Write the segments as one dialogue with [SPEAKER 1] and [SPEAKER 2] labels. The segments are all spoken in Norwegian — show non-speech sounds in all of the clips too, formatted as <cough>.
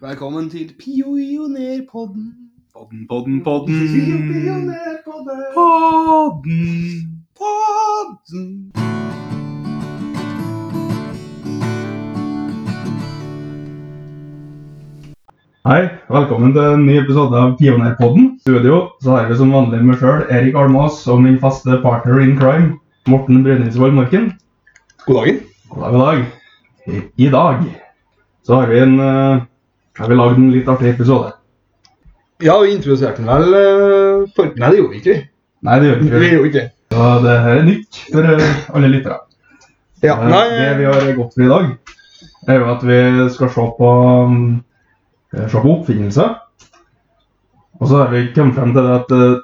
[SPEAKER 1] Velkommen til Pionerpodden. Podden, podden,
[SPEAKER 2] Pionerpodden.
[SPEAKER 1] Podden. Podden.
[SPEAKER 2] Hei, velkommen til en ny episode av Pionerpodden. I Studio så har vi som vanlig meg sjøl, Erik Almås, og min faste partner in crime, Morten Brynildsvold Morken.
[SPEAKER 1] God dagen.
[SPEAKER 2] God dag, god dag. I, I dag så har vi en eh, har vi lagd en litt artig episode.
[SPEAKER 1] Ja, vi introduserte den vel eh, for... Nei, det gjorde vi ikke.
[SPEAKER 2] Nei, det gjør
[SPEAKER 1] Vi
[SPEAKER 2] vi ikke.
[SPEAKER 1] gjorde ikke det.
[SPEAKER 2] Så det her er nytt for eh, alle lyttere.
[SPEAKER 1] Ja,
[SPEAKER 2] Eh,
[SPEAKER 1] nei,
[SPEAKER 2] Det vi har gått for i dag, er jo at vi skal se på, mm, eh, se på oppfinnelser. Og så har vi kommet frem til det at eh,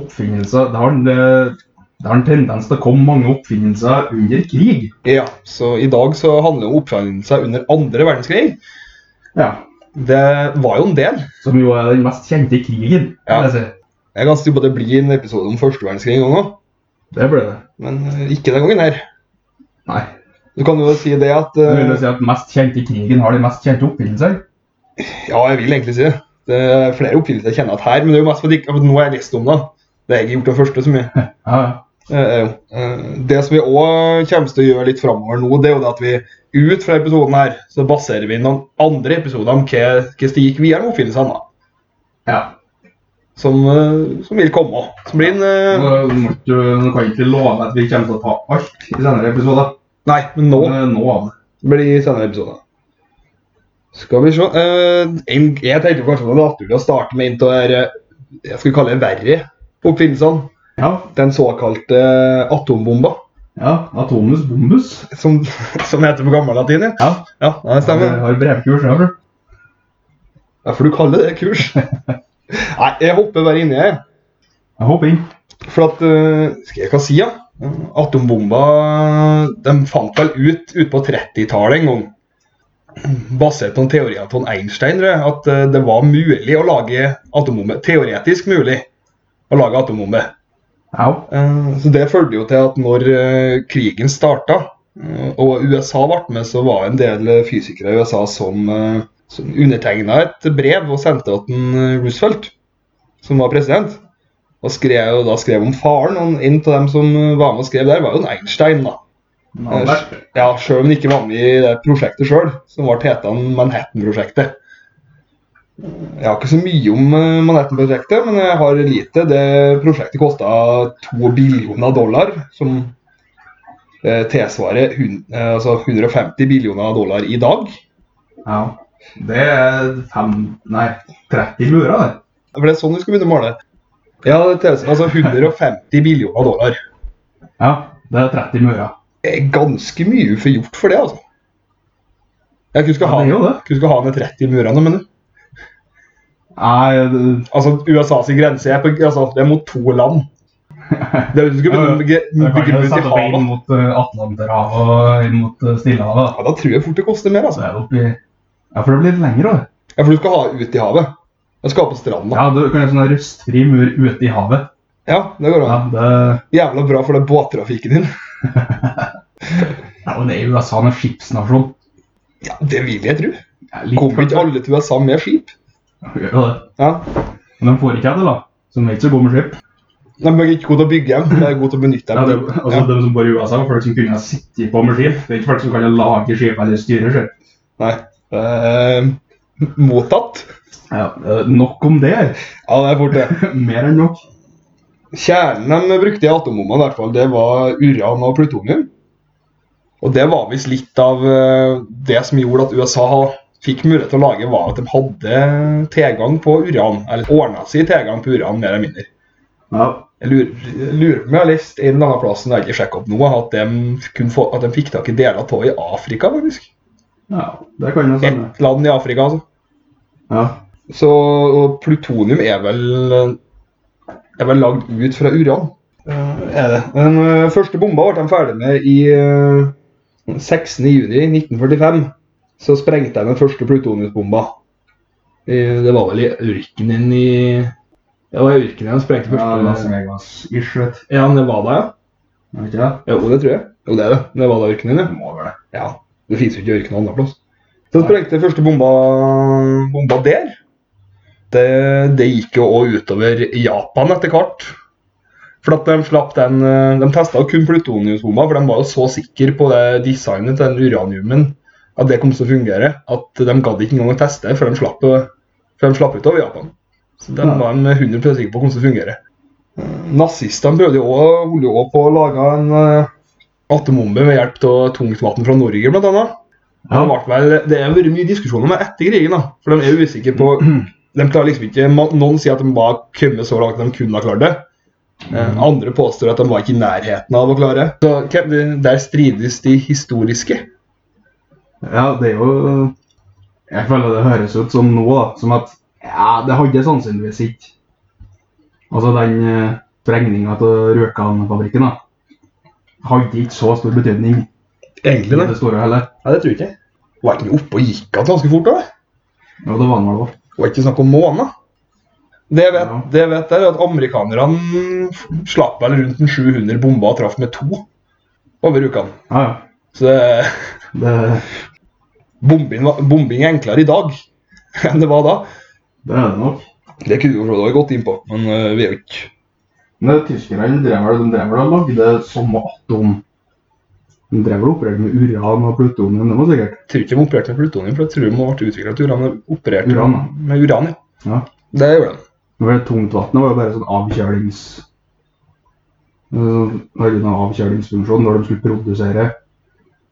[SPEAKER 2] oppfinnelser det har, en, eh, det har en tendens til å komme mange oppfinnelser under krig.
[SPEAKER 1] ja, så i dag så handler det om oppfinnelser under andre verdenskrig.
[SPEAKER 2] Ja,
[SPEAKER 1] Det var jo en del.
[SPEAKER 2] Som jo er den mest kjente krigen.
[SPEAKER 1] Ja.
[SPEAKER 2] vil jeg si.
[SPEAKER 1] Jeg er ganske sikker på at det blir en episode om første verdenskrig en gang òg,
[SPEAKER 2] Det ble det.
[SPEAKER 1] men eh, ikke den gangen her.
[SPEAKER 2] Nei.
[SPEAKER 1] Du kan jo si det at
[SPEAKER 2] Jeg
[SPEAKER 1] eh,
[SPEAKER 2] vil jo si at mest kjente krigen har de mest kjente oppfinnelser.
[SPEAKER 1] Ja, jeg vil egentlig si det. Det er flere oppfinnelser jeg kjenner at her, men det er jo mest fordi at nå har jeg lest om det. Det har jeg ikke gjort den første så mye.
[SPEAKER 2] Ja,
[SPEAKER 1] Eh, jo. Eh, Det som vi òg kommer til å gjøre litt framover nå, det er jo det at vi ut fra episoden her, så baserer vi noen andre episoder om hva hvordan det gikk videre med oppfinnelsene. da,
[SPEAKER 2] ja.
[SPEAKER 1] Som, eh, som vil komme. Som blir en eh,
[SPEAKER 2] Nå må ikke- nå kan jeg ikke love at vi kommer til å ta alt i senere episoder.
[SPEAKER 1] Nei, men nå
[SPEAKER 2] Men, eh, Nå av det.
[SPEAKER 1] blir det i senere episoder. Skal vi se eh, en- Jeg tenkte kanskje det var naturlig å starte med en av de her, eh, jeg skulle kalle det verre oppfinnelsene.
[SPEAKER 2] Ja,
[SPEAKER 1] Den såkalte eh, atombomba.
[SPEAKER 2] Ja, Atomus bombus.
[SPEAKER 1] Som, <laughs> som heter på gammellatin. ja.
[SPEAKER 2] Ja,
[SPEAKER 1] Ja, det stemmer.
[SPEAKER 2] Jeg har brevkurs, jeg, vel.
[SPEAKER 1] Ja, for du kaller det kurs. Nei, jeg hopper bare inni her.
[SPEAKER 2] Jeg hopper inn.
[SPEAKER 1] For at eh, Skal jeg hva si, da? Ja? Atombomba De fant vel ut ut på 30-tallet en gang, basert på en teori av Ton Einstein, tror jeg, at eh, det var mulig å lage atombombe. Teoretisk mulig å lage atombombe.
[SPEAKER 2] Ja.
[SPEAKER 1] Eh, Så det førte jo til at når eh, krigen starta eh, og USA ble med, så var en del eh, fysikere i USA som, eh, som undertegna et brev og sendte det til eh, Roosevelt, som var president. Og skrev, og da skrev om faren. Og en av dem som eh, var med og skrev der, var jo en Einstein. da.
[SPEAKER 2] Albert.
[SPEAKER 1] Eh, Ja, Sjøl om han ikke var med i det prosjektet sjøl, som ble heta Manhattan-prosjektet. Jeg har ikke så mye om eh, Manhattan-prosjektet, men jeg har lite. Det prosjektet kosta to billioner dollar, som eh, tilsvarer hun- eh, altså 150 billioner dollar i dag.
[SPEAKER 2] Ja. Det er fem Nei, 30 lurer, det.
[SPEAKER 1] For det er sånn vi skal begynne å male. Ja, det tilsvarer altså 150 billioner dollar.
[SPEAKER 2] Ja, det er 30 murer.
[SPEAKER 1] Det er ganske mye uforgjort for det, altså. Jeg kunne skal
[SPEAKER 2] Ja,
[SPEAKER 1] ha,
[SPEAKER 2] det er jo det.
[SPEAKER 1] ikke skal ha ned 30 murene, men
[SPEAKER 2] Nei, det-
[SPEAKER 1] Altså, USA sin grense er, på, altså, det er mot to land. Det er, du skulle begynne å bygge
[SPEAKER 2] det kan
[SPEAKER 1] bygge
[SPEAKER 2] jo
[SPEAKER 1] rundt i
[SPEAKER 2] sette opp inn
[SPEAKER 1] havet.
[SPEAKER 2] mot eh, Atlanterhavet og inn mot eh, Stillehavet. da.
[SPEAKER 1] Ja, da tror jeg fort det koster mer.
[SPEAKER 2] Så
[SPEAKER 1] altså.
[SPEAKER 2] er det oppi Ja, for det blir lengre òg.
[SPEAKER 1] Ja, For du skal ha ut i havet. Jeg skal ha på stranda. Ja.
[SPEAKER 2] Ja, du kan ha sånn her røstfri mur ute i havet.
[SPEAKER 1] det går
[SPEAKER 2] Ja,
[SPEAKER 1] an.
[SPEAKER 2] det
[SPEAKER 1] Jævla bra for den båttrafikken din.
[SPEAKER 2] ja, men det er jo USA en skipsnasjon.
[SPEAKER 1] Ja, Det vil jeg tro.
[SPEAKER 2] Ja, litt
[SPEAKER 1] Kommer ikke alle til USA med skip?
[SPEAKER 2] Gjør jo det.
[SPEAKER 1] Ja.
[SPEAKER 2] Men de får ikke til det, da. Så de er ikke så gode med skip.
[SPEAKER 1] De er ikke gode til å bygge hjem, men de er gode til å benytte
[SPEAKER 2] Ja, det,
[SPEAKER 1] dem.
[SPEAKER 2] altså, De som bor i USA, er folk som kunne ha sittet på med skip. Det er ikke folk som kan lage skip eller styre skip.
[SPEAKER 1] Nei. Eh, mottatt.
[SPEAKER 2] Ja, eh, nok om det. <laughs>
[SPEAKER 1] Ja, det er fort det.
[SPEAKER 2] Mer enn nok.
[SPEAKER 1] Kjernen de brukte i atombombene, i hvert fall, det var uran og plutonium. Og det var visst litt av eh, det som gjorde at USA fikk mulighet til å lage, var at de hadde tilgang på uran. Eller ordna si tilgang på uran, mer eller mindre.
[SPEAKER 2] Ja,
[SPEAKER 1] Jeg lurer, jeg lurer på om jeg har lest en eller annen plass som jeg ikke sjekker opp nå, at de, kunne få, at de fikk tak i deler av i Afrika, faktisk.
[SPEAKER 2] ja det kan jo stemme.
[SPEAKER 1] Ett land i Afrika, altså.
[SPEAKER 2] Ja.
[SPEAKER 1] Så og plutonium er vel er vel lagd ut fra uran. er det. Den eh, første bomba ble de ferdig med i uh, 16.6.1945. Så sprengte de den første plutoniumsbomba. I- det var vel i ørkenen i Det var i ørkenen de sprengte
[SPEAKER 2] ja Las
[SPEAKER 1] første.
[SPEAKER 2] Vegas-ish, vet
[SPEAKER 1] Ja, men det var det, ja.
[SPEAKER 2] du. Er det ikke det?
[SPEAKER 1] Jo, det tror jeg. Jo, det er det. Det var da ørkenen, ja.
[SPEAKER 2] Det må være det.
[SPEAKER 1] ja. Det fins jo ikke ørken noen annen plass. Så sprengte første bomba, bomba der. Det, det gikk jo òg utover Japan etter hvert. For at De slapp den, eh, de testa kun plutoniumsbomba, for de var jo så sikre på det designet til den uraniumen at det kom til å fungere, at de gadd ikke engang å teste før de slapp, før de slapp ut over Japan. Så den
[SPEAKER 2] Ja.
[SPEAKER 1] var de 100 sikre på kom til å fungere. Eh, Nazistene prøvde jo også, holdt jo også på å lage en eh, atombombe ved hjelp av tungtvann fra Norge, blant annet.
[SPEAKER 2] Ja.
[SPEAKER 1] Men Det, ble vel, det har vært mye diskusjoner med etter krigen, da. For de er usikre på De klarer liksom ikke ma- Noen sier at de var kommet så langt de kunne ha klart det. Eh, Andre påstår at de var ikke i nærheten av å klare det. Så hvem- det- der strides de historiske.
[SPEAKER 2] Ja, det er jo Jeg føler det høres ut som nå, da, som at ja, det hadde sannsynligvis ikke Altså den eh, sprengninga til Rjukan-fabrikken da, hadde ikke så stor betydning i
[SPEAKER 1] Egentlig,
[SPEAKER 2] det store heller.
[SPEAKER 1] Ja, det tror jeg ikke. Var ikke den oppe og gikk igjen ganske fort? da?
[SPEAKER 2] Jo, det var den vel òg.
[SPEAKER 1] Var ikke snakk om måneder. Det jeg vet,
[SPEAKER 2] Ja.
[SPEAKER 1] det jeg vet er at amerikanerne slapp vel rundt en 700 bomber og traff med to over ukene.
[SPEAKER 2] Ja, ja.
[SPEAKER 1] Så det
[SPEAKER 2] Det,
[SPEAKER 1] bombing, var- bombing er enklere i dag <laughs> enn det var da.
[SPEAKER 2] det er det nok.
[SPEAKER 1] Det kunne vi jo da gått inn på, men eh, vi er jo ikke
[SPEAKER 2] Men tyskerne drev vel de drev vel og lagde samme atom. De drev vel og opererte med uran og plutonium, det var sikkert.
[SPEAKER 1] jeg tror ikke de opererte med plutonium, for jeg tror de ble utvikla til uran. og Opererte
[SPEAKER 2] Uran, da.
[SPEAKER 1] med uran, ja.
[SPEAKER 2] Ja.
[SPEAKER 1] Det gjorde de.
[SPEAKER 2] Men det tungtvannet var jo bare sånn avkjølings... Øh, Hadde en avkjølingsfunksjon når de skulle produsere.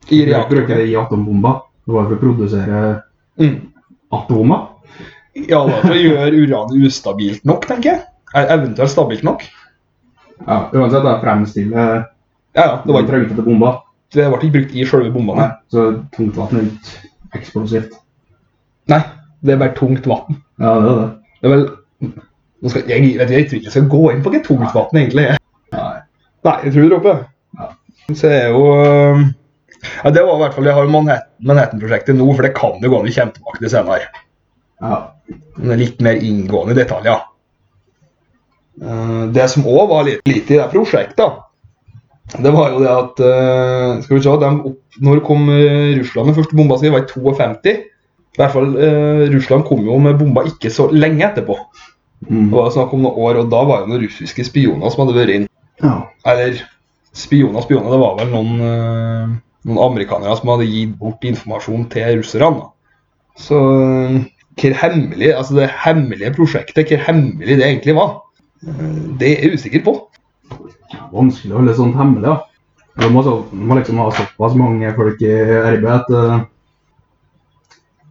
[SPEAKER 1] I
[SPEAKER 2] De brukte ikke
[SPEAKER 1] reaktoren.
[SPEAKER 2] det i atombomba. Det var for å produsere
[SPEAKER 1] Mm.
[SPEAKER 2] atomer.
[SPEAKER 1] Ja, da, for å gjøre uranet ustabilt nok, tenker jeg. Eh, Eventuelt stabilt nok.
[SPEAKER 2] Ja, uansett, det er fremstille
[SPEAKER 1] Ja, ja, det var ikke
[SPEAKER 2] de trengte til bomba.
[SPEAKER 1] Det ble ikke brukt i selve bomba, nei.
[SPEAKER 2] Nei, så tungtvann er ikke eksplosivt.
[SPEAKER 1] nei. Det er bare tungt vann.
[SPEAKER 2] Ja, det er det.
[SPEAKER 1] Det er vel Nå skal, jeg, vet, jeg tror ikke jeg skal gå inn på hva tungt vann egentlig er.
[SPEAKER 2] Nei.
[SPEAKER 1] Nei, jeg tror du dropper det.
[SPEAKER 2] Ja.
[SPEAKER 1] Så er jo øhm, ja, Det var i hvert fall Jeg har jo Manhattan- Manhattan-prosjektet nå, for det kan jo gå an å kjempe tilbake til senere.
[SPEAKER 2] Ja.
[SPEAKER 1] Men det er litt mer inngående detaljer. Eh, Det som òg var litt lite i det prosjektet, da, det var jo det at eh, Skal vi se de opp, Når kom eh, Russland med første bomba si? Det var i 52. I hvert fall, eh, Russland kom jo med bomba ikke så lenge etterpå.
[SPEAKER 2] Mm.
[SPEAKER 1] Det var jo snakk om noen år, og da var det noen russiske spioner som hadde vært inn.
[SPEAKER 2] ja.
[SPEAKER 1] Eller spioner, spioner, det var vel noen, eh, noen amerikanere som hadde gitt bort informasjon til russerne. da. Så eh, hvor hemmelig, altså det hemmelige prosjektet, hvor hemmelig det egentlig var, eh, det er jeg usikker på.
[SPEAKER 2] Vanskelig å holde sånt hemmelig, da. Du må, så, du må liksom ha såpass mange folk i RB at eh,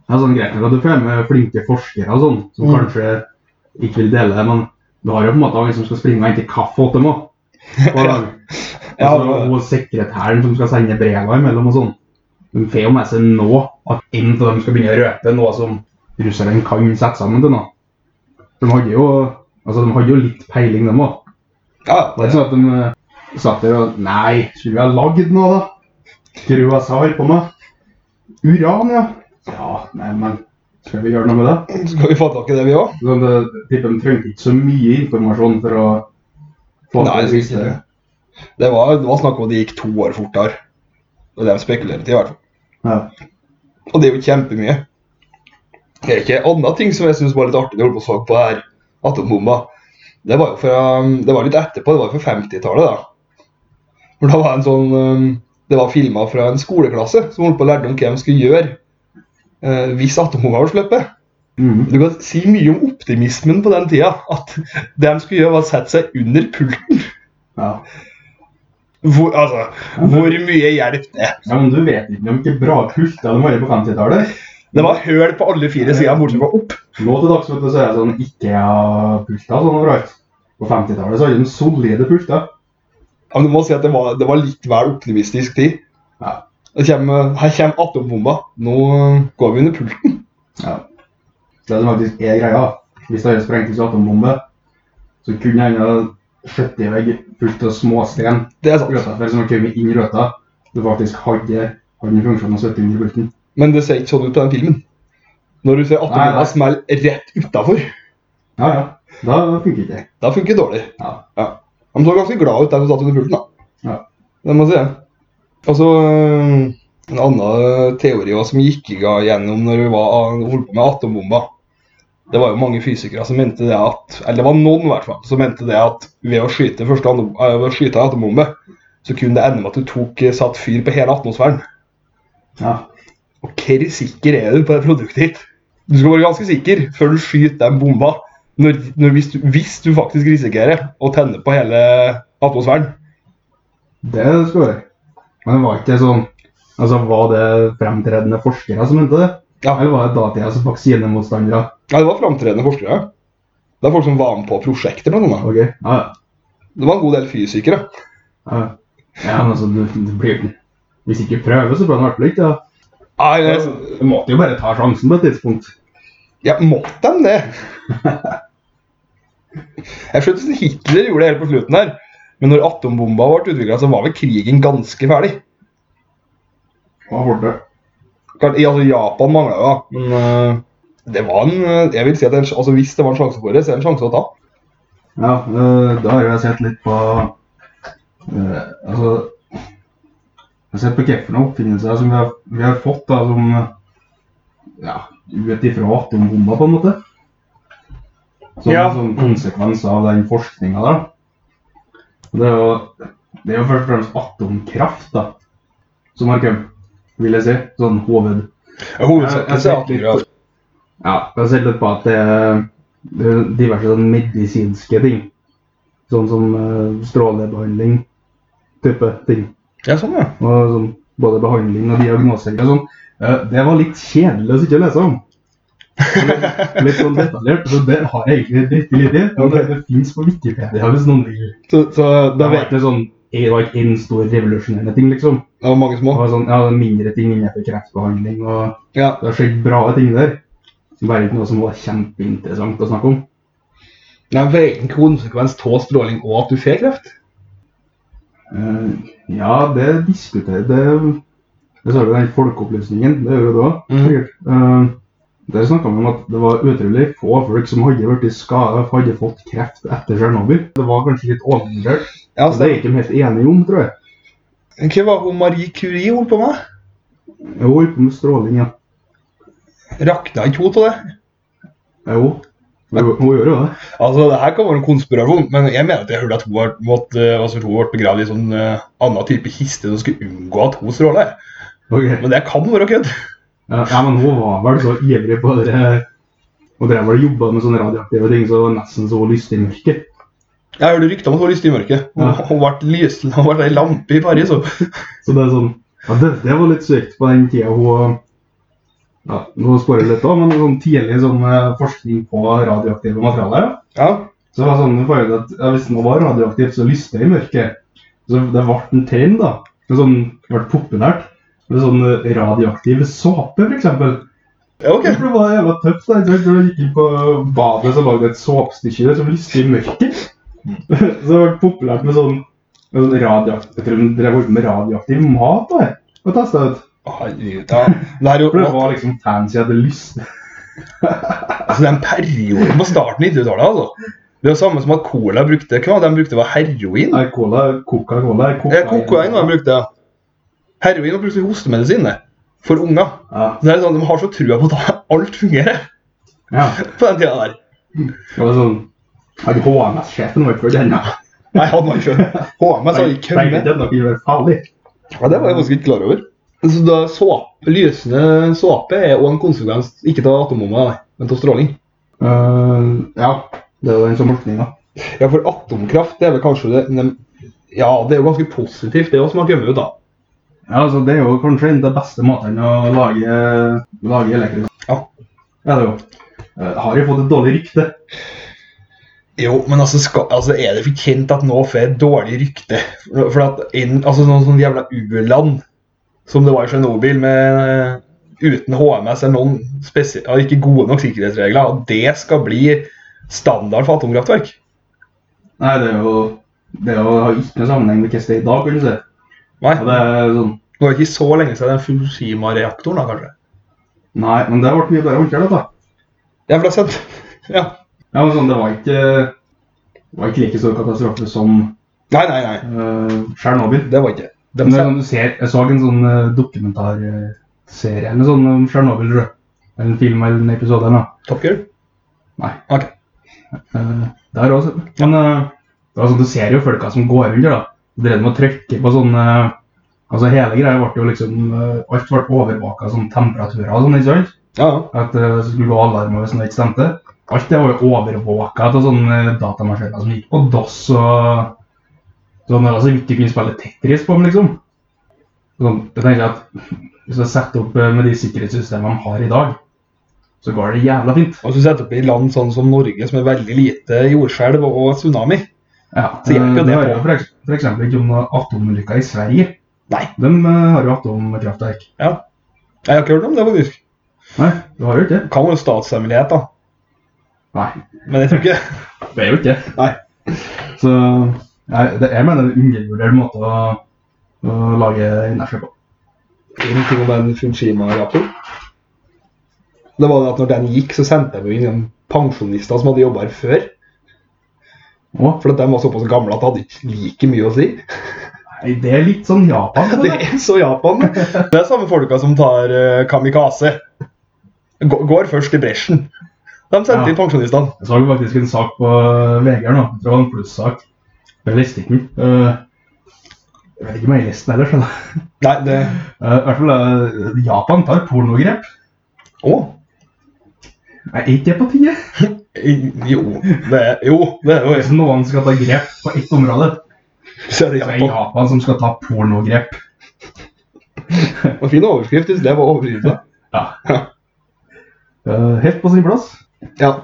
[SPEAKER 2] Det er sånn greit nok at du får med flinke forskere og sånn, som
[SPEAKER 1] Mm.
[SPEAKER 2] kanskje ikke vil dele det, men du har jo på en måte en som skal springe og hente kaffe åt dem òg.
[SPEAKER 1] <laughs> Ja, det-
[SPEAKER 2] Og sekretæren som skal sende brevene imellom og sånn. De får jo med seg nå at en av dem skal begynne å røpe noe som russerne kan sette sammen til noe. De hadde jo, altså, de hadde jo litt peiling, dem òg.
[SPEAKER 1] Ja,
[SPEAKER 2] Det er ikke sånn at de eh, satt der og Nei, skulle vi ha lagd noe, da? Skulle vi ha på meg? Uran, ja. Ja, nei, men skal vi gjøre noe med det?
[SPEAKER 1] skal vi få tak i det, vi òg?
[SPEAKER 2] Sånn, det- jeg tipper de trengte ikke så mye informasjon for å
[SPEAKER 1] Nei,
[SPEAKER 2] få til det
[SPEAKER 1] jeg synes ikke
[SPEAKER 2] siste.
[SPEAKER 1] Det var, det var snakk om at det gikk to år fortere. Og det spekulerer til, i hvert fall.
[SPEAKER 2] Ja.
[SPEAKER 1] Og det er jo kjempemye. Det er ikke andre ting som jeg syns var litt artig når jeg holdt på å så på her, atombomba. Det var jo fra, um, det var litt etterpå, det var jo fra 50-tallet, da. For da var en sånn, um, Det var filma fra en skoleklasse som holdt på å lære om hva de skulle gjøre eh, hvis atombomba var sluppet.
[SPEAKER 2] Mhm.
[SPEAKER 1] Du kan si mye om optimismen på den tida. At det de skulle gjøre, var å sette seg under pulten.
[SPEAKER 2] ja.
[SPEAKER 1] Hvor, altså, hvor mye hjelp det?
[SPEAKER 2] ja, men du vet ikke om ikke bra pulter de hadde på 50-tallet.
[SPEAKER 1] Det var høl på alle fire sider, bortsett fra opp.
[SPEAKER 2] Nå til dags vet du, så er det sånn Ikea-pulter sånn overalt. På 50-tallet så hadde de solide pulter.
[SPEAKER 1] Ja, men du må si at det var, det var litt vel optimistisk tid.
[SPEAKER 2] Ja.
[SPEAKER 1] Det kommer, her kommer atombomba. Nå øh, går vi under pulten.
[SPEAKER 2] Ja. Det som faktisk er greia, hvis det hadde sprengt ut en atombombe, så kunne jeg ha skjøtt i vegg fullt av småsten
[SPEAKER 1] Det er sant.
[SPEAKER 2] røta for som har kommet inn i røta. Du faktisk hadde hadde funksjonen å sette inn i bulten.
[SPEAKER 1] Men det ser ikke sånn ut på den filmen. Når du ser
[SPEAKER 2] Nei, nei.
[SPEAKER 1] atombomba smelle rett utafor,
[SPEAKER 2] Ja, ja. Da funket det.
[SPEAKER 1] da funker det dårlig.
[SPEAKER 2] Ja.
[SPEAKER 1] De så ganske glad ut, de som satt under pulten. da.
[SPEAKER 2] Ja.
[SPEAKER 1] Det må jeg si. Og så øh, en annen teori også, som gikk i ga- gjennom når vi var, eh, holdt på med atombomber. Det var jo mange fysikere som mente det at Eller det var noen i hvert fall, som mente det at ved å skyte første atom- eh, ved å skyte en atombombe, så kunne det ende med at du tok, eh, satt fyr på hele atmosfæren.
[SPEAKER 2] Ja.
[SPEAKER 1] Og hvor sikker er du på det produktet ditt? Du skal være ganske sikker før du skyter den bomba. Når, når, hvis, du, hvis du faktisk risikerer å tenne på hele atmosfæren.
[SPEAKER 2] Det skal være. Men var ikke det sånn Altså, Var det fremtredende forskere som mente det?
[SPEAKER 1] Ja.
[SPEAKER 2] Eller var det datidas vaksinemotstandere?
[SPEAKER 1] Ja, det var framtredende forskere. Det er folk som var med på prosjektet, blant annet.
[SPEAKER 2] Ok, ja,
[SPEAKER 1] Det var en god del fysikere.
[SPEAKER 2] ja. ja men altså, du, du blir Hvis ikke prøver, så blir det i hvert fall ikke. Ja.
[SPEAKER 1] Nei, det,
[SPEAKER 2] Du måtte jo bare ta sjansen på et tidspunkt.
[SPEAKER 1] ja, måtte de det? Jeg skjønte at Hitler gjorde det helt på slutten her. Men når atombomba ble utvikla, så var vel krigen ganske ferdig.
[SPEAKER 2] Hva var det?
[SPEAKER 1] Klart, i- altså Japan mangla jo, da. Men øh, det var en øh, Jeg vil si at det er en, sj- altså, hvis det var en sjanse for det, så er det en sjanse å ta.
[SPEAKER 2] Ja, øh, da har jeg sett litt på øh, Altså Jeg har sett på hvilke oppfinnelser som vi har, vi har fått, da, som Ja, ut ifra atombomba, på en måte. Som
[SPEAKER 1] Ja.
[SPEAKER 2] som konsekvens av den forskninga der. Og Det er jo det er jo først og fremst atomkraft da, som har kommet, vil jeg si. Sånn hoved...
[SPEAKER 1] Hovedsaken
[SPEAKER 2] Jeg- jeg
[SPEAKER 1] er at
[SPEAKER 2] tenker litt på- Ja, jeg ser litt på at det er, det er diverse sånn medisinske ting. Sånn som eh, strålebehandling type ting.
[SPEAKER 1] Ja, sånn, ja.
[SPEAKER 2] Og sånn, både behandling og diagnoser. Og sånn. Eh, det var litt kjedelig å sitte og lese om. Litt sånn detaljert. Så det har jeg egentlig dritt litt i. Og det, det fins på Wikipedia hvis noen vil.
[SPEAKER 1] Så, så
[SPEAKER 2] Det
[SPEAKER 1] da
[SPEAKER 2] var
[SPEAKER 1] vet
[SPEAKER 2] ikke sånn det var ikke en stor revolusjonerende ting, liksom.
[SPEAKER 1] Det var mange
[SPEAKER 2] Det
[SPEAKER 1] små.
[SPEAKER 2] var sånn, ja, Mindre ting innenfor kreftbehandling og
[SPEAKER 1] Ja.
[SPEAKER 2] det har skjedd bra ting der. Bare ikke noe som var kjempeinteressant å snakke om.
[SPEAKER 1] Jeg vet ikke konsekvens av stråling og at du får kreft.
[SPEAKER 2] Eh, ja, det diskuterer Det, det sa du, den folkeopplysningen. Det gjør jo det òg,
[SPEAKER 1] Mhm.
[SPEAKER 2] sikkert. Eh, der snakka vi om at det var utrolig få folk som hadde vært i skade, hadde fått kreft etter Tsjernobyl. Det var kanskje litt overvurdert.
[SPEAKER 1] Ja, altså,
[SPEAKER 2] og det er ikke de helt enige om, tror jeg.
[SPEAKER 1] Hva var hun Marie Curie holdt på med?
[SPEAKER 2] Jo, ikke med stråling, ja.
[SPEAKER 1] Rakna ikke hun til det?
[SPEAKER 2] Jo, hun, hun gjør jo det.
[SPEAKER 1] Altså, det her kan være en konspirasjon, men jeg mener at jeg hørte at hun var- måtte, eh, altså, hun ble begravd i en sånn eh, annen type kiste som skulle unngå at hun stråler.
[SPEAKER 2] Ok.
[SPEAKER 1] Men det kan være kødd.
[SPEAKER 2] Ja, ja, men hun var vel så ivrig på det Hun drev vel og jobba med sånne radioaktive ting, så det var nesten så hun lyste i mørket.
[SPEAKER 1] Jeg hørte rykter om at hun var lyst i mørket. Hun,
[SPEAKER 2] Ja.
[SPEAKER 1] hun ble lys, hun ble ei lampe i Paris. Og,
[SPEAKER 2] Så det er sånn ja, det, det var litt sykt på den tida hun ja, Nå spør jeg litt, da, men sånn tidlig sånn eh, forskning på radioaktive materialer. ja.
[SPEAKER 1] ja.
[SPEAKER 2] Så det var sånn, vi fant ut at ja, Hvis noe var radioaktivt, så lyste det i mørket. Så det ble en trend, da. Det sånn, ble populært. Med sånn eh, radioaktiv såpe, f.eks.
[SPEAKER 1] ja, ok.
[SPEAKER 2] Det var jævla tøft. da. Jeg tror jeg gikk inn på badet så lagde jeg et såpestykke der som lyste i mørket. <laughs> Så det har vært populært med sånn, med sånn radioaktiv Jeg tror de drev holdt på med radioaktiv mat da, jeg, og testa ut.
[SPEAKER 1] Herregud, ja. Det er jo
[SPEAKER 2] For det var liksom fancy at det lyste.
[SPEAKER 1] altså, den perioden på starten av 90-tallet, altså. Det er jo samme som at Cola brukte hva var det de brukte var heroin.
[SPEAKER 2] Nei, cola, coca-cola er
[SPEAKER 1] Eh, Kokain var de brukte, ja. Heroin var plutselig hostemedisin det, for unger.
[SPEAKER 2] Ja.
[SPEAKER 1] Så det er sånn, De har så trua på at alt fungerer
[SPEAKER 2] ja.
[SPEAKER 1] på den tida der.
[SPEAKER 2] Det var sånn Han HMS-sjefen var ikke for denne.
[SPEAKER 1] Nei, han var ikke HMS har ikke
[SPEAKER 2] Nei,
[SPEAKER 1] kommet.
[SPEAKER 2] Den kunne være farlig.
[SPEAKER 1] Ja, det var jeg faktisk ikke klar over. Så da såpe, Lysende såpe er også en konsekvens ikke av atombomba, nei, men av stråling.
[SPEAKER 2] Eh, ja. Det sånn er jo den som forskninga.
[SPEAKER 1] Ja, for atomkraft det er vel kanskje det nem- Ja, det er jo ganske positivt, det òg, som har kommet ut, da.
[SPEAKER 2] Ja, altså Det er jo kanskje en av de beste måtene å lage, lage elektrisk
[SPEAKER 1] Ja.
[SPEAKER 2] Ja, det er jo. Eh, Har jo fått et dårlig rykte.
[SPEAKER 1] Jo, men altså, skal, altså er det for kjent at nå får jeg et dårlig rykte? For for at inn, altså sånn sånn jævla u-land, som det var i Tsjernobyl, med, eh, uten HMS eller noen spesi- ja, ikke gode nok sikkerhetsregler, at det skal bli standard for atomkraftverk?
[SPEAKER 2] Nei, det er jo Det er jo, det har ikke noe sammenheng med hvordan det er i dag. kan du si.
[SPEAKER 1] Nei,
[SPEAKER 2] Ja, det er sånn,
[SPEAKER 1] det var ikke så lenge siden den Fukushima-reaktoren, da, kanskje?
[SPEAKER 2] Nei, men det ble mye bedre håndtert. da.
[SPEAKER 1] Ja, for det er sant. Ja.
[SPEAKER 2] Ja, men sånn, Det var ikke det var ikke like stor katastrofe som
[SPEAKER 1] Nei, nei, nei.
[SPEAKER 2] eh, Tsjernobyl.
[SPEAKER 1] Det var ikke De
[SPEAKER 2] Men det er
[SPEAKER 1] setter-
[SPEAKER 2] sånn, du ser, jeg så en sånn eh, dokumentarserie eller sånn om Tsjernobyl, tror jeg. Eller en film eller en episode eller noe.
[SPEAKER 1] Top Gear?
[SPEAKER 2] Nei.
[SPEAKER 1] Ok.
[SPEAKER 2] Eh, der også. Men eh, det var sånn, du ser jo folka som går under, da. De drev med å trykke på sånn eh, Altså hele greia ble jo liksom eh, Alt ble overvåka, sånn temperaturer og sånn, ikke sant?
[SPEAKER 1] Ja, ja.
[SPEAKER 2] At eh, det skulle gå alarmer hvis noe ikke stemte. Alt det var jo overvåka av sånne datamaskiner som gikk på DOS og sånn. Altså, ikke kunne spille Tetris på dem, liksom. Sånn, jeg tenker at Hvis jeg setter opp eh, med de sikkerhetssystemene de har i dag, så går det jævla fint.
[SPEAKER 1] Og hvis du setter opp i land sånn som Norge, som er veldig lite jordskjelv og tsunami
[SPEAKER 2] Ja,
[SPEAKER 1] Så hjelper jo det på.
[SPEAKER 2] F.eks. ikke om noen atomulykker i Sverige.
[SPEAKER 1] Nei,
[SPEAKER 2] De eh, har jo atomkraftverk.
[SPEAKER 1] jeg har ikke hørt om det, faktisk.
[SPEAKER 2] Nei, du har jo ikke det.
[SPEAKER 1] Det kan være statshemmelighet, da.
[SPEAKER 2] Nei,
[SPEAKER 1] Men jeg tror <laughs> ikke
[SPEAKER 2] det er jo ikke det.
[SPEAKER 1] Nei.
[SPEAKER 2] Så jeg, det, jeg mener det er en undervurdert måte å, å lage energi på.
[SPEAKER 1] Ingenting om den Funshima-reaktoren. Det var det at når den gikk, så sendte de jo inn noen pensjonister som hadde jobba her før.
[SPEAKER 2] Å,
[SPEAKER 1] For at de var såpass gamle at det hadde ikke like mye å si.
[SPEAKER 2] nei, det er litt sånn <laughs> Japan.
[SPEAKER 1] <laughs>
[SPEAKER 2] på
[SPEAKER 1] Det
[SPEAKER 2] Det.
[SPEAKER 1] er så Japan. Det er samme folka som tar eh, kamikaze. Gå- Går først i bresjen. De sendte
[SPEAKER 2] Ja.
[SPEAKER 1] inn pensjonistene.
[SPEAKER 2] Jeg så faktisk en sak på VG her nå. Det var en plussak. Jeg leste ikke den. Eh, Jeg vet ikke om jeg leste den heller. skjønner jeg.
[SPEAKER 1] Nei, det
[SPEAKER 2] Eh, I hvert fall eh, Japan tar pornogrep.
[SPEAKER 1] Å!
[SPEAKER 2] Er ikke det på tide?
[SPEAKER 1] I- Jo, det er jo det er
[SPEAKER 2] Hvis
[SPEAKER 1] jo
[SPEAKER 2] noen skal ta grep på ett område,
[SPEAKER 1] Så er det
[SPEAKER 2] så er det
[SPEAKER 1] Japan.
[SPEAKER 2] Japan som skal ta pornogrep.
[SPEAKER 1] Og Fin overskrift. hvis Det var overskriften.
[SPEAKER 2] Ja. Eh, Helt på sin plass.
[SPEAKER 1] Ja.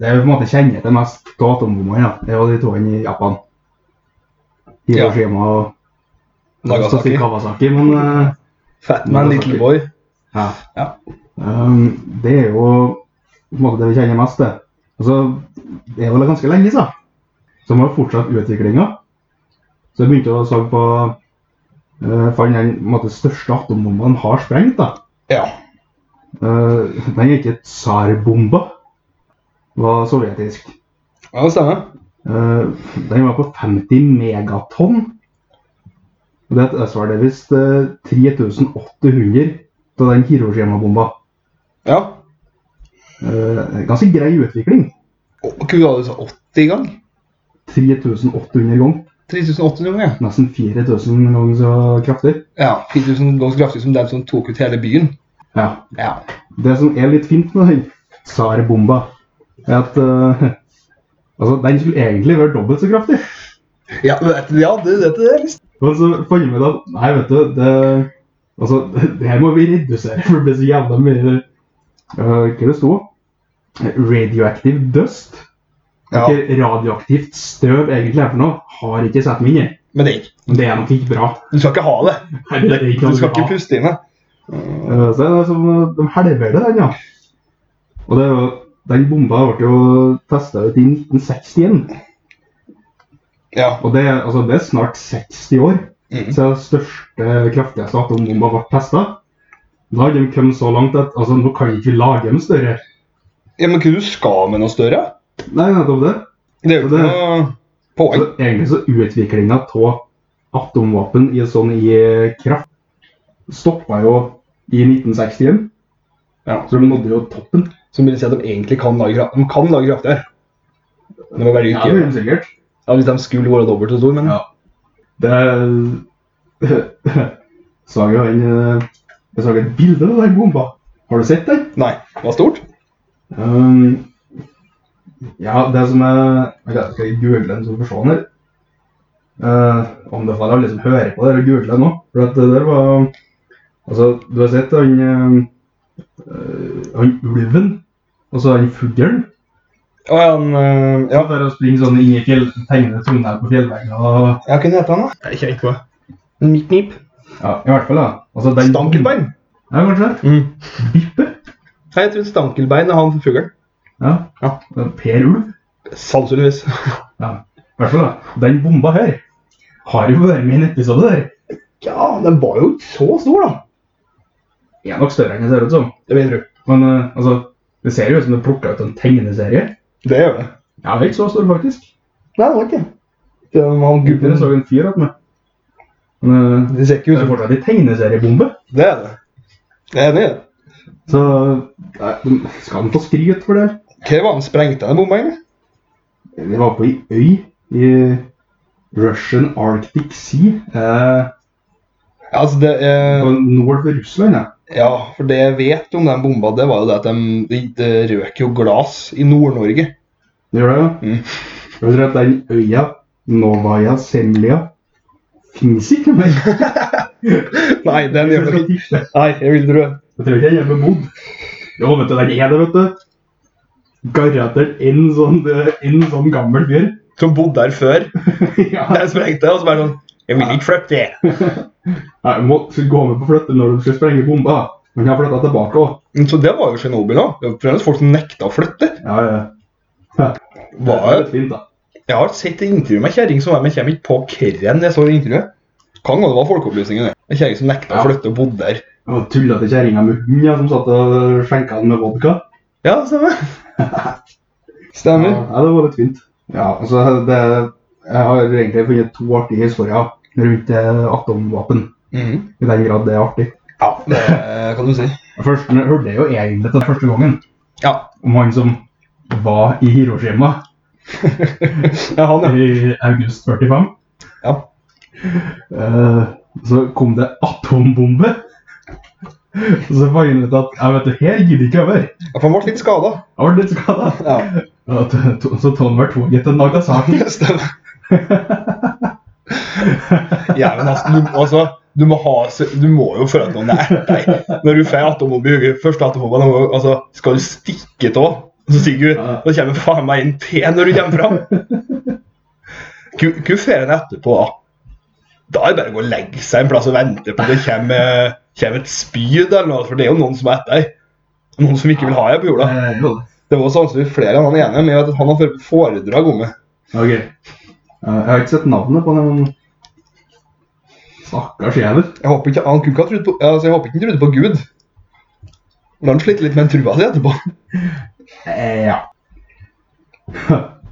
[SPEAKER 2] Det er på en måte kjenner til mest av atombommene. Ja. Det er jo de toene i Japan. Hiroshima og
[SPEAKER 1] Nagasaki.
[SPEAKER 2] Kawasaki. Men eh,
[SPEAKER 1] Fatman Little Boy.
[SPEAKER 2] ja.
[SPEAKER 1] Ja.
[SPEAKER 2] Ehm, det er jo på en måte det vi kjenner mest til. Altså, det er vel ganske lenge siden. Så man har fortsatt utviklinga. Så jeg begynte å så på uh, Fant den på en måte, største atombomba den har sprengt. da.
[SPEAKER 1] Ja.
[SPEAKER 2] Eh, den er ikke tsarbomba. Var sovjetisk.
[SPEAKER 1] ja, det stemmer.
[SPEAKER 2] Eh, den var på 50 megatonn. Og Det svarer visst eh, 3800 av den Hiroshima-bomba.
[SPEAKER 1] Ja.
[SPEAKER 2] Eh, ganske grei utvikling.
[SPEAKER 1] Og Kua hadde så 80 gang.
[SPEAKER 2] 3800 ganger.
[SPEAKER 1] 3800 ganger.
[SPEAKER 2] Nesten 4000 ganger så kraftig.
[SPEAKER 1] Ja. 4000 ganger så kraftig som den som tok ut hele byen.
[SPEAKER 2] Ja.
[SPEAKER 1] Ja.
[SPEAKER 2] Det som er litt fint med den tsarbomba, er at eh, <laughs> altså, den skulle egentlig være dobbelt så kraftig.
[SPEAKER 1] Ja, vet du, ja det, det, det er litt
[SPEAKER 2] Men så fant jeg ut at nei, vet du, det, altså, <laughs> det her må vi redusere, for det blir så jævla mye eh, Hva det sto? Radioactive dust.
[SPEAKER 1] ja.
[SPEAKER 2] Ikke radioaktivt støv, egentlig, er for noe. Har ikke satt meg inn i.
[SPEAKER 1] Men det er ikke
[SPEAKER 2] Men det er nok ikke bra.
[SPEAKER 1] Du skal ikke ha det.
[SPEAKER 2] Nei, det er ikke
[SPEAKER 1] Du
[SPEAKER 2] noe
[SPEAKER 1] skal
[SPEAKER 2] bra.
[SPEAKER 1] ikke puste inn det.
[SPEAKER 2] Eh, Så det er som, eh, de helverer den, ja. Og det, er jo- den bomba ble jo testa ut i 1961.
[SPEAKER 1] Ja.
[SPEAKER 2] Og det, er- altså, det er snart 60 år
[SPEAKER 1] Mm.
[SPEAKER 2] siden den største, kraftigste atombomba ble testa. Da hadde de kommet så langt at altså, nå kan ikke vi lage dem større.
[SPEAKER 1] ja, men hva du skal med noe større?
[SPEAKER 2] Nei, nettopp det.
[SPEAKER 1] Det er jo
[SPEAKER 2] Det-
[SPEAKER 1] ikke noe poeng.
[SPEAKER 2] Så egentlig så utviklinga av atomvåpen i sånn i kraft stoppa jo i 1961.
[SPEAKER 1] Ja.
[SPEAKER 2] Så de nådde jo toppen.
[SPEAKER 1] Som vil si at de egentlig kan lage kraft. De kan lage kraft der. De må bare ikke
[SPEAKER 2] det
[SPEAKER 1] gjøre
[SPEAKER 2] gjorde
[SPEAKER 1] det.
[SPEAKER 2] de sikkert.
[SPEAKER 1] Ja, Hvis de skulle vært dobbelt så store, men
[SPEAKER 2] Ja. Det er <laughs> så jeg, en, eh, jeg så et bilde av den bomba. Har du sett den?
[SPEAKER 1] Nei, det var stort.
[SPEAKER 2] Um, ja, det som er ok, Skal jeg google den, så du får se den her? Eh, anbefaler alle som hører på det, å google den nå. For at det der var Altså, du har sett han eh, eh, Han ulven, og så han fuglen.
[SPEAKER 1] Og han, øh, ja,
[SPEAKER 2] Ja, der å springe sånn inn i fjell, tegne tunnel på fjellvegger og
[SPEAKER 1] ja, hva heter han da? Jeg kjenner ikke på det. Miknip.
[SPEAKER 2] Ja, i hvert fall, da. Altså, den-
[SPEAKER 1] Stankelbein.
[SPEAKER 2] Ja, kanskje.
[SPEAKER 1] Mm.
[SPEAKER 2] Bippe.
[SPEAKER 1] Nei, jeg tror stankelbein er han fuglen.
[SPEAKER 2] Ja.
[SPEAKER 1] Ja.
[SPEAKER 2] Per Ulv.
[SPEAKER 1] Sannsynligvis.
[SPEAKER 2] Ja. I hvert fall, da. Den bomba her har jo vært med i en episode der.
[SPEAKER 1] <laughs> ja, den var jo ikke så stor, da.
[SPEAKER 2] Er nok større enn det ser ut som.
[SPEAKER 1] Det vil jeg tro.
[SPEAKER 2] Men eh, altså, det ser jo ut som det er plukka ut av en tegneserie.
[SPEAKER 1] Det gjør det.
[SPEAKER 2] Ja, det er ikke så stor, faktisk.
[SPEAKER 1] Nei, det var ikke det. Det var han
[SPEAKER 2] Gutten
[SPEAKER 1] gubben
[SPEAKER 2] så en fyr attmed. Men eh,
[SPEAKER 1] Det ser ikke ut
[SPEAKER 2] det er
[SPEAKER 1] som
[SPEAKER 2] fortsatt en tegneseriebombe.
[SPEAKER 1] Det er det. Jeg er enig i det.
[SPEAKER 2] Så nei, de skal han få skryt for det?
[SPEAKER 1] Hva var det han sprengte den bomba, egentlig?
[SPEAKER 2] Vi var på ei øy i Russian Arctic Sea. Eh,
[SPEAKER 1] Altså, det er
[SPEAKER 2] på nord for Russland, ja.
[SPEAKER 1] Ja, for det jeg vet om den bomba, det var jo det at de, de, det røk jo glass i Nord-Norge. <laughs>
[SPEAKER 2] Det gjør det, ja.
[SPEAKER 1] Mm.
[SPEAKER 2] Jeg tror at den øya, Novaja Semlja, fins ikke mer.
[SPEAKER 1] <laughs> Nei, den <laughs> gjør det ikke.
[SPEAKER 2] Jeg
[SPEAKER 1] Nei, jeg vil tro det.
[SPEAKER 2] tror ikke den er bebodd. Jo, vet du, den er det, vet du. Garantert en sånn, en sånn gammel
[SPEAKER 1] <laughs>
[SPEAKER 2] fyr.
[SPEAKER 1] Som bodde der før.
[SPEAKER 2] ja.
[SPEAKER 1] Den sprengte, og så bare sånn Jeg vil ikke flytte det.
[SPEAKER 2] Nei, du må gå med på å flytte når du skal sprenge bomba. Men jeg har flytta tilbake òg.
[SPEAKER 1] Men Så det var jo Tsjernobyl òg. Det var fremdeles folk som nekta å flytte.
[SPEAKER 2] Ja, ja.
[SPEAKER 1] Var
[SPEAKER 2] Det er
[SPEAKER 1] jo-
[SPEAKER 2] litt fint, da.
[SPEAKER 1] Jeg har sett et intervju med ei kjerring som var med, kommer ikke på hvem jeg så i intervjuet. Kan gå det var Folkeopplysningen, det. Ei kjerring som nekta
[SPEAKER 2] Ja.
[SPEAKER 1] å flytte og bodde der.
[SPEAKER 2] Det var tullete kjerringa med hund ja, som satt og skjenka den med vodka.
[SPEAKER 1] Ja, det stemmer. <laughs> Stemmer.
[SPEAKER 2] Ja, det var litt fint. Ja, altså, det, jeg har egentlig funnet to artige historier rundt eh, atomvåpen.
[SPEAKER 1] Mhm.
[SPEAKER 2] I den grad det er artig.
[SPEAKER 1] Ja, det kan du si.
[SPEAKER 2] Først men jeg hørte jeg jo egentlig til den første gangen
[SPEAKER 1] Ja.
[SPEAKER 2] om han som var i Hiroshima
[SPEAKER 1] <laughs> ja han, ja.
[SPEAKER 2] i august 45.
[SPEAKER 1] ja.
[SPEAKER 2] Eh, så kom det atombombe. Og så fant han ut at jeg vet du, her gidder jeg ikke over. Jeg
[SPEAKER 1] Ja, For han ble litt skada.
[SPEAKER 2] ble litt skada.
[SPEAKER 1] Ja.
[SPEAKER 2] Og t- to- Så tok han vel toget til Nagasaki.
[SPEAKER 1] Stemmer. <laughs> Ja, men altså, du, altså, du, må ha, du må jo føle at noen er deg. Når du får atombombe i hodet, første atombombe, da må- altså, skal du stikke av. Så sier du
[SPEAKER 2] Ja.
[SPEAKER 1] Da kommer faen meg inn til når du kommer fram. Hvor får en etterpå, da? Da er det bare å gå og legge seg en plass og vente på det kommer, kommer et spyd eller noe. For det er jo noen som er etter deg. Noen som ikke vil ha deg på jorda.
[SPEAKER 2] Eh, jo.
[SPEAKER 1] Det var sannsynligvis flere enn han ene, men jeg vet at han har ført foredrag om det.
[SPEAKER 2] Ok. Eh, Jeg har ikke sett navnet på den Stakkars jævel.
[SPEAKER 1] Jeg håper ikke han kunne ikke ha trodd på, altså jeg håper ikke han trodde på Gud. For han slitt litt med en trua si etterpå. <laughs>
[SPEAKER 2] Eh, ja. <laughs>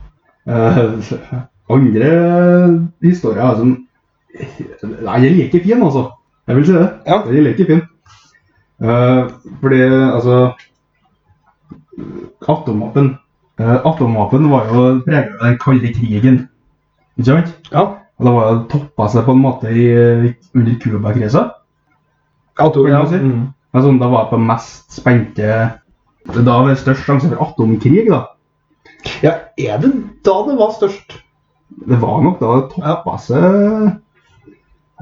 [SPEAKER 2] Eh, andre historier er som Nei, jeg liker fin, altså. Jeg vil si det.
[SPEAKER 1] Ja.
[SPEAKER 2] Jeg liker fin. Eh, fordi, altså Atomvåpen eh, Atomvåpen var jo preget av den kalde krigen. Ikke sant?
[SPEAKER 1] Ja.
[SPEAKER 2] Og det var jo toppa seg på en måte i, under Cuba-krisa.
[SPEAKER 1] Atom,
[SPEAKER 2] ja.
[SPEAKER 1] Mm.
[SPEAKER 2] Altså, da var jeg på mest spente Da var det størst sjanse for atomkrig, da.
[SPEAKER 1] ja, er det da det var størst?
[SPEAKER 2] Det var nok da det toppa seg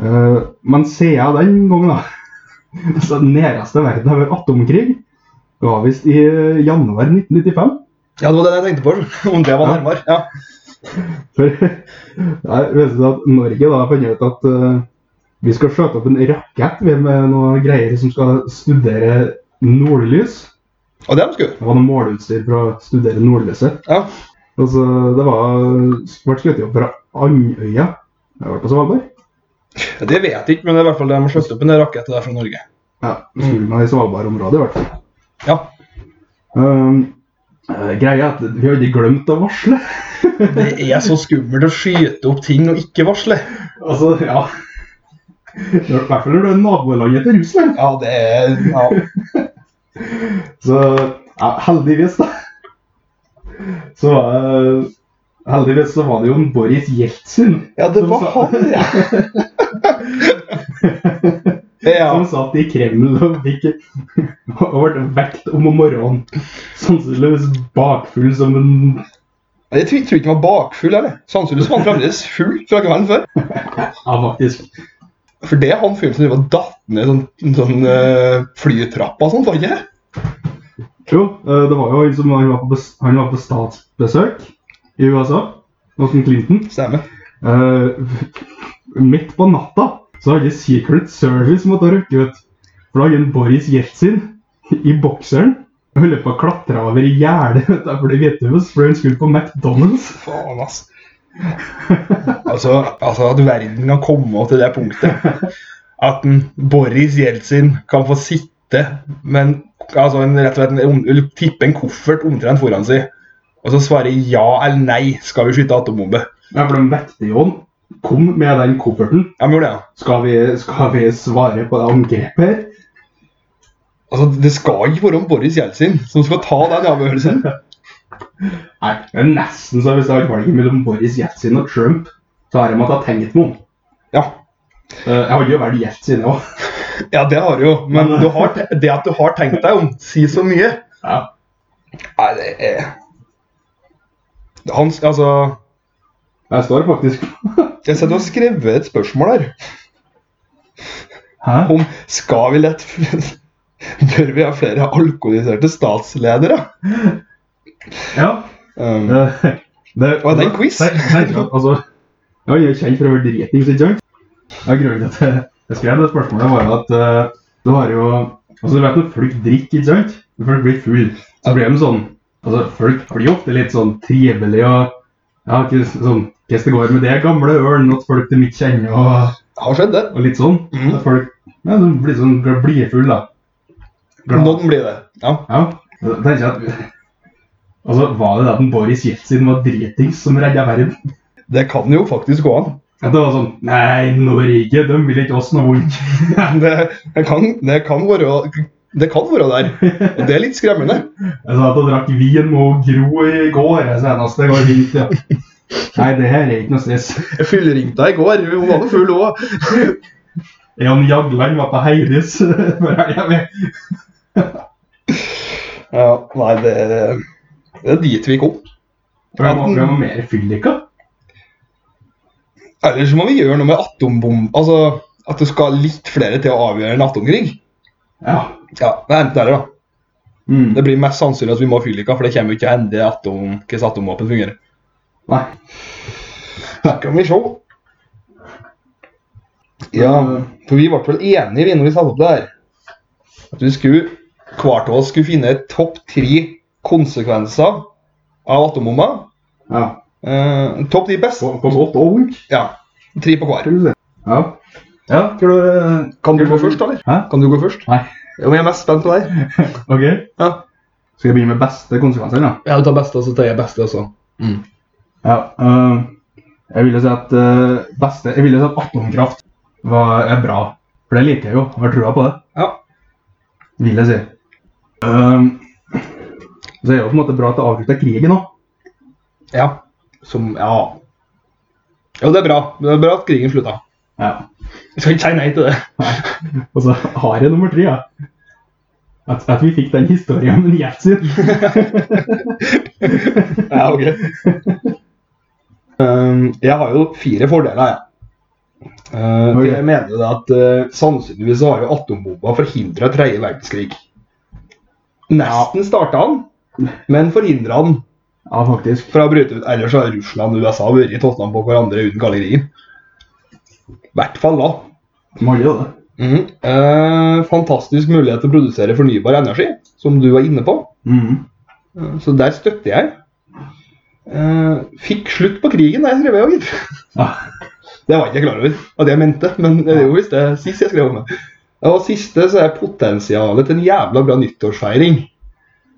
[SPEAKER 2] Eh, Men siden den gangen, da <laughs> altså, Den næreste verden har vært atomkrig. Det var visst i eh, januar 1995.
[SPEAKER 1] Ja, det var det jeg tenkte på. <laughs> Om det var
[SPEAKER 2] Ja.
[SPEAKER 1] nærmere. Ja.
[SPEAKER 2] For <laughs> der vet du at Norge da har funnet ut at eh, vi skal skjøte opp en rakett vi, med noen greier som skal studere nordlys.
[SPEAKER 1] Og det er de skulle.
[SPEAKER 2] Det var noe måleutstyr for å studere nordlyset.
[SPEAKER 1] Ja.
[SPEAKER 2] Altså, det var ble skutt opp fra Andøya. Det var på Svalbard.
[SPEAKER 1] Det vet jeg ikke, men det er i hvert fall det de har slått opp en rakett der fra Norge.
[SPEAKER 2] Ja, skulle man i Svalbard-området i hvert fall.
[SPEAKER 1] Mm. Ja.
[SPEAKER 2] Um, eh, greia er at vi hadde glemt å varsle.
[SPEAKER 1] Det er så skummelt å skyte opp ting og ikke varsle.
[SPEAKER 2] altså, ja. I hvert fall når du er nabolandet til Russland.
[SPEAKER 1] Ja, det er ja.
[SPEAKER 2] Så ja, heldigvis, da. Så eh, Heldigvis så var det jo en Boris Jeltsin
[SPEAKER 1] ja, det var
[SPEAKER 2] Som
[SPEAKER 1] han, <laughs> ja. ja.
[SPEAKER 2] som satt i Kreml <laughs> og fikk og ble vekt om morgenen. Sannsynligvis bakfull som en
[SPEAKER 1] Jeg tror tror ikke han var bakfull, eller? Sannsynligvis var han fremdeles full fra kvelden før.
[SPEAKER 2] Ja, faktisk.
[SPEAKER 1] For det er han fyren som driver og datt ned sånn, sånn eh, flytrappa og sånt, var det ikke?
[SPEAKER 2] Jo, eh, det var jo han som han var på, bes- han var på statsbesøk i USA. Norton Clinton.
[SPEAKER 1] Stemmer.
[SPEAKER 2] Eh, midt på natta så hadde Secret Service måttet rykke ut. For da hadde en Boris Jeltsin i bokseren og holdt på å klatre over gjerdet <laughs> utenfor det Hvite hus for han skulle på McDonald's.
[SPEAKER 1] Faen, ass. Altså, altså at verden kan komme til det punktet at en Boris Jeltsin kan få sitte med en, altså en, rett og slett en, eller tippe en koffert omtrent foran seg, og så svare ja eller nei, skal vi skyte atombombe?
[SPEAKER 2] Ja, for de vekte jo han Kom med den kofferten.
[SPEAKER 1] De gjorde det. ja.
[SPEAKER 2] Skal vi, skal vi svare på det angrepet her?
[SPEAKER 1] Altså, Det skal ikke være om Boris Jeltsin som skal ta den avgjørelsen.
[SPEAKER 2] Nei, det er nesten så hvis jeg hadde valget mellom Boris Jeltsin og Trump, så har jeg måttet tenkt meg om.
[SPEAKER 1] Ja,
[SPEAKER 2] Eh, Jeg hadde jo valgt Jeltsin òg.
[SPEAKER 1] ja det har du jo. Men du har, te- det at du har tenkt deg om, sier så mye.
[SPEAKER 2] Ja.
[SPEAKER 1] Nei, det er Hans, altså
[SPEAKER 2] Jeg står faktisk
[SPEAKER 1] Jeg sitter og skriver et spørsmål her
[SPEAKER 2] Hæ?
[SPEAKER 1] om skal vi lett <laughs> Bør vi ha flere alkoholiserte statsledere?
[SPEAKER 2] Ja.
[SPEAKER 1] Um,
[SPEAKER 2] eh, det-
[SPEAKER 1] Var det en quiz?
[SPEAKER 2] Nei, nei, ja, altså, jeg er jo kjent for å være dritings, ikke sant? Ja, grunnen til at jeg- jeg skrev det spørsmålet, var jo at eh, du har jo Altså, du vet når folk drikker, ikke sant? Når folk blir full, så blir de sånn Altså, folk blir jo ofte litt sånn trivelige og Ja, ikke sånn Hvordan det går med det gamle ølen, at folk de ikke kjenner og
[SPEAKER 1] har skjedd, det.
[SPEAKER 2] og litt sånn.
[SPEAKER 1] Mhm.
[SPEAKER 2] At folk ja, de blir sånn gl- blidfull, da. Glad.
[SPEAKER 1] Noen blir det. Ja.
[SPEAKER 2] Ja. Da tenker jeg at Altså, Var det det at den Boris Jeltsin var dritings som redda verden?
[SPEAKER 1] Det kan jo faktisk gå an.
[SPEAKER 2] At det var sånn Nei, Norge, de vil ikke oss noe vondt. <laughs>
[SPEAKER 1] Det, det, kan, det, kan være, det kan være der. Og det er litt skremmende.
[SPEAKER 2] Jeg sa at jeg drakk vin med Gro i går. Jeg senest det går fint, ja. Nei, det her er ikke noe stress.
[SPEAKER 1] Jeg fylleringte deg i går. Hun var nå full òg.
[SPEAKER 2] Jan Jagland var på <laughs> Heidis før helga. vi.
[SPEAKER 1] Ja, nei, det, det er dit vi kom.
[SPEAKER 2] For jeg var- jeg var mer fyllika.
[SPEAKER 1] Eller så må vi gjøre noe med atombom... Altså at det skal litt flere til å avgjøre en atomkrig.
[SPEAKER 2] Ja.
[SPEAKER 1] Ja, det er enten eller, da.
[SPEAKER 2] Mm.
[SPEAKER 1] Det blir mest sannsynlig at vi må ha fyrlykka, for det kommer jo ikke til å ende atom, hvordan atomvåpen fungerer.
[SPEAKER 2] Nei.
[SPEAKER 1] Her kan vi se. Ja, for vi ble vel enige vi når vi satte opp det her. At vi skulle, hver av oss skulle finne topp tre konsekvenser av atombomba.
[SPEAKER 2] Ja.
[SPEAKER 1] Eh, topp de beste.
[SPEAKER 2] På, på godt og vondt.
[SPEAKER 1] Ja, tre på hver.
[SPEAKER 2] Ja. ja. Skal du
[SPEAKER 1] eh, Kan du gå først, eller?
[SPEAKER 2] Hæ?
[SPEAKER 1] Kan du gå først?
[SPEAKER 2] Nei.
[SPEAKER 1] Jo, men jeg er mest spent på deg.
[SPEAKER 2] Ok.
[SPEAKER 1] Ja.
[SPEAKER 2] Skal jeg begynne med beste konsekvenser, da?
[SPEAKER 1] Ja, du tar beste, og så tar jeg beste også.
[SPEAKER 2] Ja. øh, jeg ville si at øh, beste Jeg ville si at atomkraft var, er bra. For det liker jeg jo. Har trua på det.
[SPEAKER 1] Ja.
[SPEAKER 2] Vil jeg si. Ehm, så er det jo på en måte bra at det avslutta krigen òg.
[SPEAKER 1] Ja. Som Ja. Jo, det er bra. Det er bra at krigen slutta.
[SPEAKER 2] Ja. <laughs>
[SPEAKER 1] Jeg skal ikke si nei til det.
[SPEAKER 2] Og så har jeg nummer tre, ja. At, at vi fikk den historien med Jeltsin.
[SPEAKER 1] <laughs> Ja, ok. <laughs> Um, jeg har jo fire fordeler, jeg. Uh,
[SPEAKER 2] Ok.
[SPEAKER 1] Jeg mener jo det at uh, sannsynligvis så har jo atombomba forhindra tredje verdenskrig. Nesten starta han, men forhindra han
[SPEAKER 2] Ja, faktisk.
[SPEAKER 1] fra å bryte ut. Ellers har Russland og USA vært i tottene på hverandre uten kalde krigen. I hvert fall da.
[SPEAKER 2] Må jo det.
[SPEAKER 1] Mhm. Eh, fantastisk mulighet til å produsere fornybar energi, som du var inne på.
[SPEAKER 2] Mhm.
[SPEAKER 1] Eh, Så der støtter jeg. Eh, fikk slutt på krigen, det skrev jeg jo. gitt.
[SPEAKER 2] Ja.
[SPEAKER 1] <laughs> Det var ikke jeg klar over at jeg mente, men det er jo visst det sist jeg skrev om det. Og siste så er potensialet til en jævla bra nyttårsfeiring. <laughs>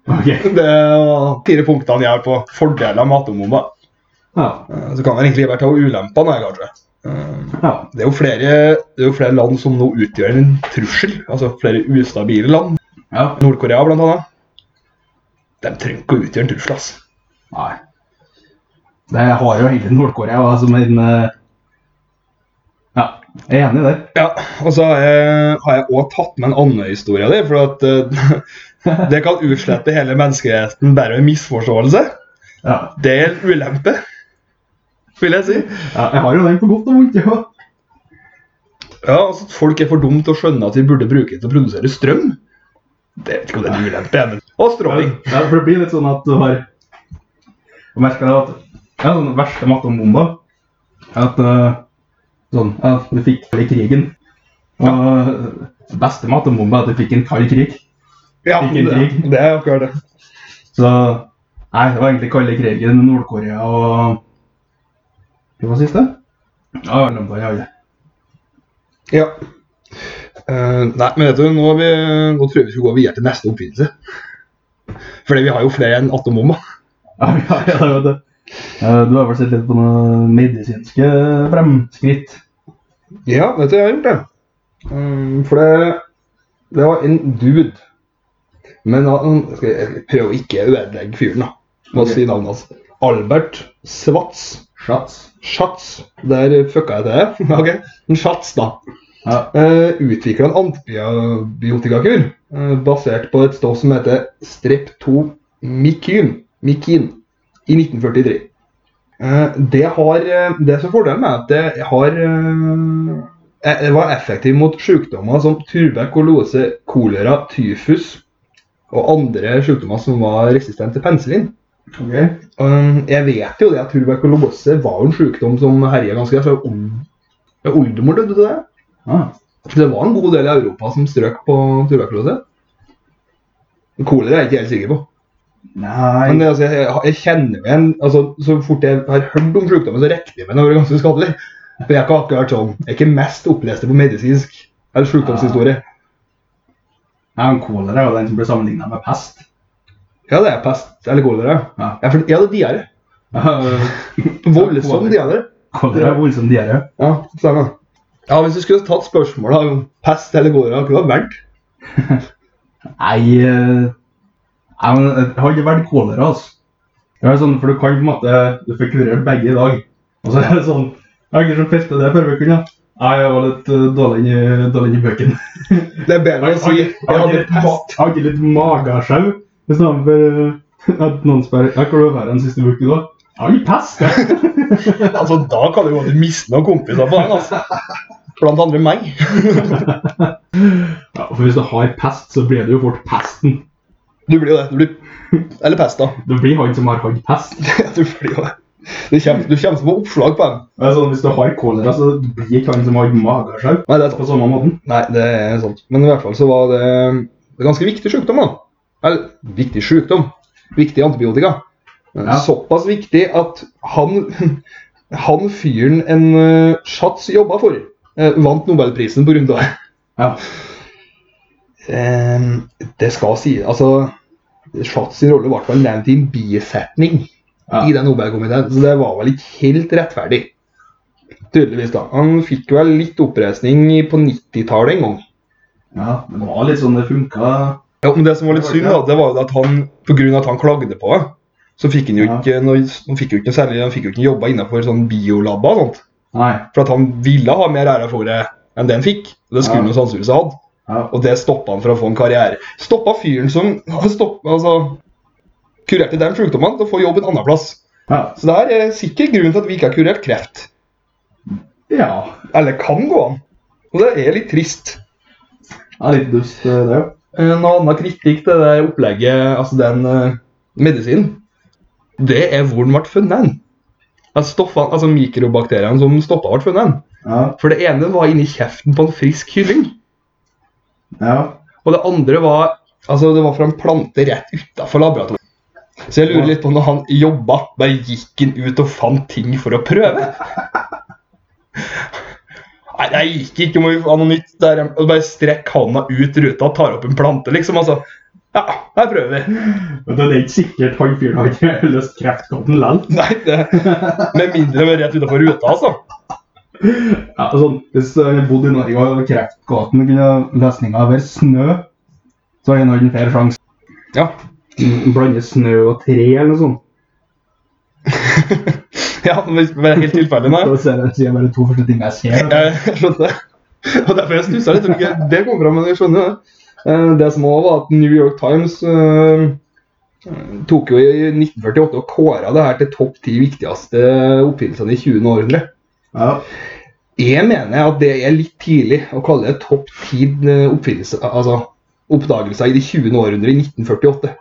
[SPEAKER 2] Ok.
[SPEAKER 1] Det var fire punktene jeg har på fordeler med atombomba.
[SPEAKER 2] Ja.
[SPEAKER 1] Eh, Så kan man egentlig bare ta ulempene her, kanskje. Eh,
[SPEAKER 2] ja.
[SPEAKER 1] Det er, jo flere, det er jo flere land som nå utgjør en trussel. Altså flere ustabile land.
[SPEAKER 2] ja.
[SPEAKER 1] Nord-Korea blant annet. De trenger ikke å utgjøre en trussel, ass.
[SPEAKER 2] Nei. Det har jo hele Nord-Korea da, som en eh, Ja, jeg er enig i det.
[SPEAKER 1] Ja, og så har jeg- har jeg òg tatt med en annen historie di, for at eh, <laughs> det kan utslette hele menneskeheten bare med misforståelse.
[SPEAKER 2] Ja.
[SPEAKER 1] Det er en ulempe, vil jeg si.
[SPEAKER 2] ja, Jeg har jo den på godt og vondt, ja.
[SPEAKER 1] Ja, altså at Folk er for dumme til å skjønne at vi burde bruke det til å produsere strøm. Det vet ikke om det er en ulempe, men Og stråling.
[SPEAKER 2] Ja, for det blir litt sånn at du har Jeg merker det at ja, sånn verste mattebomba er at eh, sånn, ja, du fikk i krigen. Og eh, beste mattebomba er at du fikk en kald krig.
[SPEAKER 1] Ja,
[SPEAKER 2] Ikke en
[SPEAKER 1] det,
[SPEAKER 2] krig.
[SPEAKER 1] det er akkurat det.
[SPEAKER 2] Så Nei, det var egentlig kalde krigen med Nord-Korea og Hva var siste? Ja, jeg glemte det. ja, <laughs> ja.
[SPEAKER 1] Ja. Eh, nei, men vet du, nå, har vi, nå tror jeg vi skal gå videre til neste oppfinnelse. Fordi vi har jo flere enn atombomba.
[SPEAKER 2] Ja, ja, ja, det var det. Eh, Du har vel sett litt på noen medisinske fremskritt?
[SPEAKER 1] Ja, vet du, jeg har gjort det. Mm, For det, det var en dude. Men han skal jeg prøve å ikke ødelegge fyren, da. Må
[SPEAKER 2] Ok.
[SPEAKER 1] si navnet hans. Albert Svats.
[SPEAKER 2] Shots.
[SPEAKER 1] Schatz. Der fucka jeg til. <laughs> ok, En Schatz, da.
[SPEAKER 2] Ja.
[SPEAKER 1] Uh, Utvikla en antibiotikakur eh, basert på et stoff som heter streptomykin mykin, i 1943. Eh, det har eh, Det som er fordelen med at det har eh, eh, Det var effektivt mot sykdommer som tuberkulose, kolera, tyfus og andre sykdommer som var resistente til penicillin.
[SPEAKER 2] Ok.
[SPEAKER 1] Um, jeg vet jo det at tuberkulose var jo en sykdom som herja ganske greit. for old- ja, Oldemor døde av det.
[SPEAKER 2] Ah.
[SPEAKER 1] Så det var en god del i Europa som strøk på tuberkulose. Kolera er jeg ikke helt sikker på. Men
[SPEAKER 2] Nei.
[SPEAKER 1] det, altså, jeg, jeg kjenner meg igjen altså, Så fort jeg har hørt om sykdommen, så regner jeg med den har vært ganske skadelig. For jeg har ikke akkurat sånn. Jeg er ikke mest opplest på medisinsk eller sykdomshistorie.
[SPEAKER 2] Nei, men Kolera er jo den som blir sammenligna med pest.
[SPEAKER 1] Ja, det er pest eller kolera. <laughs>
[SPEAKER 2] Ja.
[SPEAKER 1] Jeg, for, jeg hadde diaré. Voldsom diaré.
[SPEAKER 2] Kolera er voldsom diaré.
[SPEAKER 1] Ja, stemmer. Ja, Hvis du skulle tatt spørsmålet om pest eller kolera, kunne du ha valgt?
[SPEAKER 2] Nei eh, Nei, men Jeg har ikke vært kolera, altså. Det er sånn, for du kan på en måte Du får kurert begge i dag. Og så er det sånn Jeg har ikke så felt det før vi kunne. Nei, jeg var litt eh, dårlig inn i- dårlig inn i bøkene.
[SPEAKER 1] Det er bedre å si jeg
[SPEAKER 2] har
[SPEAKER 1] hadde
[SPEAKER 2] ikke litt ma-
[SPEAKER 1] pest.
[SPEAKER 2] jeg har ikke litt magesjau istedenfor eh, at noen spør ja, hvor var du den siste uka da? Jeg har ikke pest, jeg.
[SPEAKER 1] Altså, Da kan du jo aldri miste noen kompiser på den. altså. Blant andre meg.
[SPEAKER 2] Ja, for hvis du har pest, så blir det jo fort pesten.
[SPEAKER 1] Du blir jo det. Du blir... Eller pest, da.
[SPEAKER 2] Det blir han som har hatt pest.
[SPEAKER 1] <laughs> Du blir jo det. Du kommer, du kommer som på oppslag på den.
[SPEAKER 2] Det er sånn, hvis du har kolera, så blir ikke han som har hatt magesjau.
[SPEAKER 1] Nei, det er sant.
[SPEAKER 2] På samme måten.
[SPEAKER 1] Nei, det er sant. Men i hvert fall så var det det er ganske viktig sykdom. da. Eller viktig sykdom. Viktig antibiotika.
[SPEAKER 2] Ja.
[SPEAKER 1] Såpass viktig at han, <laughs> han fyren en eh, Schatz jobba for, eh, vant Nobelprisen pga. det.
[SPEAKER 2] Ja.
[SPEAKER 1] Ehm, det skal si Altså, Schatz sin rolle ble vel nevnt i en bisetning
[SPEAKER 2] Ja.
[SPEAKER 1] i den Nobelkomiteen, så det var vel ikke helt rettferdig. Tydeligvis, da. Han fikk vel litt oppreisning på 90-tallet en gang.
[SPEAKER 2] Ja, det var litt sånn det funka.
[SPEAKER 1] Ja, men det som var litt synd, da, det var jo at han, på grunn av at han klagde på det, så fikk han jo
[SPEAKER 2] Ja.
[SPEAKER 1] ikke noe, han fikk jo ikke noe særlig, han fikk jo ikke jobba innenfor sånn biolabber og sånt.
[SPEAKER 2] Nei.
[SPEAKER 1] For at han ville ha mer ære for det enn det han fikk. Og det skulle
[SPEAKER 2] Ja.
[SPEAKER 1] han jo sannsynligvis ha hatt.
[SPEAKER 2] Ja.
[SPEAKER 1] Og det stoppa han fra å få en karriere. Stoppa fyren som <laughs> stoppa, altså, kurerte den sykdommen, til å få jobb en annen plass.
[SPEAKER 2] Ja.
[SPEAKER 1] Så det her er sikkert grunnen til at vi ikke har kurert kreft.
[SPEAKER 2] ja.
[SPEAKER 1] Eller kan gå an. Og det er litt trist.
[SPEAKER 2] Det er litt dust, det òg.
[SPEAKER 1] Eh, En annen kritikk til det opplegget, altså den eh, medisinen, det er hvor den ble funnet. hen. At stoffene, altså Mikrobakteriene som stoppa, ble funnet. hen.
[SPEAKER 2] Ja.
[SPEAKER 1] For det ene var inni kjeften på en frisk kylling.
[SPEAKER 2] ja.
[SPEAKER 1] Og det andre var altså det var fra en plante rett utafor laboratoriet. Så jeg lurer litt på når han jobba, bare gikk han ut og fant ting for å prøve? Nei, det gikk ikke må vi ha noe nytt der. Og bare strekk handa ut ruta, tar opp en plante, liksom. Altså, ja, her prøver vi.
[SPEAKER 2] Men det er ikke sikkert han fyren har <laughs> ikke løst kreftkoden likevel.
[SPEAKER 1] Nei, det, med mindre vi er rett utafor ruta, altså.
[SPEAKER 2] Ja, sånn, hvis han hadde bodd i Norge og kreftgåten kunne løsninga vært snø, så hadde han hatt en fair sjanse.
[SPEAKER 1] Ja. <laughs>
[SPEAKER 2] Mm, Blande snø og tre eller noe sånt.
[SPEAKER 1] ja hvis vi er helt tilfeldig nå.
[SPEAKER 2] Så ser jeg, sier jeg bare to forskjellige ting jeg ser. da.
[SPEAKER 1] Jeg skjønner det. Eh, <laughs> Og derfor jeg stussa litt. Jeg tror ikke Det kom fram, men jeg skjønner det. Eh, Det som også var at New York Times eh, tok jo i 1948 og kåra det her til topp ti viktigste oppfinnelsene i 20. århundre.
[SPEAKER 2] Ja.
[SPEAKER 1] Jeg mener at det er litt tidlig å kalle det topp ti oppfinnelser, altså oppdagelser i det 20. århundre i 1948.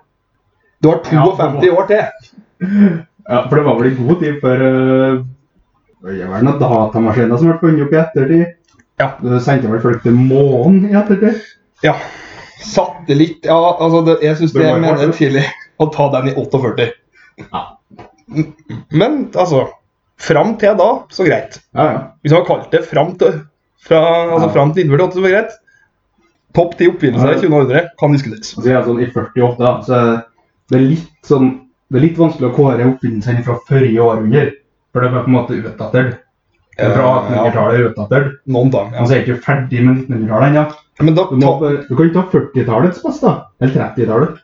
[SPEAKER 1] Du har 52 år til.
[SPEAKER 2] ja, for det var vel i god tid før øh, Det var noen datamaskiner som ble funnet opp i ettertid.
[SPEAKER 1] Ja.
[SPEAKER 2] Det sendte vel folk til månen i ettertid.
[SPEAKER 1] Ja. Satellitt Ja, altså, det, jeg syns
[SPEAKER 2] Det
[SPEAKER 1] det
[SPEAKER 2] var
[SPEAKER 1] mener
[SPEAKER 2] hardt,
[SPEAKER 1] jeg er tidlig å ta den i 48.
[SPEAKER 2] Ja.
[SPEAKER 1] Men altså Fram til da, så greit.
[SPEAKER 2] Ja, ja.
[SPEAKER 1] Hvis man har kalt det fram til fra, altså
[SPEAKER 2] Ja.
[SPEAKER 1] fram til 1948, så er det greit. Topp ti oppfinnelser i 20. århundre kan diskuteres.
[SPEAKER 2] Altså, jeg er sånn, I 48 da, så er det litt sånn Det er litt vanskelig å kåre oppfinnelsene fra forrige århundre. For de er på en måte utdatert. De er Fra
[SPEAKER 1] Ja, ja.
[SPEAKER 2] 1800-tallet er utdatert.
[SPEAKER 1] Noen dager.
[SPEAKER 2] Altså, jeg er ikke ferdig med 1900-tallet ennå.
[SPEAKER 1] Ja. Men da,
[SPEAKER 2] Du, må
[SPEAKER 1] ta,
[SPEAKER 2] bare- du kan ikke ta 40-tallets beste, da. Eller 30-tallet.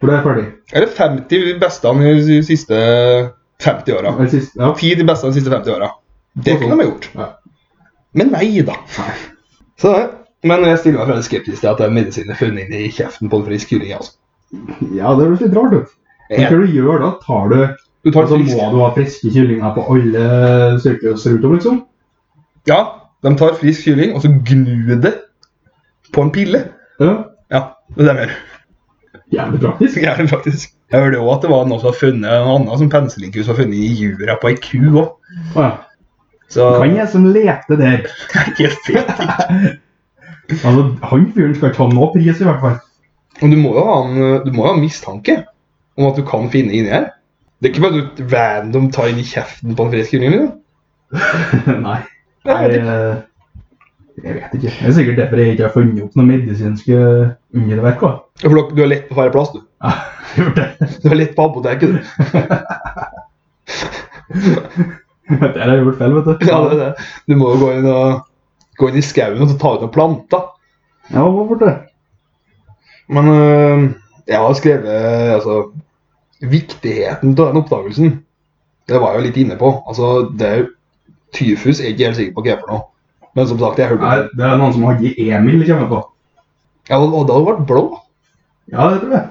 [SPEAKER 2] For det er ferdig.
[SPEAKER 1] er det 50 beste i de siste 50 åra?
[SPEAKER 2] Eller sist, ja.
[SPEAKER 1] 10 de beste de siste 50 åra. Det kunne de ha gjort.
[SPEAKER 2] Ja.
[SPEAKER 1] Men Mhm. nei da. Så det. Men jeg stiller meg veldig skeptisk til at den medisinen er funnet inn i kjeften på en frisk kylling. Altså.
[SPEAKER 2] ja, det høres litt rart ut. Men
[SPEAKER 1] Jeg,
[SPEAKER 2] hva du gjør da, tar du
[SPEAKER 1] du tar
[SPEAKER 2] Så
[SPEAKER 1] en
[SPEAKER 2] må
[SPEAKER 1] frisk.
[SPEAKER 2] du sånn ha friske kyllinger på alle sykehus rundt om, liksom.
[SPEAKER 1] Ja, de tar frisk kylling, og så gnur det på en pille.
[SPEAKER 2] Ja,
[SPEAKER 1] Ja, det er det de <laughs> gjør.
[SPEAKER 2] Jævlig praktisk.
[SPEAKER 1] Det er det faktisk. Jeg hørte også at det var noen som har funnet en annen som penicillinkus har funnet i jura på ei ku òg.
[SPEAKER 2] Å ja.
[SPEAKER 1] Så
[SPEAKER 2] Han er som lekte der.
[SPEAKER 1] <laughs> helt fint.
[SPEAKER 2] Altså, Han fyren skal ta noe pris, i hvert fall. <laughs>
[SPEAKER 1] Men du må jo ha en, du må jo ha en mistanke om at du kan finne inni her. Det er ikke bare du random tar inn i kjeften på en frisk kylling. Liksom.
[SPEAKER 2] Nei.
[SPEAKER 1] Nei, jeg vet
[SPEAKER 2] Jeg, jeg vet ikke. Det er sikkert derfor jeg ikke har funnet opp noen medisinske underverk. da. <laughs>
[SPEAKER 1] Ja, For du- du er lett på feil plass, du.
[SPEAKER 2] Ja, gjort det.
[SPEAKER 1] Du er lett på apoteket, du.
[SPEAKER 2] Der har jeg gjort feil, vet du.
[SPEAKER 1] <laughs> Ja, det er det. Du må jo gå inn, og, gå inn i skauen og så ta ut noen planter.
[SPEAKER 2] Ja, hvorfor det?
[SPEAKER 1] Men øh, jeg har skrevet altså, viktigheten av den oppdagelsen. Det var jeg jo litt inne på. Altså, det er jo, tyfus er jeg ikke helt sikker på hva er for noe. Men som sagt, jeg hørte
[SPEAKER 2] Nei, det er noen som har gitt Emil kommer på.
[SPEAKER 1] ja, og, og da hadde det vært blå.
[SPEAKER 2] Ja, det tror jeg.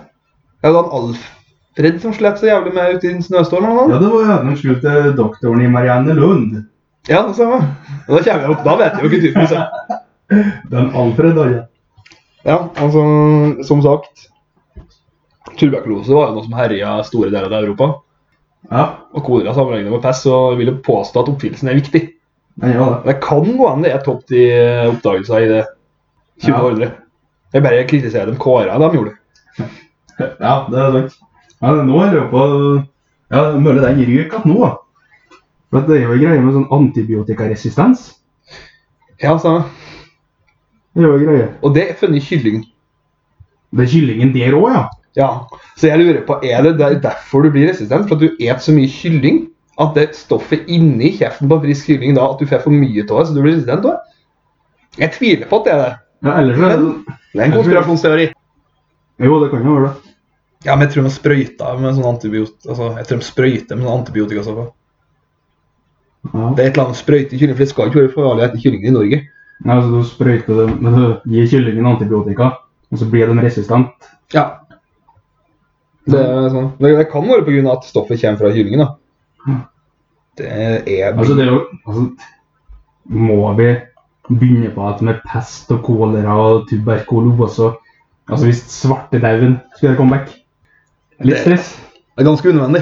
[SPEAKER 1] Jeg hadde han Alfred som slet så jævlig med ute i en snøstorm. eller noe.
[SPEAKER 2] Ja, det var jo de skulle til doktoren i Marianne Lund.
[SPEAKER 1] Ja, det samme. Og Da kommer jeg opp, da vet jeg jo ikke tyfus er.
[SPEAKER 2] Den Alfred, da.
[SPEAKER 1] Ja, altså, som sagt. Tuberkulose var jo noe som herja store deler av Europa.
[SPEAKER 2] Ja,
[SPEAKER 1] Og kolera sammenlignet med pest, så vil jeg påstå at oppfinnelsen er viktig.
[SPEAKER 2] den gjør det.
[SPEAKER 1] Det kan gå an det er topp ti oppdagelser i det 20.
[SPEAKER 2] Ja.
[SPEAKER 1] århundret. Jeg bare kritiserer dem kåra de gjorde.
[SPEAKER 2] Ja, det er sant. Men nå er det jo på Ja, mulig den ryker at nå, da. For det er jo en greie med sånn antibiotikaresistens.
[SPEAKER 1] Ja, så.
[SPEAKER 2] Det er jo en greie.
[SPEAKER 1] Og det er funnet i kylling.
[SPEAKER 2] Det er kyllingen der òg, ja.
[SPEAKER 1] Ja. Så jeg lurer på, er det der- derfor du blir resistent? For at du et så mye kylling at det stoffet inni kjeften på en frisk kylling da, at du får for mye av det, så du blir resistent? da? Jeg tviler på at det er det.
[SPEAKER 2] ja ellers er det
[SPEAKER 1] Det er en konspirasjonsteori.
[SPEAKER 2] Jo, det kan jo være det.
[SPEAKER 1] Ja, men jeg tror de sprøyter med sånn antibiotika. Altså, jeg tror de sprøyter med sånn antibiotika. Så.
[SPEAKER 2] Ja.
[SPEAKER 1] Det er et eller annet sprøyte i kylling, for det skal ikke være farlig etter kyllingen i Norge.
[SPEAKER 2] Nei, altså, du sprøyter det, men du gir kyllingen antibiotika, og så blir de resistent.
[SPEAKER 1] Ja. Det, er sånn. det, det kan være pga. at stoffet kommer fra kyllingen. da. Det er
[SPEAKER 2] Mm. Altså, det er jo altså, Må vi begynne på at med pest og kolera og tuberkulose Altså, hvis svartedauden skulle komme vekk Litt
[SPEAKER 1] Det-
[SPEAKER 2] stress.
[SPEAKER 1] Det er ganske unødvendig.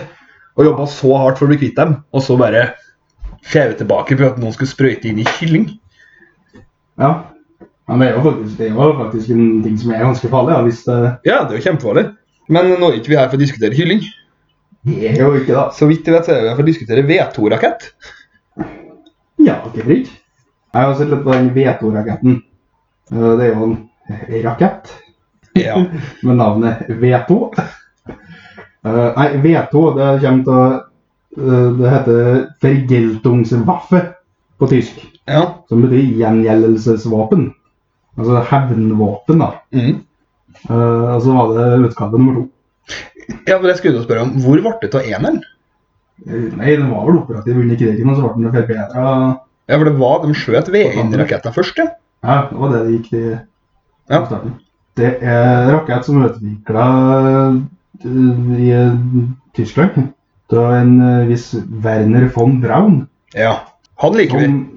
[SPEAKER 1] Å jobbe så hardt for å bli kvitt dem, og så bare skjeve tilbake for at noen skulle sprøyte inn i kylling.
[SPEAKER 2] Ja. Men det er jo faktisk, det er jo faktisk en ting som er ganske farlig. Ja, hvis eh, det
[SPEAKER 1] Ja, det er jo kjempefarlig. Men nå er ikke vi her for å diskutere kylling.
[SPEAKER 2] det er jo ikke da.
[SPEAKER 1] Så vidt jeg vet, så er vi her for å diskutere
[SPEAKER 2] <laughs>
[SPEAKER 1] V2-rakett.
[SPEAKER 2] Ja, ikke prikk. Jeg har sett litt på den Veto-raketten. Eh, Det er jo en rakett
[SPEAKER 1] Ja.
[SPEAKER 2] med navnet V2. Eh, Nei, V2 det kommer til å eh, Det heter Vergeltungswaffe på tysk.
[SPEAKER 1] ja.
[SPEAKER 2] Som betyr gjengjeldelsesvåpen. Altså hevnvåpen, da.
[SPEAKER 1] Mm.
[SPEAKER 2] Eh, Og så var det utgave nummer to.
[SPEAKER 1] ja, men jeg skulle jo spørre om, Hvor ble det av eneren?
[SPEAKER 2] Eh, Nei, den var vel operativ under krigen, og så ble den forbedra.
[SPEAKER 1] Ja, for det var, De skjøt V1-raketten først, ja.
[SPEAKER 2] Ja, det var det det gikk til.
[SPEAKER 1] Ja.
[SPEAKER 2] starten. Det er rakett som er utvikla i eh, Tyskland av en eh, viss Werner von Braun.
[SPEAKER 1] ja. Han liker vi.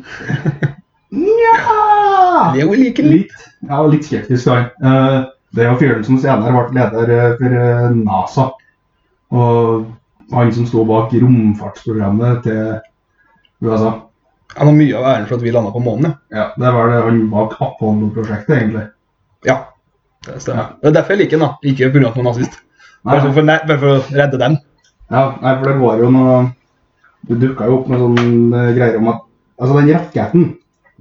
[SPEAKER 2] <laughs> Nja
[SPEAKER 1] Leo liker vi.
[SPEAKER 2] Litt, ja, litt skeptisk, da. Eh, Det er jo fyren som senere ble leder eh, for eh, NASA. Og han som sto bak romfartsprogrammet til USA.
[SPEAKER 1] Han har mye av æren for at vi landa på månen, ja.
[SPEAKER 2] Ja, Det var det han bak Apollo-prosjektet, egentlig.
[SPEAKER 1] Ja, det stemmer. Det er derfor jeg liker den, da. Ikke pga. at noen er nazist.
[SPEAKER 2] Nei,
[SPEAKER 1] Bare sånn for, nei, bare for å redde den.
[SPEAKER 2] Ja, nei, for det var jo noe Det dukka jo opp med sånne eh, greier om at Altså, den raketten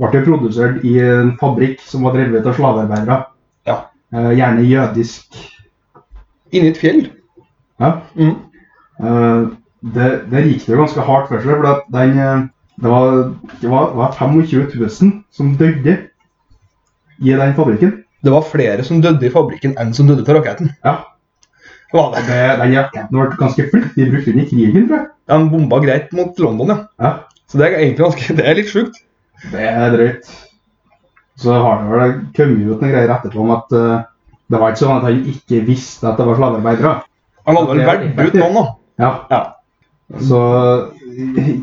[SPEAKER 2] ble jo produsert i en fabrikk som var drevet av slavearbeidere.
[SPEAKER 1] Ja.
[SPEAKER 2] Eh, gjerne jødisk.
[SPEAKER 1] Inni et fjell.
[SPEAKER 2] Ja.
[SPEAKER 1] Mm.
[SPEAKER 2] Eh, Eh, det, der gikk det jo ganske hardt for seg, for at den, eh, det var, det var, var 25 000 som døde i den fabrikken.
[SPEAKER 1] Det var flere som døde i fabrikken enn som døde på raketten.
[SPEAKER 2] Ja,
[SPEAKER 1] Det var
[SPEAKER 2] og
[SPEAKER 1] det.
[SPEAKER 2] det, Den raketten ble ganske flittig brukt inn i krigen, tror jeg.
[SPEAKER 1] De bomba greit mot London, ja.
[SPEAKER 2] Ja,
[SPEAKER 1] Så det er egentlig ganske, det er litt sjukt.
[SPEAKER 2] Det er drøyt. Så har det vel kommet ut noen greier etterpå om at eh, det var ikke sånn at han ikke visste at det var slavearbeidere.
[SPEAKER 1] Han hadde vel
[SPEAKER 2] Det er
[SPEAKER 1] valgt ut noen, da.
[SPEAKER 2] Ja.
[SPEAKER 1] Ja.
[SPEAKER 2] Så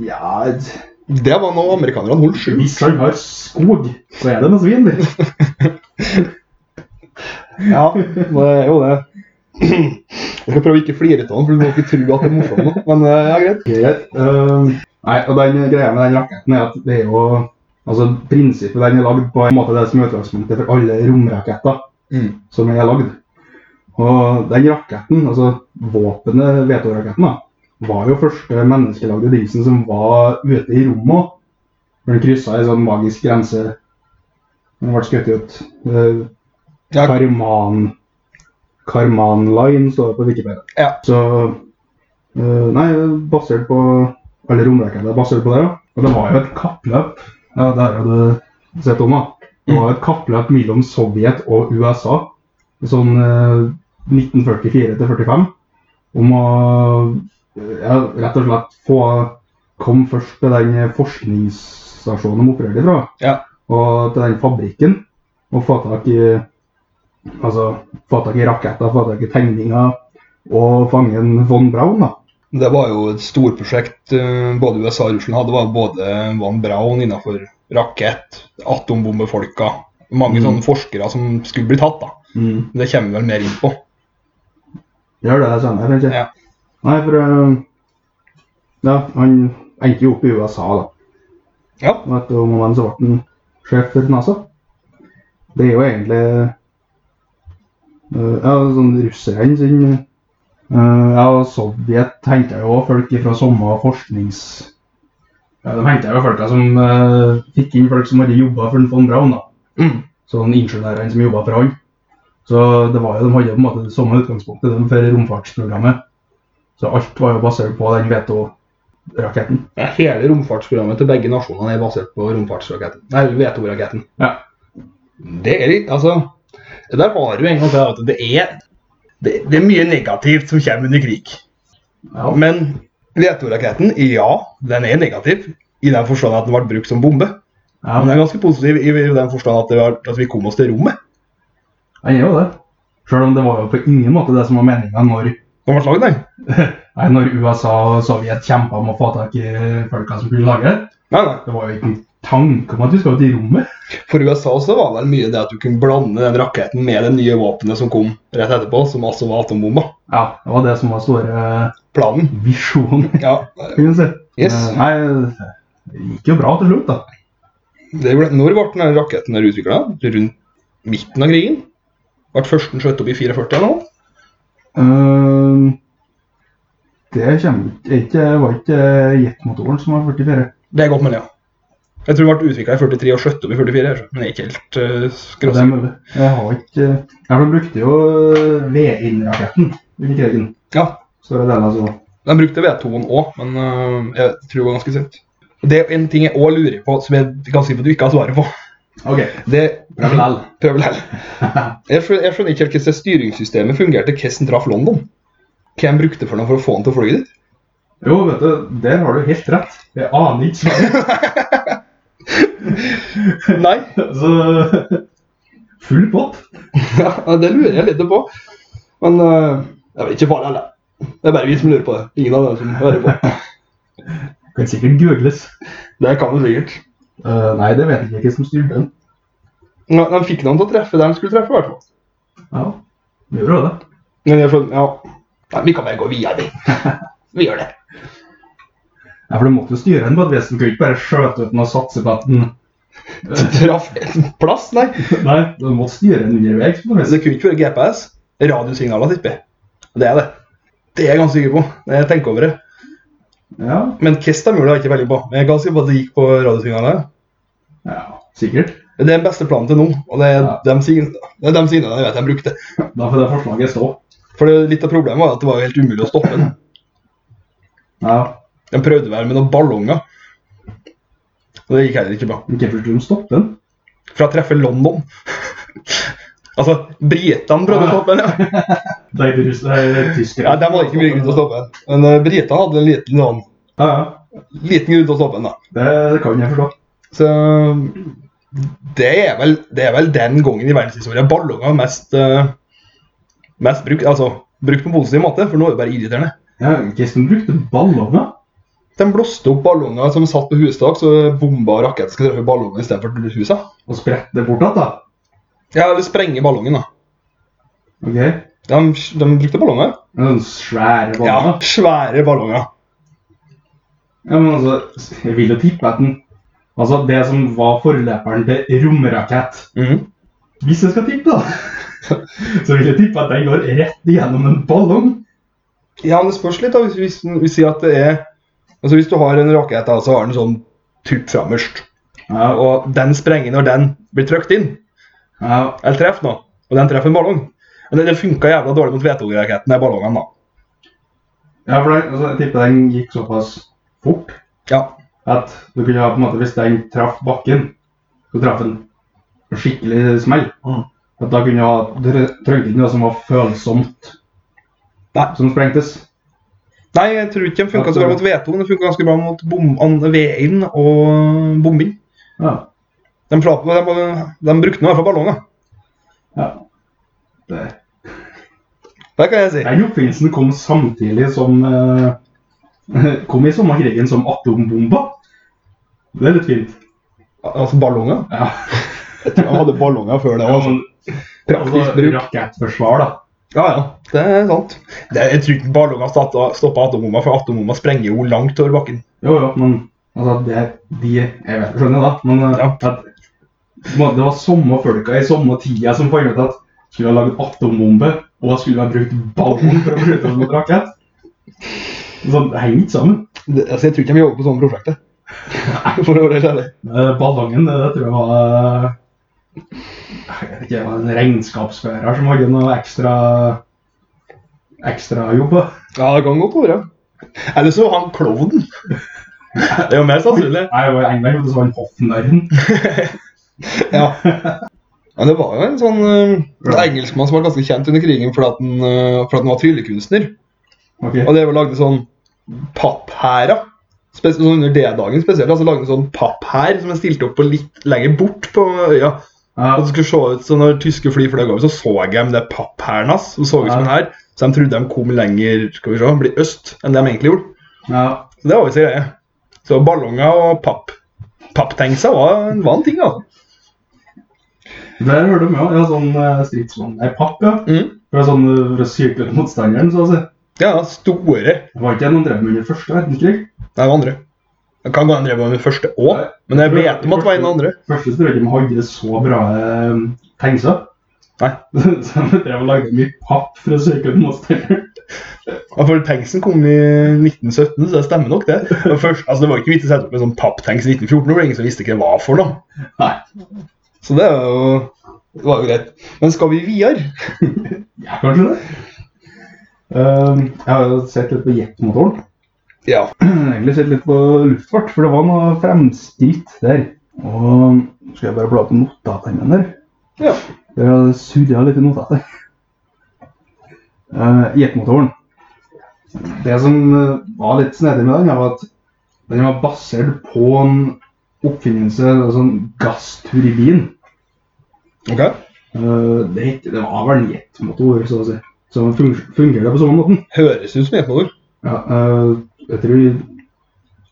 [SPEAKER 2] ja
[SPEAKER 1] Det var noe amerikanerne holdt skjult.
[SPEAKER 2] Hvis han har skog, så er det noe svin.
[SPEAKER 1] Ja, det er jo det. Jeg skal prøve å ikke flire av den, for du må ikke tro at det er morsomt. nå. Men eh, ja, greit.
[SPEAKER 2] Greit. Ehm, nei, og den greia med den raketten er at det er jo Altså, prinsippet den er lagd på en måte det som er utgangspunktet for alle romraketter som er lagd. Og den raketten, altså våpenet, Veto-raketten, da, var jo første menneskelagde dingsen som var ute i rommet også, når den kryssa ei sånn magisk grense. Den ble skutt ut. Eh,
[SPEAKER 1] Ja,
[SPEAKER 2] Karman Karman Line står det på Wikipedia.
[SPEAKER 1] Ja.
[SPEAKER 2] Så eh, Nei, basert på alle romrakettene er basert på det. ja. Og det var jo et kappløp. Ja, det har jo du sett om, da. Det var jo et kappløp mellom Sovjet og USA sånn eh, 1944 til 45 om å eh, ja, rett og slett få Kom først til den forskningsstasjonen de opererte fra,
[SPEAKER 1] Ja.
[SPEAKER 2] og til den fabrikken, og få tak i Altså, få tak i raketter, få tak i tegninger, og fange en von Braun, da.
[SPEAKER 1] Det var jo et storprosjekt eh, både USA og Russland hadde. Det var både Van Braun innenfor rakett, atombombefolka. Mange
[SPEAKER 2] Mm.
[SPEAKER 1] sånne forskere som skulle bli tatt, da. Det kommer vi vel mer inn på.
[SPEAKER 2] Gjør det senere, kanskje.
[SPEAKER 1] Ja.
[SPEAKER 2] Nei, for eh, Ja, han endte jo opp i USA, da.
[SPEAKER 1] Ja.
[SPEAKER 2] Og etter om han så ble han sjef for NASA. Det er jo egentlig eh, ja, sånn russerne sin eh, Ja, og Sovjet henta jo også folk fra samme forsknings... Ja, De henta jo folka som eh, fikk inn folk som hadde jobba for von Braun, da.
[SPEAKER 1] Mm.
[SPEAKER 2] Sånn ingeniørene som jobba for han. Så det var jo, de hadde jo på en måte det samme utgangspunktet de, for romfartsprogrammet. Så alt var jo basert på den Veto-raketten.
[SPEAKER 1] Ja, Hele romfartsprogrammet til begge nasjonene er basert på romfartsraketten. Nei, E V2-raketten.
[SPEAKER 2] Ja.
[SPEAKER 1] Det er litt Altså, det der har du en gang til at det er det, det er mye negativt som kommer under krig.
[SPEAKER 2] Ja.
[SPEAKER 1] Men V2-raketten, ja, den er negativ i den forstand at den ble brukt som bombe.
[SPEAKER 2] ja.
[SPEAKER 1] Men den er ganske positiv i den forstand at, det var, at vi kom oss til rommet.
[SPEAKER 2] Han er jo det. Selv om det var jo på ingen måte det som var meninga når,
[SPEAKER 1] Den ble laget, den.
[SPEAKER 2] nei, når USA og Sovjet kjempa om å få tak i folka som skulle lage det.
[SPEAKER 1] Nei, nei.
[SPEAKER 2] Det var jo ikke en tanke om at vi skal ut i rommet.
[SPEAKER 1] For USA så var det vel mye det at du kunne blande den raketten med det nye våpenet som kom rett etterpå, som altså var atombomba.
[SPEAKER 2] Ja, Det var det som var store eh,
[SPEAKER 1] Planen.
[SPEAKER 2] visjonen. <laughs>
[SPEAKER 1] Ja,
[SPEAKER 2] kan du si.
[SPEAKER 1] yes.
[SPEAKER 2] Men, Nei, det gikk jo bra til slutt, da.
[SPEAKER 1] Det ble, når ble den her raketten her utvikla? Rundt midten av krigen? Ble først den skjøtt opp i 44 eller noe?
[SPEAKER 2] Ehm, det kommer ikke- er ikke Var ikke jetmotoren som var 44?
[SPEAKER 1] Det er godt mulig, ja. Jeg tror den ble utvikla i 43 og skjøtt opp i 44, altså. men jeg er ikke helt uh,
[SPEAKER 2] Ja, det er
[SPEAKER 1] skråsikker.
[SPEAKER 2] mulig. Jeg har ikke Ja, for de brukte jo V-inn-raketten under krigen.
[SPEAKER 1] Ja,
[SPEAKER 2] Store deler, så.
[SPEAKER 1] de brukte V2-en òg, men eh, jeg tror det var ganske sent. Det er en ting jeg òg lurer på, som jeg kan si at du ikke har svaret på.
[SPEAKER 2] OK.
[SPEAKER 1] Det
[SPEAKER 2] Ja, men lell.
[SPEAKER 1] Prøv likevel.
[SPEAKER 2] <laughs>
[SPEAKER 1] Jeg skjønner, jeg skjønner ikke helt hvordan styringssystemet fungerte hvordan den traff London. Hva de brukte for noe for å få den til å fly dit.
[SPEAKER 2] Jo, vet du, der har du helt rett. Jeg aner ikke svaret.
[SPEAKER 1] <laughs> Nei,
[SPEAKER 2] <laughs> Så Full pott.
[SPEAKER 1] Ja, det lurer jeg litt på. Men eh, jeg vet ikke bare alle. Det er bare vi som lurer på det. Ingen av dem som hører på.
[SPEAKER 2] Kan sikkert googles.
[SPEAKER 1] Det kan du sikkert.
[SPEAKER 2] Eh, nei, det vet jeg ikke som styrte den.
[SPEAKER 1] Ja, de fikk noen til å treffe der de skulle treffe, i hvert fall.
[SPEAKER 2] Ja, vi gjorde jo det.
[SPEAKER 1] Men jeg skjønner, ja. Nei, vi kan bare gå videre, <laughs> vi. Vi gjør det.
[SPEAKER 2] Ja, for du måtte jo styre den på et vis. Du kunne ikke bare skjøte ut den og satse på at den <laughs>
[SPEAKER 1] Traff en plass, nei.
[SPEAKER 2] Nei, du måtte styre den underveis. på noe vis.
[SPEAKER 1] Det kunne ikke være GPS. Radiosignaler, tipper jeg. Det er det. Det er jeg ganske sikker på. når jeg tenker over det.
[SPEAKER 2] Ja,
[SPEAKER 1] Men Kesta mulig har jeg ikke veldig på. Men jeg er ganske sikker på at det gikk på radiosignaler.
[SPEAKER 2] ja, sikkert.
[SPEAKER 1] Det er den beste planen til nå. Og det er
[SPEAKER 2] Ja.
[SPEAKER 1] de sign- det er de signalene jeg vet jeg brukte.
[SPEAKER 2] Da får det forslaget stå.
[SPEAKER 1] For det, litt av problemet var at det var jo helt umulig å stoppe den.
[SPEAKER 2] Ja,
[SPEAKER 1] De prøvde vel med noen ballonger. Og det gikk heller ikke bra.
[SPEAKER 2] ikke først de stoppe den.
[SPEAKER 1] For jeg treffer London. <laughs> altså, britene prøvde å stoppe den. ja.
[SPEAKER 2] Det er russ- det er tyskere.
[SPEAKER 1] Ja, De hadde ikke mye grunn til å stoppe den. Men eh, britene hadde en liten, sånn,
[SPEAKER 2] Ja, ja.
[SPEAKER 1] liten grunn til å stoppe den. da.
[SPEAKER 2] Det, det kan jeg forstå.
[SPEAKER 1] Så det er vel, det er vel den gangen i verdenshistorien ballonger er mest, eh, mest brukt. Altså brukt på en positiv måte, for nå er det bare irriterende.
[SPEAKER 2] Ja, Kirsten brukte ballonger.
[SPEAKER 1] De blåste opp ballonger som satt på hustak, så bomba og rakett skal treffe ballongen istedenfor husa.
[SPEAKER 2] Og spredte det bort igjen, da.
[SPEAKER 1] Ja, eller sprenge ballongen, da.
[SPEAKER 2] Ok.
[SPEAKER 1] De, de brukte ballonger.
[SPEAKER 2] Noen svære
[SPEAKER 1] Ja,
[SPEAKER 2] ballonger.
[SPEAKER 1] svære ballonger.
[SPEAKER 2] Ja. men altså, jeg vil jo tippe at den Altså, det som var forløperen til romrakett
[SPEAKER 1] Mhm.
[SPEAKER 2] Hvis jeg skal tippe, da, <laughs> så vil jeg tippe at den går rett igjennom en ballong.
[SPEAKER 1] Ja, men det spørs litt, da. Hvis, hvis vi sier at det er Altså, hvis du har en rakett, da, så har den sånn tupp framerst.
[SPEAKER 2] Ja, og,
[SPEAKER 1] Og den sprenger når den blir trykt inn.
[SPEAKER 2] ja,
[SPEAKER 1] eller treff nå, og den treffer en ballong. Men det, det funka jævla dårlig mot V2-raketten, de ballongene, da.
[SPEAKER 2] ja, for den, altså, jeg tipper den gikk såpass fort
[SPEAKER 1] Ja.
[SPEAKER 2] at du kunne ha på en måte, hvis den traff bakken, så traff den en skikkelig smell.
[SPEAKER 1] Mm.
[SPEAKER 2] At da kunne du ha dre- trengt inn noe som var følsomt,
[SPEAKER 1] Nei.
[SPEAKER 2] som sprengtes.
[SPEAKER 1] Nei, jeg tror ikke den funka så bra mot V2, men den funka ganske bra mot bom, an- V1 og bombing.
[SPEAKER 2] Ja,
[SPEAKER 1] De, slapp- de, de brukte nå i hvert fall ballonger.
[SPEAKER 2] ja. Det.
[SPEAKER 1] Det kan jeg si.
[SPEAKER 2] Den oppfinnelsen kom samtidig som eh, <laughs> Kom i sommerkrigen som atombomba. Det er litt fint.
[SPEAKER 1] Altså ballonger?
[SPEAKER 2] Ja.
[SPEAKER 1] Jeg tror de hadde ballonger før det.
[SPEAKER 2] Ja,
[SPEAKER 1] Altså.
[SPEAKER 2] men, altså,
[SPEAKER 1] Praktisk bruk.
[SPEAKER 2] rakettforsvar, da.
[SPEAKER 1] Ja, ja. Det er sant. Det, jeg tror ikke ballonger stoppa atombomber, for atombomber sprenger jo langt over bakken.
[SPEAKER 2] Jo, jo, men altså, det, de Jeg vet, skjønner da, men eh,
[SPEAKER 1] Ja.
[SPEAKER 2] at, må- det var samme folka i samme tida som fant ut at skulle ha laget atombombe og skulle ha brukt ballon for å skyte mot rakett. Så det henger ikke sammen.
[SPEAKER 1] Det, altså, jeg tror ikke de jobber på sånne <laughs> prosjekter. For å være helt ærlig.
[SPEAKER 2] Eh, Ballongen, det, det tror jeg var eh, jeg vet ikke, det var en regnskapsfører som hadde noe ekstra ekstra jobb. da.
[SPEAKER 1] Ja, det kan godt være. Eller så var han klovnen. <laughs> Det er jo mer sannsynlig.
[SPEAKER 2] Nei, det var i England, og så var han hoffnarren.
[SPEAKER 1] Ja. Men det var jo en sånn eh, en engelskmann som var ganske kjent under krigen fordi at han, eh, fordi at han var tryllekunstner.
[SPEAKER 2] Ok.
[SPEAKER 1] Og det var lagde sånn papphærer. Spes- Sånn under D-dagen spesielt. altså lagde en sånn papphær som han stilte opp på litt lenger bort på øya.
[SPEAKER 2] Ja,
[SPEAKER 1] Og det skulle se ut som Når tyske fly fløy over, så så jeg dem det papphæren hans. som så ut som en hær. Så de trodde de kom lenger skal vi se, bli øst enn det de egentlig gjorde.
[SPEAKER 2] ja.
[SPEAKER 1] Så det var visst greie. Så ballonger og papp papptankser var, var en ting, altså.
[SPEAKER 2] Der hører du med òg. Ja, sånn eh, stridsvogn Nei, papp, ja.
[SPEAKER 1] Mm.
[SPEAKER 2] Det var sånn eh, for å psyke ut motstanderen, så å si.
[SPEAKER 1] Ja, store
[SPEAKER 2] Det var ikke noen drev med under første verdenskrig.
[SPEAKER 1] Nei, det var andre. Det kan gå en drev med den første òg,
[SPEAKER 2] Nei,
[SPEAKER 1] men jeg
[SPEAKER 2] jeg tror-
[SPEAKER 1] vet om at det var en av andre.
[SPEAKER 2] Første tror jeg ikke de hadde så bra eh, tenkser.
[SPEAKER 1] Nei.
[SPEAKER 2] <laughs> så de drev og lagde mye papp for å psyke ut motstanderen.
[SPEAKER 1] Ja, for Tanksen kom i 1917, så det stemmer nok, det. Men først, altså, det var ikke vits å sette opp en sånn papptanks i 1914, for det var ingen som visste hva det var for noe.
[SPEAKER 2] Nei.
[SPEAKER 1] Så det er jo, det var jo greit. Men skal vi videre?
[SPEAKER 2] Ja, kanskje det. Eh, jeg har jo sett litt på jetmotoren.
[SPEAKER 1] Ja.
[SPEAKER 2] <clears throat> Egentlig sett litt på luftfart, for det var noe fremskritt der. Og skal jeg bare bla på notatene mine der.
[SPEAKER 1] ja.
[SPEAKER 2] Jeg har surra litt i notatet. Eh, Jetmotoren. Det som eh, var litt snedig med den, var at den var basert på en oppfinnelse, altså en gassturbin.
[SPEAKER 1] Ok.
[SPEAKER 2] Eh, det, het- det var vel en jetmotor, så å si. Så den fun fungerte på samme måten.
[SPEAKER 1] Høres ut som jetmotor.
[SPEAKER 2] Ja, eh, jeg tror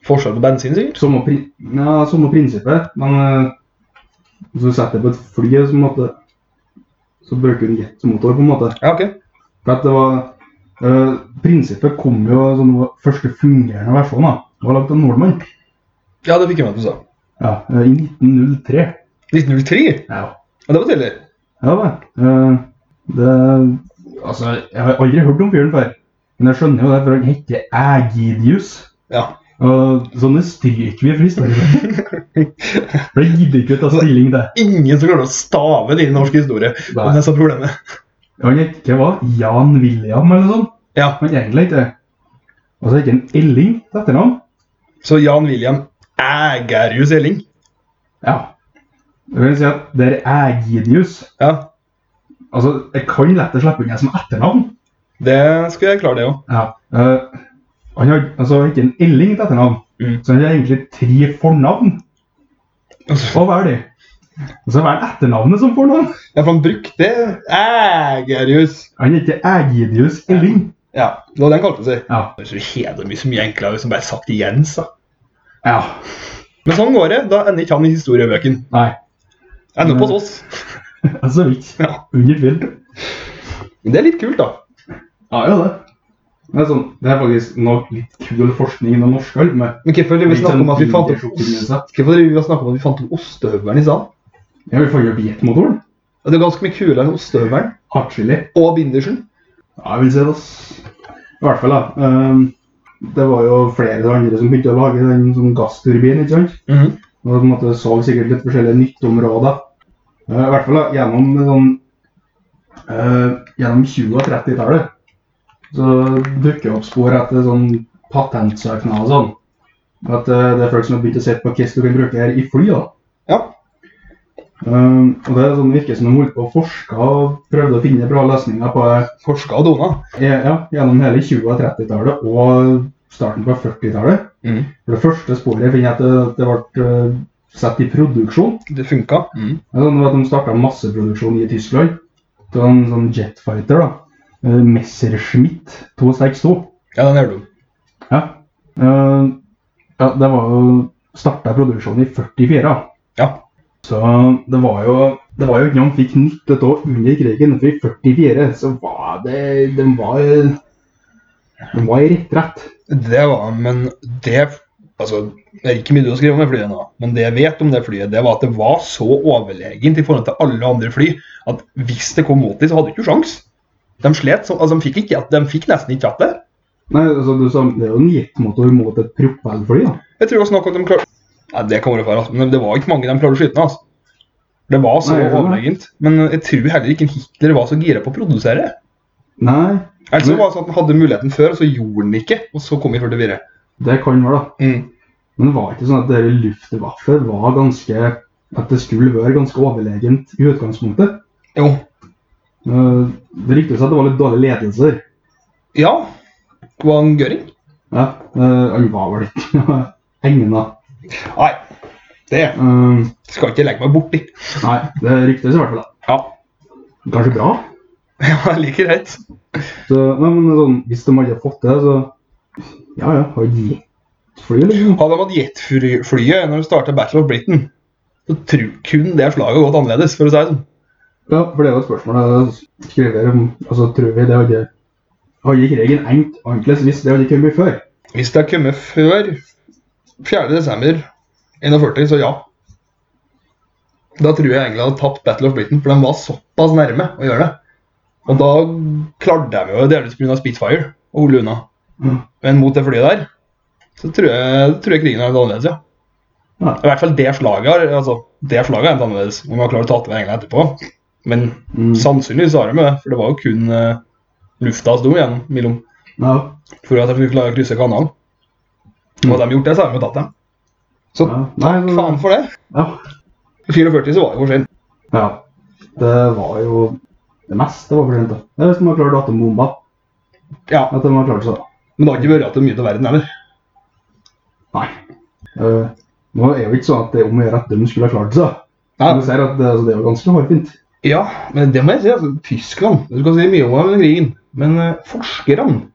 [SPEAKER 1] Forskjell på bensin, sikkert.
[SPEAKER 2] samme, pri ja, samme prinsippet, men eh, hvis du setter på et fly, så, på en måte, så bruker du en jetmotor, på en måte.
[SPEAKER 1] Ja, ok.
[SPEAKER 2] For at det var, øh, prinsippet kom jo sånn, det var første fungerende versjon da. Det var laget av Nordmann.
[SPEAKER 1] Ja, det fikk jeg med at du sa.
[SPEAKER 2] Ja, øh, I 1903.
[SPEAKER 1] 1903?
[SPEAKER 2] Ja.
[SPEAKER 1] Ja, det var tidlig.
[SPEAKER 2] Ja da. øh, det, altså, jeg har aldri hørt om fyren før. Men jeg skjønner jo det, for han heter Ægidius.
[SPEAKER 1] Ja.
[SPEAKER 2] Og sånne stryker vi fra historien. For jeg gidder ikke å ta stilling til.
[SPEAKER 1] Ingen som klarer å stave det inn i norsk historie.
[SPEAKER 2] Nei.
[SPEAKER 1] Og det er så problemet.
[SPEAKER 2] Han het ikke hva? Jan William eller noe sånt?
[SPEAKER 1] Ja.
[SPEAKER 2] Men egentlig ikke. Og så er det ikke en Elling til etternavn.
[SPEAKER 1] Så Jan William Ægerjus Elling.
[SPEAKER 2] Ja. Det vil si at det er Ægidius.
[SPEAKER 1] Ja,
[SPEAKER 2] Altså, jeg kan lett slippe unna som etternavn.
[SPEAKER 1] det skulle jeg klare, det òg.
[SPEAKER 2] Ja. eh, han har altså, ikke en Elling til etternavn,
[SPEAKER 1] Mm.
[SPEAKER 2] så han har egentlig tre fornavn.
[SPEAKER 1] Altså,
[SPEAKER 2] Hva er det? Og så er det etternavnet som fornavn.
[SPEAKER 1] ja, for han brukte Ægerjus.
[SPEAKER 2] Han heter Ægidius Elling.
[SPEAKER 1] Ja, det var det han kalte seg.
[SPEAKER 2] Ja.
[SPEAKER 1] Det er så jævlig mye så mye enklere hvis han liksom bare sagt Jens, da.
[SPEAKER 2] ja.
[SPEAKER 1] Men sånn går det. Da ender ikke han i historiebøkene.
[SPEAKER 2] Nei.
[SPEAKER 1] Ender opp hos oss.
[SPEAKER 2] Altså ikke.
[SPEAKER 1] Ja.
[SPEAKER 2] Under tvil.
[SPEAKER 1] Men det er litt kult, da.
[SPEAKER 2] Ja, ja, det. Det er, sånn, det er faktisk noe litt kul forskning innen norsk hjelp med.
[SPEAKER 1] Men hvorfor driver vi og snakker om at vi fant opp ost?
[SPEAKER 2] opp
[SPEAKER 1] Hvorfor driver vi og snakker om at vi fant opp ostehøvelen i stad?
[SPEAKER 2] Ja, vi får jo jetmotoren.
[SPEAKER 1] Ja, Det er ganske mye kulere enn ostehøvelen
[SPEAKER 2] Hardchili.
[SPEAKER 1] og bindersen.
[SPEAKER 2] Ja, jeg vil si det. ass. I hvert fall, da. ehm, det var jo flere av de andre som begynte å lage den sånn gassturbinen. ikke sant?
[SPEAKER 1] Mhm.
[SPEAKER 2] Og på en måte så sikkert litt forskjellige nytteområder. Eh, I hvert fall da, gjennom sånn eh, Gjennom 20- og 30-tallet så dukker det opp spor etter sånn patentsøknader og sånn. At eh, det er folk som har begynt å se på hvordan du kan bruke her i fly. da.
[SPEAKER 1] Ja.
[SPEAKER 2] Ehm, og Det er sånn, virker som de holdt på å forske og prøvde å finne bra løsninger på det.
[SPEAKER 1] Forska og dona.
[SPEAKER 2] Ja, ja, gjennom hele 20- og 30-tallet og starten på 40-tallet.
[SPEAKER 1] Mhm.
[SPEAKER 2] For det første sporet finner jeg at det, det ble eh, satt i produksjon.
[SPEAKER 1] Det funka.
[SPEAKER 2] Det er sånn at De starta masseproduksjon i Tyskland av en sånn jetfighter. da, eh, Messerschmitt 262.
[SPEAKER 1] Ja, den hører du.
[SPEAKER 2] Ja. Eh, ja, det var jo starta produksjonen i 44. da.
[SPEAKER 1] Ja.
[SPEAKER 2] Så det var jo det var jo ikke noe de fikk nytte av under krigen. For i 44 så var det De var, de var i retrett.
[SPEAKER 1] Det var Men det Altså, det er ikke mye du har skrevet om det flyet nå, men det jeg vet om det flyet, det var at det var så overlegent i forhold til alle andre fly at hvis det kom mot dem, så hadde du ikke sjans. De slet så, altså, de fikk, ikke, de fikk nesten ikke tatt det.
[SPEAKER 2] Nei, altså, du sa, Det er jo en jetmotor mot et propellfly. da.
[SPEAKER 1] Jeg tror også nok at de klarte Nei, det kan være feil, altså. men det var ikke mange de klarte å skyte ned. altså. Det var så
[SPEAKER 2] Nei, det var det.
[SPEAKER 1] overlegent. Men jeg tror heller ikke Hitler var så gira på å produsere.
[SPEAKER 2] Nei,
[SPEAKER 1] Altså,
[SPEAKER 2] Men-
[SPEAKER 1] det var sånn at Han hadde muligheten før, og så gjorde han ikke. Og så kom vi 44.
[SPEAKER 2] det kan være, da.
[SPEAKER 1] Mm.
[SPEAKER 2] Men det var ikke sånn at dere Luftwaffe var ganske At det skulle være ganske overlegent i utgangspunktet.
[SPEAKER 1] Jo.
[SPEAKER 2] Eh, Det ryktes at det var litt dårlige ledelser.
[SPEAKER 1] Ja. Det var en gøring.
[SPEAKER 2] Ja, eh, Han var vel ikke egna.
[SPEAKER 1] Nei. Det skal ikke legge meg borti.
[SPEAKER 2] Eh, Nei, det ryktes i hvert fall. da.
[SPEAKER 1] <laughs> Ja.
[SPEAKER 2] Kanskje bra?
[SPEAKER 1] ja, like greit.
[SPEAKER 2] Så, nei, men sånn, Hvis de hadde fått det, så Ja ja, har de jetfly, liksom?
[SPEAKER 1] Hadde de hatt jetflyet når de startet Battle of Britain, så tror kun det slaget gått annerledes, for å si det sånn.
[SPEAKER 2] Ja, for det er jo et spørsmål jeg skriver om altså, Tror vi det hadde Hadde krigen engt annerledes hvis det hadde kommet før?
[SPEAKER 1] Hvis det har kommet før 4.12.41, så ja. Da tror jeg England hadde tapt Battle of Britain, for de var såpass nærme å gjøre det. Og da klarte de jo delvis pga. Spitfire og holde unna.
[SPEAKER 2] Mm.
[SPEAKER 1] Men mot det flyet der, så tror jeg, tror jeg krigen er litt annerledes, ja.
[SPEAKER 2] Ja.
[SPEAKER 1] I hvert fall det slaget har- altså, det slaget er litt annerledes, om de har klart å ta til England etterpå. Men
[SPEAKER 2] Mm.
[SPEAKER 1] sannsynligvis har de jo det, for det var jo kun eh, lufta som sto igjen mellom
[SPEAKER 2] Ja.
[SPEAKER 1] for at de skulle klare å krysse kanalen. Og hadde de gjort det, så hadde de jo tatt dem. Så
[SPEAKER 2] Ja. Nei, så-
[SPEAKER 1] faen for det.
[SPEAKER 2] ja.
[SPEAKER 1] I 44 så var det for sent.
[SPEAKER 2] ja. Det var jo Det meste var for sent. da. Det er Hvis de har klart atombomba.
[SPEAKER 1] Ja,
[SPEAKER 2] At de har klart seg. da.
[SPEAKER 1] Men det har ikke vært til mye til verden heller.
[SPEAKER 2] Nei. Eh, nå er jo ikke sånn at det er om å gjøre at de skulle ha klart seg. da.
[SPEAKER 1] Nei.
[SPEAKER 2] Men du ser at det, altså, det er jo ganske hårfint.
[SPEAKER 1] Ja, men det må jeg si. altså, Tyskland Du skal si mye om dem under krigen, men eh, forskerne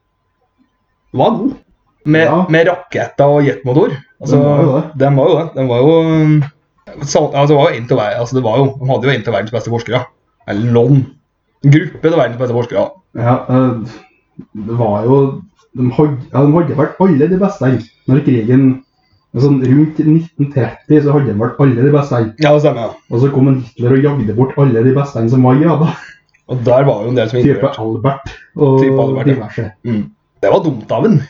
[SPEAKER 1] var gode. Med,
[SPEAKER 2] Ja.
[SPEAKER 1] med raketter og jetmotor. Altså,
[SPEAKER 2] De var jo det.
[SPEAKER 1] de var jo det. De var jo, um, sa- altså, det var jo en til hver, altså, det var jo, De hadde jo en til verdens beste forskere. Eller noen. En gruppe til verdens beste forskere.
[SPEAKER 2] Ja, eh, det var jo De hadde, ja, de hadde vært alle de beste her når krigen sånn Rundt 1930 så hadde de vært alle de beste. her.
[SPEAKER 1] Ja, det stemmer. ja.
[SPEAKER 2] Og så kom en Hitler og jagde bort alle de beste som var ja da.
[SPEAKER 1] Og der var jo en del som
[SPEAKER 2] Type
[SPEAKER 1] involvert.
[SPEAKER 2] Albert og
[SPEAKER 1] Type Albert, ja.
[SPEAKER 2] diverse.
[SPEAKER 1] Mm. Det var dumt av ham.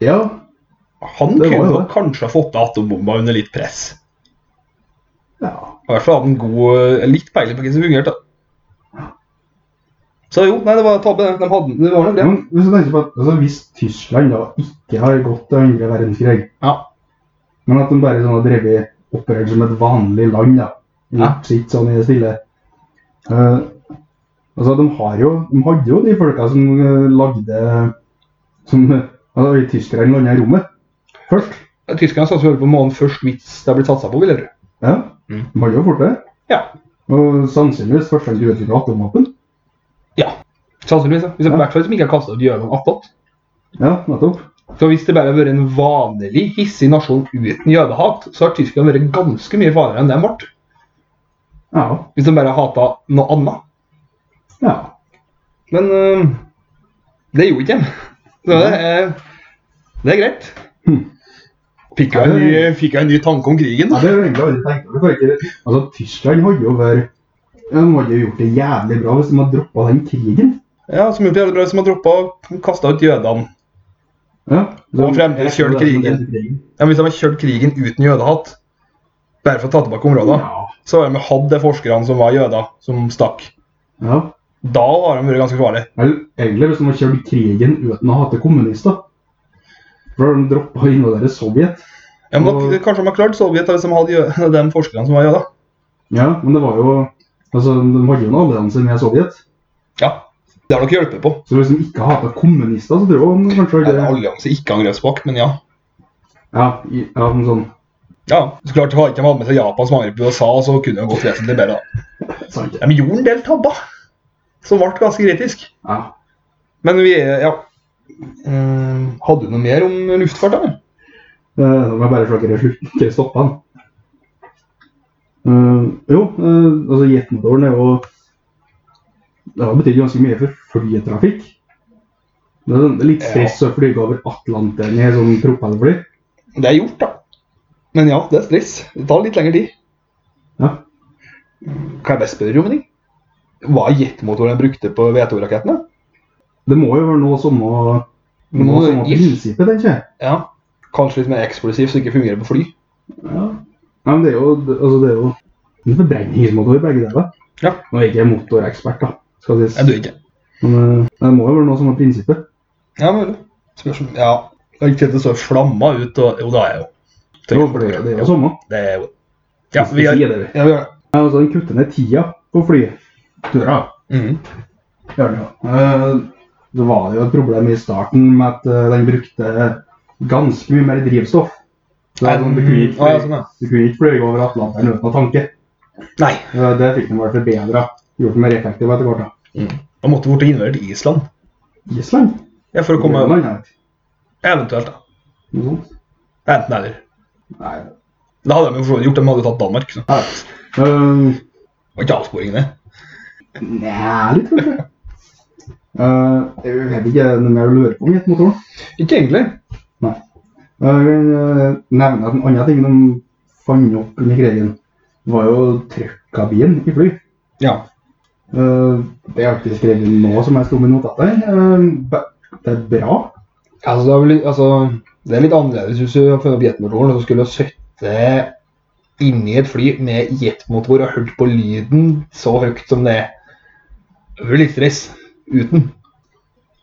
[SPEAKER 2] Ja,
[SPEAKER 1] Han
[SPEAKER 2] Det var
[SPEAKER 1] kunne nok
[SPEAKER 2] jo det.
[SPEAKER 1] kanskje ha fått av atombomba under litt press.
[SPEAKER 2] ja.
[SPEAKER 1] eh, I hvert fall hadde han god, litt peiling på hva som fungerte. da. Så jo, nei, det var tabbe. det. De hadde det var nok det.
[SPEAKER 2] Men hvis du tenker på at altså, Hvis Tyskland da ikke har gått til andre verdenskrig,
[SPEAKER 1] Ja.
[SPEAKER 2] men at de bare sånn har drevet operert som et vanlig land, da,
[SPEAKER 1] Ja.
[SPEAKER 2] gjort sitt sånn i det stille Eh, Altså, de har jo De hadde jo de folka som eh, lagde Som eh, altså, i Tyskland landa i rommet først.
[SPEAKER 1] Tyskerne satser vel på månen først hvis det blir satsa på, vil jeg tro.
[SPEAKER 2] Ja.
[SPEAKER 1] Mm.
[SPEAKER 2] De hadde jo fort det.
[SPEAKER 1] Ja.
[SPEAKER 2] Og sannsynligvis første gang de utvikla atomvåpen.
[SPEAKER 1] Sannsynligvis. ja. Hvis det
[SPEAKER 2] Ja.
[SPEAKER 1] i hvert fall som ikke har kasta ut jødene attåt.
[SPEAKER 2] Ja, nettopp.
[SPEAKER 1] Så hvis det bare har vært en vanlig hissig nasjon uten jødehat, så har Tyskland vært ganske mye farligere enn dem ble.
[SPEAKER 2] Ja.
[SPEAKER 1] Hvis de bare hata noe annet.
[SPEAKER 2] ja.
[SPEAKER 1] Men øh, det gjorde ikke de. Så det er, det er greit.
[SPEAKER 2] Hmm.
[SPEAKER 1] Fikk jeg, en ny, fikk jeg en ny tanke om krigen,
[SPEAKER 2] Ja,
[SPEAKER 1] da?
[SPEAKER 2] det har jeg egentlig aldri tenkt over. for ikke- Altså, Tyskland hadde jo vært ja, De hadde jo gjort det jævlig bra hvis de hadde droppa den krigen.
[SPEAKER 1] Ja, Som gjort det jævlig bra, som har droppa å kaste ut jødene.
[SPEAKER 2] Ja.
[SPEAKER 1] Og fremdeles kjørt krigen. Ja, hvis de har kjørt krigen uten jødehat, bare for å ta tilbake områder,
[SPEAKER 2] Ja.
[SPEAKER 1] så har de hatt de forskerne som var jøder, som stakk.
[SPEAKER 2] ja.
[SPEAKER 1] Da har de vært ganske farlige.
[SPEAKER 2] Vel, egentlig hvis de hadde kjørt krigen uten å hate kommunister. For da hadde de droppa å invadere Sovjet.
[SPEAKER 1] Ja, men da, Kanskje de har klart Sovjet da, hvis de hadde jø- <laughs> de forskerne som var jøder.
[SPEAKER 2] Ja, men det var jo Altså, De hadde jo en allianse med Sovjet.
[SPEAKER 1] Ja, det har dere hjulpet på.
[SPEAKER 2] Så hvis de ikke hata kommunister, så tror jeg de kanskje
[SPEAKER 1] Det er en
[SPEAKER 2] ikke
[SPEAKER 1] allianse, ikke angrepsvakt, men ja.
[SPEAKER 2] Ja, i- ja men sånn
[SPEAKER 1] Ja, så klart Hadde de hatt med seg Japan som angrep USA, så kunne det gått vesentlig bedre. da.
[SPEAKER 2] sant.
[SPEAKER 1] De gjorde en del tabber som ble ganske kritisk.
[SPEAKER 2] Ja.
[SPEAKER 1] Men vi er ja. Mm, Hadde du noe mer om luftfart? eller?
[SPEAKER 2] Eh, Nå må jeg bare slakke ikke stoppe den. Eh, jo, eh, altså jetmotoren er jo Det har betydd ganske mye for flytrafikk. Det er sånn litt stress å flyge over Atlanteren i et sånt propellfly.
[SPEAKER 1] Det er gjort, da. Men ja, det er stress. Det tar litt lengre tid.
[SPEAKER 2] Ja.
[SPEAKER 1] Kan jeg bare spørre om en ting? Hva er jetmotoren de brukte på V2-rakettene?
[SPEAKER 2] Det må jo være noe samme noe
[SPEAKER 1] Noe
[SPEAKER 2] samme
[SPEAKER 1] if.
[SPEAKER 2] prinsippet, tenker jeg.
[SPEAKER 1] Ja. Kanskje litt mer eksplosiv, så det ikke fungerer på fly.
[SPEAKER 2] Ja. Nei, men det er jo det- altså det er jo en forbrenningsmotor, begge deler.
[SPEAKER 1] Ja.
[SPEAKER 2] Nå er jeg ikke motorekspert, da, skal sies.
[SPEAKER 1] Jeg dør ikke.
[SPEAKER 2] Men eh, det må jo være noe samme prinsippet.
[SPEAKER 1] Ja, mulig. Spørsmål. Ja. Jeg har ikke sett det så flamma ut, og jo, det er jo.
[SPEAKER 2] Jo, for det er jo- det er jo samme.
[SPEAKER 1] Det er jo. Ja, vi har...
[SPEAKER 2] Sier det, vi.
[SPEAKER 1] Ja, vi har...
[SPEAKER 2] Ja, altså Den kutter ned tida på flyturer.
[SPEAKER 1] Mhm.
[SPEAKER 2] Gjør den jo. Eh, Det var jo et problem i starten med at eh, den brukte ganske mye mer drivstoff. Så det er sånn, du, kunne ikke
[SPEAKER 1] Ah, ja, sånn,
[SPEAKER 2] fly-
[SPEAKER 1] ja.
[SPEAKER 2] du kunne ikke fly over Atlanteren uten å tanke.
[SPEAKER 1] Nei.
[SPEAKER 2] Eh, Det fikk de bare forbedra. Gjort det mer effektivt etter hvert. da.
[SPEAKER 1] Da måtte vi bort og invadere til Island.
[SPEAKER 2] Island?
[SPEAKER 1] Ja, for å komme
[SPEAKER 2] Grønland, jeg vet ikke.
[SPEAKER 1] Eventuelt, da.
[SPEAKER 2] Noe sånt?
[SPEAKER 1] Enten eller.
[SPEAKER 2] Nei.
[SPEAKER 1] Det hadde de jo for så vidt gjort, de hadde jo tatt Danmark. Så.
[SPEAKER 2] jeg vet ikke. Eh,
[SPEAKER 1] Og ikke avsporingen det.
[SPEAKER 2] Nei, litt kanskje. Eh, jeg vet ikke er det noe mer å lure på om jetmotoren.
[SPEAKER 1] Ikke egentlig.
[SPEAKER 2] Jeg vil eh, nevne at en annen ting de fant opp under krigen, var jo trøkkabinen i fly.
[SPEAKER 1] Ja.
[SPEAKER 2] Eh, Det har jeg ikke skrevet nå som jeg sto med notater. Eh, be- Det er bra.
[SPEAKER 1] Altså, det, er vel, litt- altså, det er litt annerledes hvis du har funnet opp jetmotoren og så skulle du sitte inni et fly med jetmotor og hørt på lyden så høyt som det er. Det blir litt stress uten.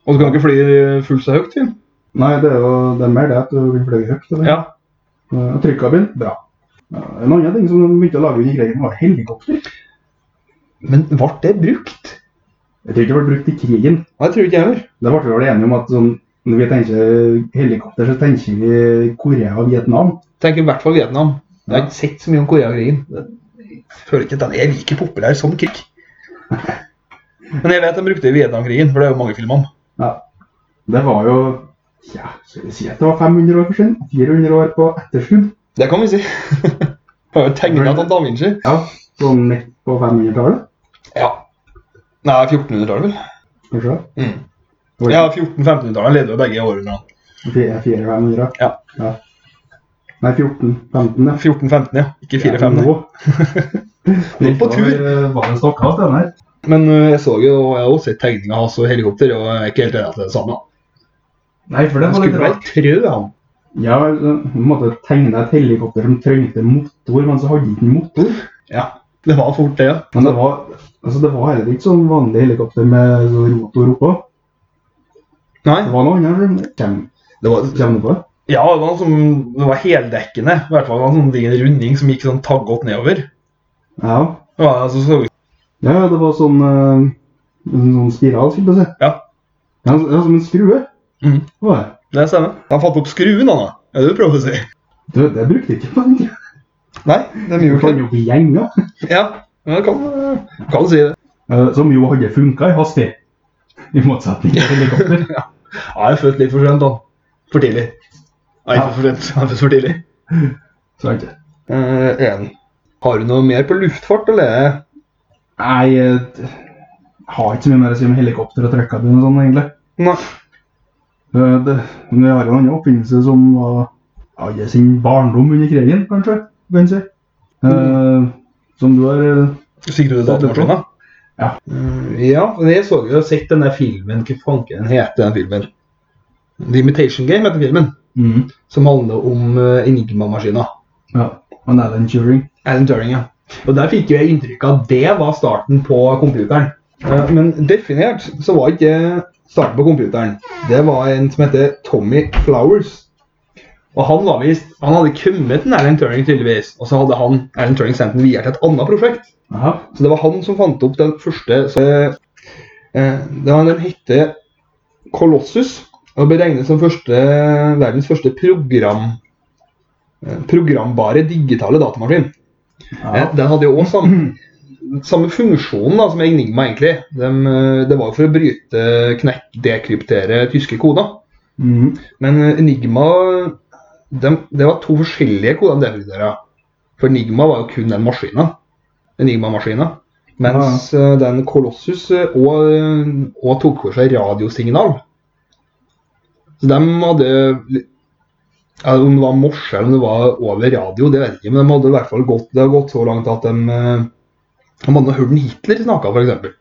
[SPEAKER 1] Og så kan du ikke fly fullt så høyt. Finn.
[SPEAKER 2] Nei, det er jo det er mer det at du vil fløy høyt. eller?
[SPEAKER 1] Ja.
[SPEAKER 2] Eh, og Trykkabin, bra. Ja, En annen ting som de begynte å lage under krigen, var helikopter.
[SPEAKER 1] Men ble det brukt?
[SPEAKER 2] Jeg tror ikke det ble brukt i krigen.
[SPEAKER 1] Nei, det tror jeg ikke jeg heller.
[SPEAKER 2] Da ble vi vel enige om at sånn, når vi tenker helikopter, så tenker vi Korea og Vietnam.
[SPEAKER 1] Tenker i hvert fall Vietnam. Jeg har ikke sett så mye om Koreakrigen. Jeg føler ikke at den er like populær som krig. <laughs> Men jeg vet de brukte Vietnamkrigen, for det er jo mange filmer om.
[SPEAKER 2] Det var jo ja, skal vi si at det var 500 år for sent? 400 år på etterskudd?
[SPEAKER 1] Det kan <laughs> vi si. Har jo tegna av Da Vinci.
[SPEAKER 2] Ja, sånn midt på 500-tallet,
[SPEAKER 1] Ja. Nei, 1400-tallet, vel.
[SPEAKER 2] kanskje?
[SPEAKER 1] Mm.
[SPEAKER 2] Det var
[SPEAKER 1] Ja, 1400-1500-tallet leder jo begge århundrene.
[SPEAKER 2] fire- 400-500?
[SPEAKER 1] Ja.
[SPEAKER 2] ja. Nei, 14-15.
[SPEAKER 1] 14-15, ja. Ikke 4-5.
[SPEAKER 2] <laughs>
[SPEAKER 1] nei.
[SPEAKER 2] Nå
[SPEAKER 1] Litt på tur.
[SPEAKER 2] var- Var det stokka den her?
[SPEAKER 1] Men øh, jeg så jo, jeg har også sett tegninga hans og helikopter, og jeg er ikke helt enig i at det er det samme.
[SPEAKER 2] Nei, for det
[SPEAKER 1] Han
[SPEAKER 2] var litt
[SPEAKER 1] skulle være
[SPEAKER 2] rart.
[SPEAKER 1] trø, han.
[SPEAKER 2] Ja, på en måte tegne et helikopter som trengte motor, men så hadde den ikke motor.
[SPEAKER 1] Ja. Det var fort det, ja.
[SPEAKER 2] Men det var Altså, det var heller ikke sånn vanlig helikopter med sånn rotor oppå.
[SPEAKER 1] Nei,
[SPEAKER 2] Det var noe annet som kom-
[SPEAKER 1] det var,
[SPEAKER 2] kom det på.
[SPEAKER 1] ja, det var, som, det var heldekkende. I hvert fall det var en sånn diger runding som gikk sånn taggått nedover.
[SPEAKER 2] Ja.
[SPEAKER 1] Det var, altså, så,
[SPEAKER 2] ja, ja, det var sånn, eh, en sånn spiral, skulle jeg si.
[SPEAKER 1] Ja.
[SPEAKER 2] Ja, så- ja, som en skrue.
[SPEAKER 1] Mhm.
[SPEAKER 2] Det var det.
[SPEAKER 1] det stemmer. De fant opp skruen, da. Er det du prøver å si?
[SPEAKER 2] Du, det brukte jeg ikke på den.
[SPEAKER 1] Nei, de
[SPEAKER 2] Du
[SPEAKER 1] gjorde
[SPEAKER 2] kan
[SPEAKER 1] det.
[SPEAKER 2] jo ikke gjenge.
[SPEAKER 1] Ja, men du kan, kan si det.
[SPEAKER 2] Eh, Som jo hadde funka i hastighet. I motsetning til helikopter.
[SPEAKER 1] Ja, jeg er født litt for sent, da. For tidlig. Nei, ikke for sent. Jeg er født for tidlig.
[SPEAKER 2] Så ikke.
[SPEAKER 1] Eh, en. Har du noe mer på luftfart, eller?
[SPEAKER 2] Nei, jeg har ikke så mye mer å si om helikopter og trekkabin og sånn, egentlig.
[SPEAKER 1] Nei.
[SPEAKER 2] Eh, Det, men vi har jo en annen oppfinnelse som var alle sin barndom under krigen, kanskje. kan jeg si. Eh, Som du har eh,
[SPEAKER 1] Sikter du datamaskinen?
[SPEAKER 2] Ja.
[SPEAKER 1] Mm, ja, men jeg så jo jeg har sett denne filmen. Hva fanken heter den filmen? The Imitation Game heter filmen. Som handler om eh, Enigma-maskiner.
[SPEAKER 2] mm. Ja. Og Alan Turing.
[SPEAKER 1] Alan Turing, ja. Og der fikk jo jeg inntrykk av at det var starten på computeren. Eh, Men definert så var ikke starten på computeren. Det var en som heter Tommy Flowers. Og han var visst, han hadde kommet til Alan Turing tydeligvis, og så hadde han Alan Turing sendt den videre til et annet prosjekt.
[SPEAKER 2] Aha.
[SPEAKER 1] Så det var han som fant opp den første så, eh, det var Den hette Colossus og ble regnet som første, verdens første program, eh, programbare digitale datamaskin.
[SPEAKER 2] Ja.
[SPEAKER 1] Eh, Den hadde jo også samme, samme funksjon da, som Enigma, egentlig. Dem, eh, det var jo for å bryte, knekke, dekryptere tyske koder.
[SPEAKER 2] Mhm.
[SPEAKER 1] Men eh, Enigma dem, Det var to forskjellige koder de dekrypterte. For Enigma var jo kun den maskinen. Enigma-maskinen. Mens eh, den Colossus eh, òg tok for seg radiosignal. Så de hadde ja, Om det var morse eller om det var over radio, det vet jeg ikke. Men de hadde i hvert fall gått, det hadde gått så langt at de, eh, de hadde hørt en Hitler snakke, f.eks.
[SPEAKER 2] ja.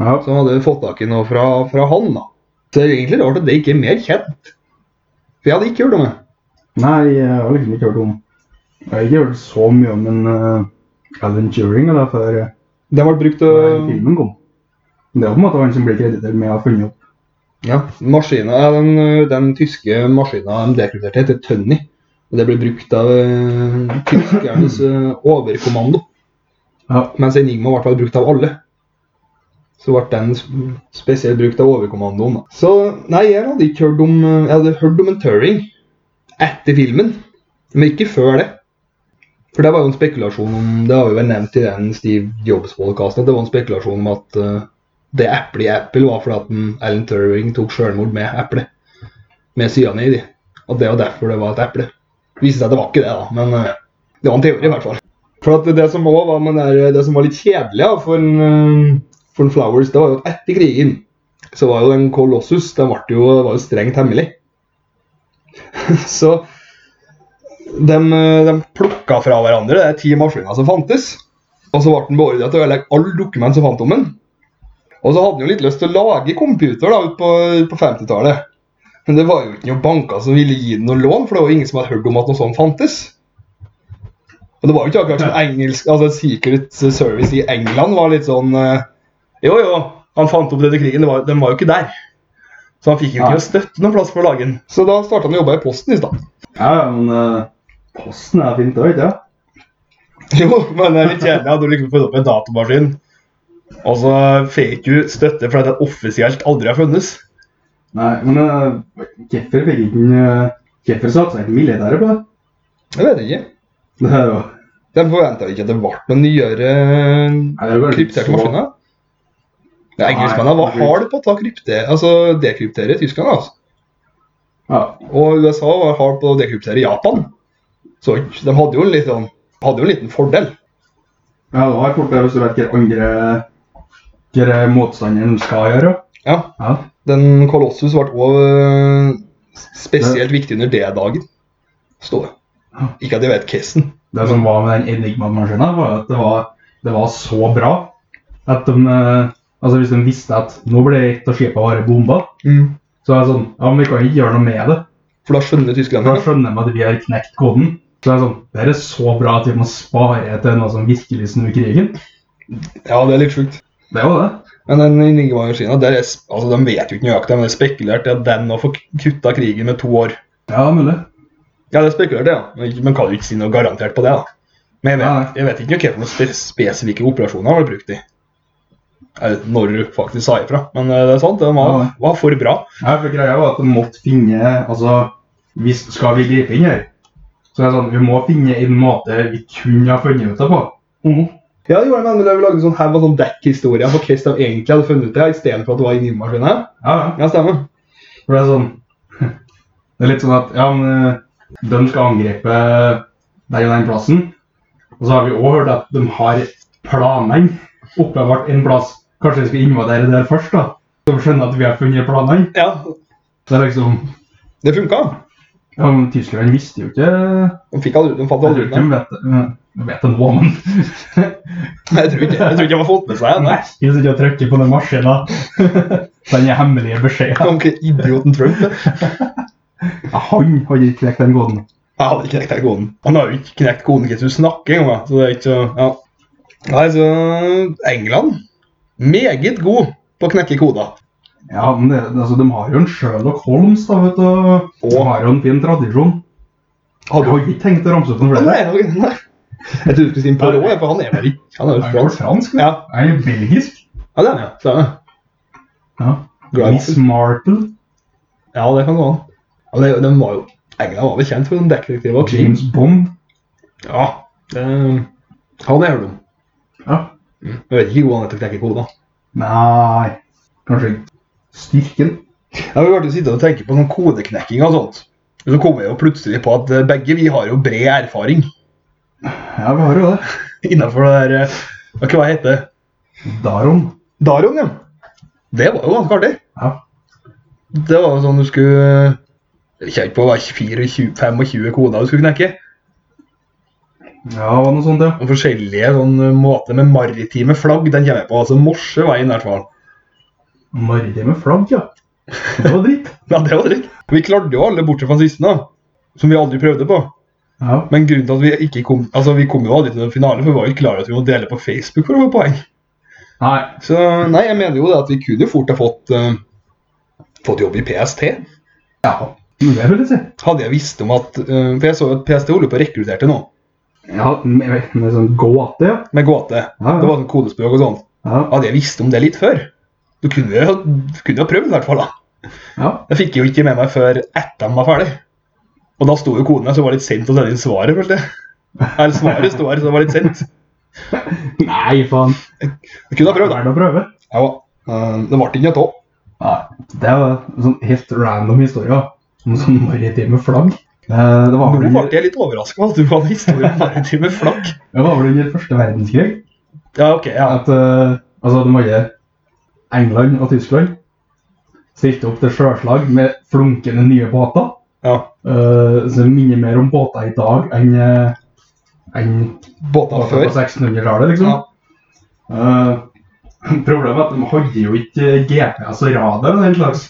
[SPEAKER 1] Så de Sånn hadde fått tak i noe fra, fra han. da. Så det er egentlig rart at det ikke er mer kjent. For jeg hadde ikke hørt om det.
[SPEAKER 2] Nei, jeg har liksom ikke hørt om Jeg har ikke hørt så mye om en eh, Alan Turing da, før eh,
[SPEAKER 1] Det ble brukt øh,
[SPEAKER 2] før
[SPEAKER 1] til
[SPEAKER 2] filmen kom. Men Det er på en måte han som blir kreditert med å ha funnet opp
[SPEAKER 1] ja, maskiner, ja, den, ø, den tyske maskina de dekrypterte, heter Tønny. Og det ble brukt av ø, tyskernes ø, overkommando.
[SPEAKER 2] Ja.
[SPEAKER 1] Mens Enigma ble vel brukt av alle. Så ble den sp- spesielt brukt av overkommandoen. da. Så nei, jeg hadde ikke hørt om ø, Jeg hadde hørt om en Turing etter filmen, men ikke før det. For det var jo en spekulasjon om Det har vi vel nevnt i den Steve Jobs-podkasten, at det var en spekulasjon om at eh, ø, det eplet i Apple var fordi at den- Alan Turing tok selvmord med eplet. Med cyanid i. Og det var derfor det var et eple. Det viste seg at det var ikke det, da, men eh, det var en teori i hvert fall. For at Det som også var, med den der- det som var litt kjedelig da, for, en, eh, for en Flowers, det var jo at etter krigen så var jo den Colossus den ble jo, var jo strengt hemmelig. <laughs> så de, eh, de plukka fra hverandre de ti maskiner som fantes. Og så ble den beordra til å ødelegge alle dokument som fant om den. Og så hadde han jo litt lyst til å lage computer da, ut på, på 50-tallet. Men det var jo ikke noen banker som ville gi den noe lån, for det var jo ingen som hadde hørt om at noe sånt fantes. Og det var jo ikke akkurat som engelsk, altså Secret Service i England var litt sånn eh, Jo, jo, han fant opp det til krigen, det var, den var jo ikke der. Så han fikk jo
[SPEAKER 2] Nei.
[SPEAKER 1] ikke noe støtte noen plass for å lage den. Så da starta han å jobbe i Posten i stad.
[SPEAKER 2] Ja, ja, men eh, posten er fint òg, ikke sant?
[SPEAKER 1] <laughs> Jo, men det er litt kjedelig at du liksom får opp en datamaskin, og så fikk du støtte fordi den offisielt aldri har funnes.
[SPEAKER 2] Nei, men uh, hvorfor fikk ikke han eh, Hvorfor satsa ikke militæret på det?
[SPEAKER 1] Jeg vet ikke.
[SPEAKER 2] Det er jo
[SPEAKER 1] De forventa ikke at det ble noen nyere eh,
[SPEAKER 2] Nei, det er jo kanskje ikke
[SPEAKER 1] krypterte
[SPEAKER 2] så-
[SPEAKER 1] maskiner. Nei, Engelskmennene var harde på å ta krypte, altså dekryptere Tyskland. altså.
[SPEAKER 2] Ja.
[SPEAKER 1] Og USA var hard på å dekryptere Japan. Så de hadde jo en, litt sånn, hadde jo en liten fordel.
[SPEAKER 2] ja, du har fort det hvis du vet hva andre Hva motstanderen skal gjøre.
[SPEAKER 1] Ja,
[SPEAKER 2] Ja.
[SPEAKER 1] Den Colossus ble også spesielt viktig under D-dagen. Står det. Ikke at jeg vet hvordan.
[SPEAKER 2] Det som var med den Enigma-maskinen, var at det var, det var så bra at de eh, Altså, hvis de visste at nå ble ett av skipene våre bomba,
[SPEAKER 1] Mm.
[SPEAKER 2] så er det sånn Ja, men vi kan ikke gjøre noe med det.
[SPEAKER 1] For da skjønner tyskerne
[SPEAKER 2] Da
[SPEAKER 1] det.
[SPEAKER 2] skjønner de at vi har knekt koden. Så det er sånn Det her er så bra at vi må spare til noe som virkelig snur krigen.
[SPEAKER 1] Ja, det er litt sjukt.
[SPEAKER 2] Det er jo det.
[SPEAKER 1] Men den Nigerian-maskina, der er, sp- altså, de vet jo ikke nøyaktig, men det er spekulert i at den har fått kutta krigen med to år.
[SPEAKER 2] Ja, mulig.
[SPEAKER 1] Ja, det er spekulert, ja. Men man kan jo ikke si noe garantert på det, da. Men jeg
[SPEAKER 2] Nei.
[SPEAKER 1] vet, jeg vet ikke hvilke spe- spesifikke operasjoner han har brukt i. Eller når du faktisk sa ifra. Men eh, det er sant, den var,
[SPEAKER 2] Nei.
[SPEAKER 1] var for bra.
[SPEAKER 2] Nei, for greia var at de måtte finne Altså, hvis skal vi gripe inn her, så er det sånn, vi må finne en måte vi kunne ha funnet ut det på.
[SPEAKER 1] Ja, det gjorde jeg, men vi lagde en sånn haug av sånn dekkhistorier på hvordan de egentlig hadde funnet ut det, istedenfor at det var i Nigerian-maskina.
[SPEAKER 2] Ja, ja.
[SPEAKER 1] Ja, stemmer.
[SPEAKER 2] For det er sånn <laughs> Det er litt sånn at ja, men eh, de skal angripe den og den plassen. Og så har vi òg hørt at de har planene oppbevart en plass. Kanskje vi skal invadere der først, da? Så vi skjønner at vi har funnet planene.
[SPEAKER 1] Ja,
[SPEAKER 2] Så det er liksom
[SPEAKER 1] det funka.
[SPEAKER 2] ja, men Tyskerne visste jo ikke Jeg
[SPEAKER 1] De, fikk aldri, de fant
[SPEAKER 2] tror
[SPEAKER 1] aldri ut det.
[SPEAKER 2] ikke de vet det. De vet det nå, men <laughs>
[SPEAKER 1] Jeg tror ikke, jeg tror ikke de har fått med seg det.
[SPEAKER 2] Nei, jeg sitter og trykker på den maskinen. <laughs> Den er hemmelige beskjeden.
[SPEAKER 1] Onkel idioten Trump. det.
[SPEAKER 2] Ja, Han hadde ikke knekt den koden.
[SPEAKER 1] Jeg hadde ikke knekt den koden. Han har jo ikke knekt koden hvis du snakker engang. da. Så det er ikke så ja. Nei, så England meget god på å knekke koder.
[SPEAKER 2] Ja, men det, altså, De har jo en Sherlock Holmes, da, vet du. Og
[SPEAKER 1] Og-
[SPEAKER 2] har jo en fin tradisjon. Jeg har ikke tenkt å ramse opp noen
[SPEAKER 1] Å,
[SPEAKER 2] flere.
[SPEAKER 1] Nei, ok, nei. Jeg trodde du skulle si Poirot, jeg, for han er vel ikke Han er
[SPEAKER 2] Er
[SPEAKER 1] jo
[SPEAKER 2] det
[SPEAKER 1] fransk.
[SPEAKER 2] fransk?
[SPEAKER 1] Ja,
[SPEAKER 2] Er det belgisk?
[SPEAKER 1] ja det er han. ja. Stemmer.
[SPEAKER 2] Ja.
[SPEAKER 1] Glad i
[SPEAKER 2] Miss
[SPEAKER 1] Marple.
[SPEAKER 2] Marple.
[SPEAKER 1] Ja, det kan gå an. Ja, men det- de var jo England var vel kjent for en detektiv og krim.
[SPEAKER 2] James Bond.
[SPEAKER 1] Ja, det, han er jo dum.
[SPEAKER 2] Ja.
[SPEAKER 1] Jeg vet ikke hvor han er til å knekke koder.
[SPEAKER 2] Nei Kanskje ikke. Styrken.
[SPEAKER 1] Ja, Vi ble jo sittende og tenke på sånn kodeknekking og sånt. Men så kom jeg jo plutselig på at eh, begge vi har jo bred erfaring <laughs>
[SPEAKER 2] Ja, vi har jo det.
[SPEAKER 1] innenfor det der eh, Hva hva heter det?
[SPEAKER 2] Daron.
[SPEAKER 1] Daron, ja. Det var jo ganske artig.
[SPEAKER 2] Ja.
[SPEAKER 1] Det var jo sånn du skulle eh, Jeg kjente på å være 24, 25 koder du skulle knekke.
[SPEAKER 2] ja, var det noe sånt, ja.
[SPEAKER 1] Og forskjellige sånn eh, måter med maritime flagg. Den kommer jeg på. Altså morseveien, i hvert fall. <laughs>
[SPEAKER 2] Maritime flagg, ja. Det var dritt.
[SPEAKER 1] Ja, det var dritt. Vi klarte jo alle, bortsett fra den siste, da. Som vi aldri prøvde på.
[SPEAKER 2] Ja.
[SPEAKER 1] Men grunnen til at vi ikke kom Altså, vi kom jo aldri til noen finale, for vi var jo ikke klar over at vi måtte dele på Facebook for å få poeng.
[SPEAKER 2] Nei.
[SPEAKER 1] Så nei, jeg mener jo det at vi kunne fort ha fått, eh, fått jobb i PST.
[SPEAKER 2] Ja. Men det vil jeg si.
[SPEAKER 1] Hadde jeg visst om at eh, For jeg så jo at PST holder på å rekruttere til noe.
[SPEAKER 2] Ja, med, med sånn gåte, ja.
[SPEAKER 1] Med gåte.
[SPEAKER 2] Ja, ja.
[SPEAKER 1] Det var sånn kodespråk og sånt.
[SPEAKER 2] Ja.
[SPEAKER 1] Hadde jeg visst om det litt før, så kunne jeg, du kunne jeg ha prøvd i hvert fall. da.
[SPEAKER 2] ja.
[SPEAKER 1] Jeg fikk jo ikke med meg før etter den var ferdig. Og da sto jo koden her, så det var litt sent å sende inn svaret. følte jeg. Eller svaret sto her, så det var litt sent.
[SPEAKER 2] Nei, faen.
[SPEAKER 1] Jeg kunne ha prøvd, da.
[SPEAKER 2] Verdt å prøve.
[SPEAKER 1] Ja, eh, det ble ikke noe av.
[SPEAKER 2] Nei, det er en sånn helt random historie da. om sånn maritime flagg. Eh, Det var
[SPEAKER 1] Nå
[SPEAKER 2] vel
[SPEAKER 1] ble
[SPEAKER 2] under,
[SPEAKER 1] jeg litt overraska at du hadde historie om maritime flagg.
[SPEAKER 2] det var vel under første verdenskrig
[SPEAKER 1] Ja, ok, ja.
[SPEAKER 2] at eh, altså, de hadde England og Tyskland stilte opp til sjøslag med flunkende nye båter.
[SPEAKER 1] ja.
[SPEAKER 2] eh, som minner mer om båter i dag enn eh, enn
[SPEAKER 1] Båter
[SPEAKER 2] båter på
[SPEAKER 1] før.
[SPEAKER 2] 1600-tallet, liksom.
[SPEAKER 1] Ja.
[SPEAKER 2] Eh, problemet er at de hadde jo ikke GPS og radar og den slags.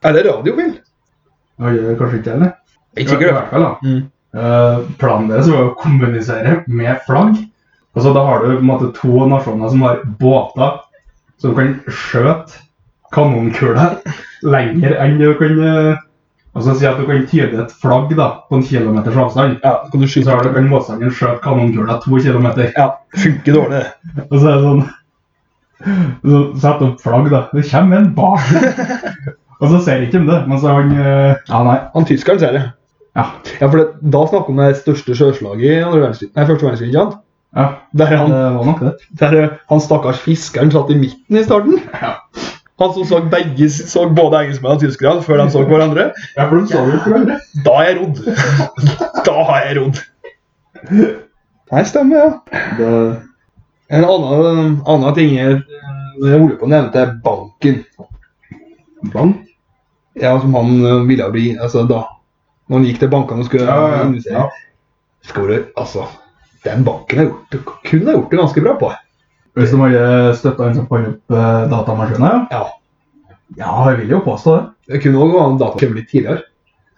[SPEAKER 1] Eller radiobil.
[SPEAKER 2] De hadde kanskje ikke det?
[SPEAKER 1] Ikke
[SPEAKER 2] I
[SPEAKER 1] glem.
[SPEAKER 2] hvert fall, da.
[SPEAKER 1] Mm.
[SPEAKER 2] Eh, planen deres var jo å kommunisere med flagg. Altså, da har du på en måte to nasjoner som har båter som kan skjøte kanonkuler lenger enn du kan eh, Altså si at du kan tyde et flagg da, på en kilometers avstand.
[SPEAKER 1] Ja, så kan du
[SPEAKER 2] Så
[SPEAKER 1] skyte
[SPEAKER 2] har du
[SPEAKER 1] opp.
[SPEAKER 2] kan motstanderen skjøte kanonkula to kilometer. <laughs>
[SPEAKER 1] Ja, funker dårlig, det.
[SPEAKER 2] Og så er det sånn så Sett opp flagg, da. Det kommer en bak.
[SPEAKER 1] <laughs>
[SPEAKER 2] Og så ser ikke han det. Men så er han eh, Ja, nei.
[SPEAKER 1] Han tyskeren ser det.
[SPEAKER 2] Ja.
[SPEAKER 1] Ja, for det, Da snakker vi om det største sjøslaget i andre verdenskrig. Nei, første verdenskrig. ikke sant?
[SPEAKER 2] ja.
[SPEAKER 1] Der
[SPEAKER 2] Det
[SPEAKER 1] han,
[SPEAKER 2] var nok det.
[SPEAKER 1] der eh, han stakkars fiskeren satt i midten i starten.
[SPEAKER 2] Ja.
[SPEAKER 1] Han som så, begge, så både engelskmenn og tyskerne før de så hverandre.
[SPEAKER 2] Ja, for de så jo
[SPEAKER 1] <laughs>
[SPEAKER 2] ikke hverandre.
[SPEAKER 1] Da har jeg rodd! Da har jeg rodd! Nei, stemmer, ja.
[SPEAKER 2] Det-
[SPEAKER 1] En annen, annen ting jeg, jeg holder på å nevne, det er banken.
[SPEAKER 2] Bank?
[SPEAKER 1] Ja, Som han eh, ville bli altså da. Når han gikk til bankene og skulle eh, investere. Skal du, altså, Den banken har gjort, det- kunne ha gjort det ganske bra på.
[SPEAKER 2] Hvis de hadde støtta en som fant opp eh, datamaskiner, ja.
[SPEAKER 1] Ja,
[SPEAKER 2] Ja, jeg vil jo påstå det.
[SPEAKER 1] Det kunne òg vært datokjemmer litt tidligere.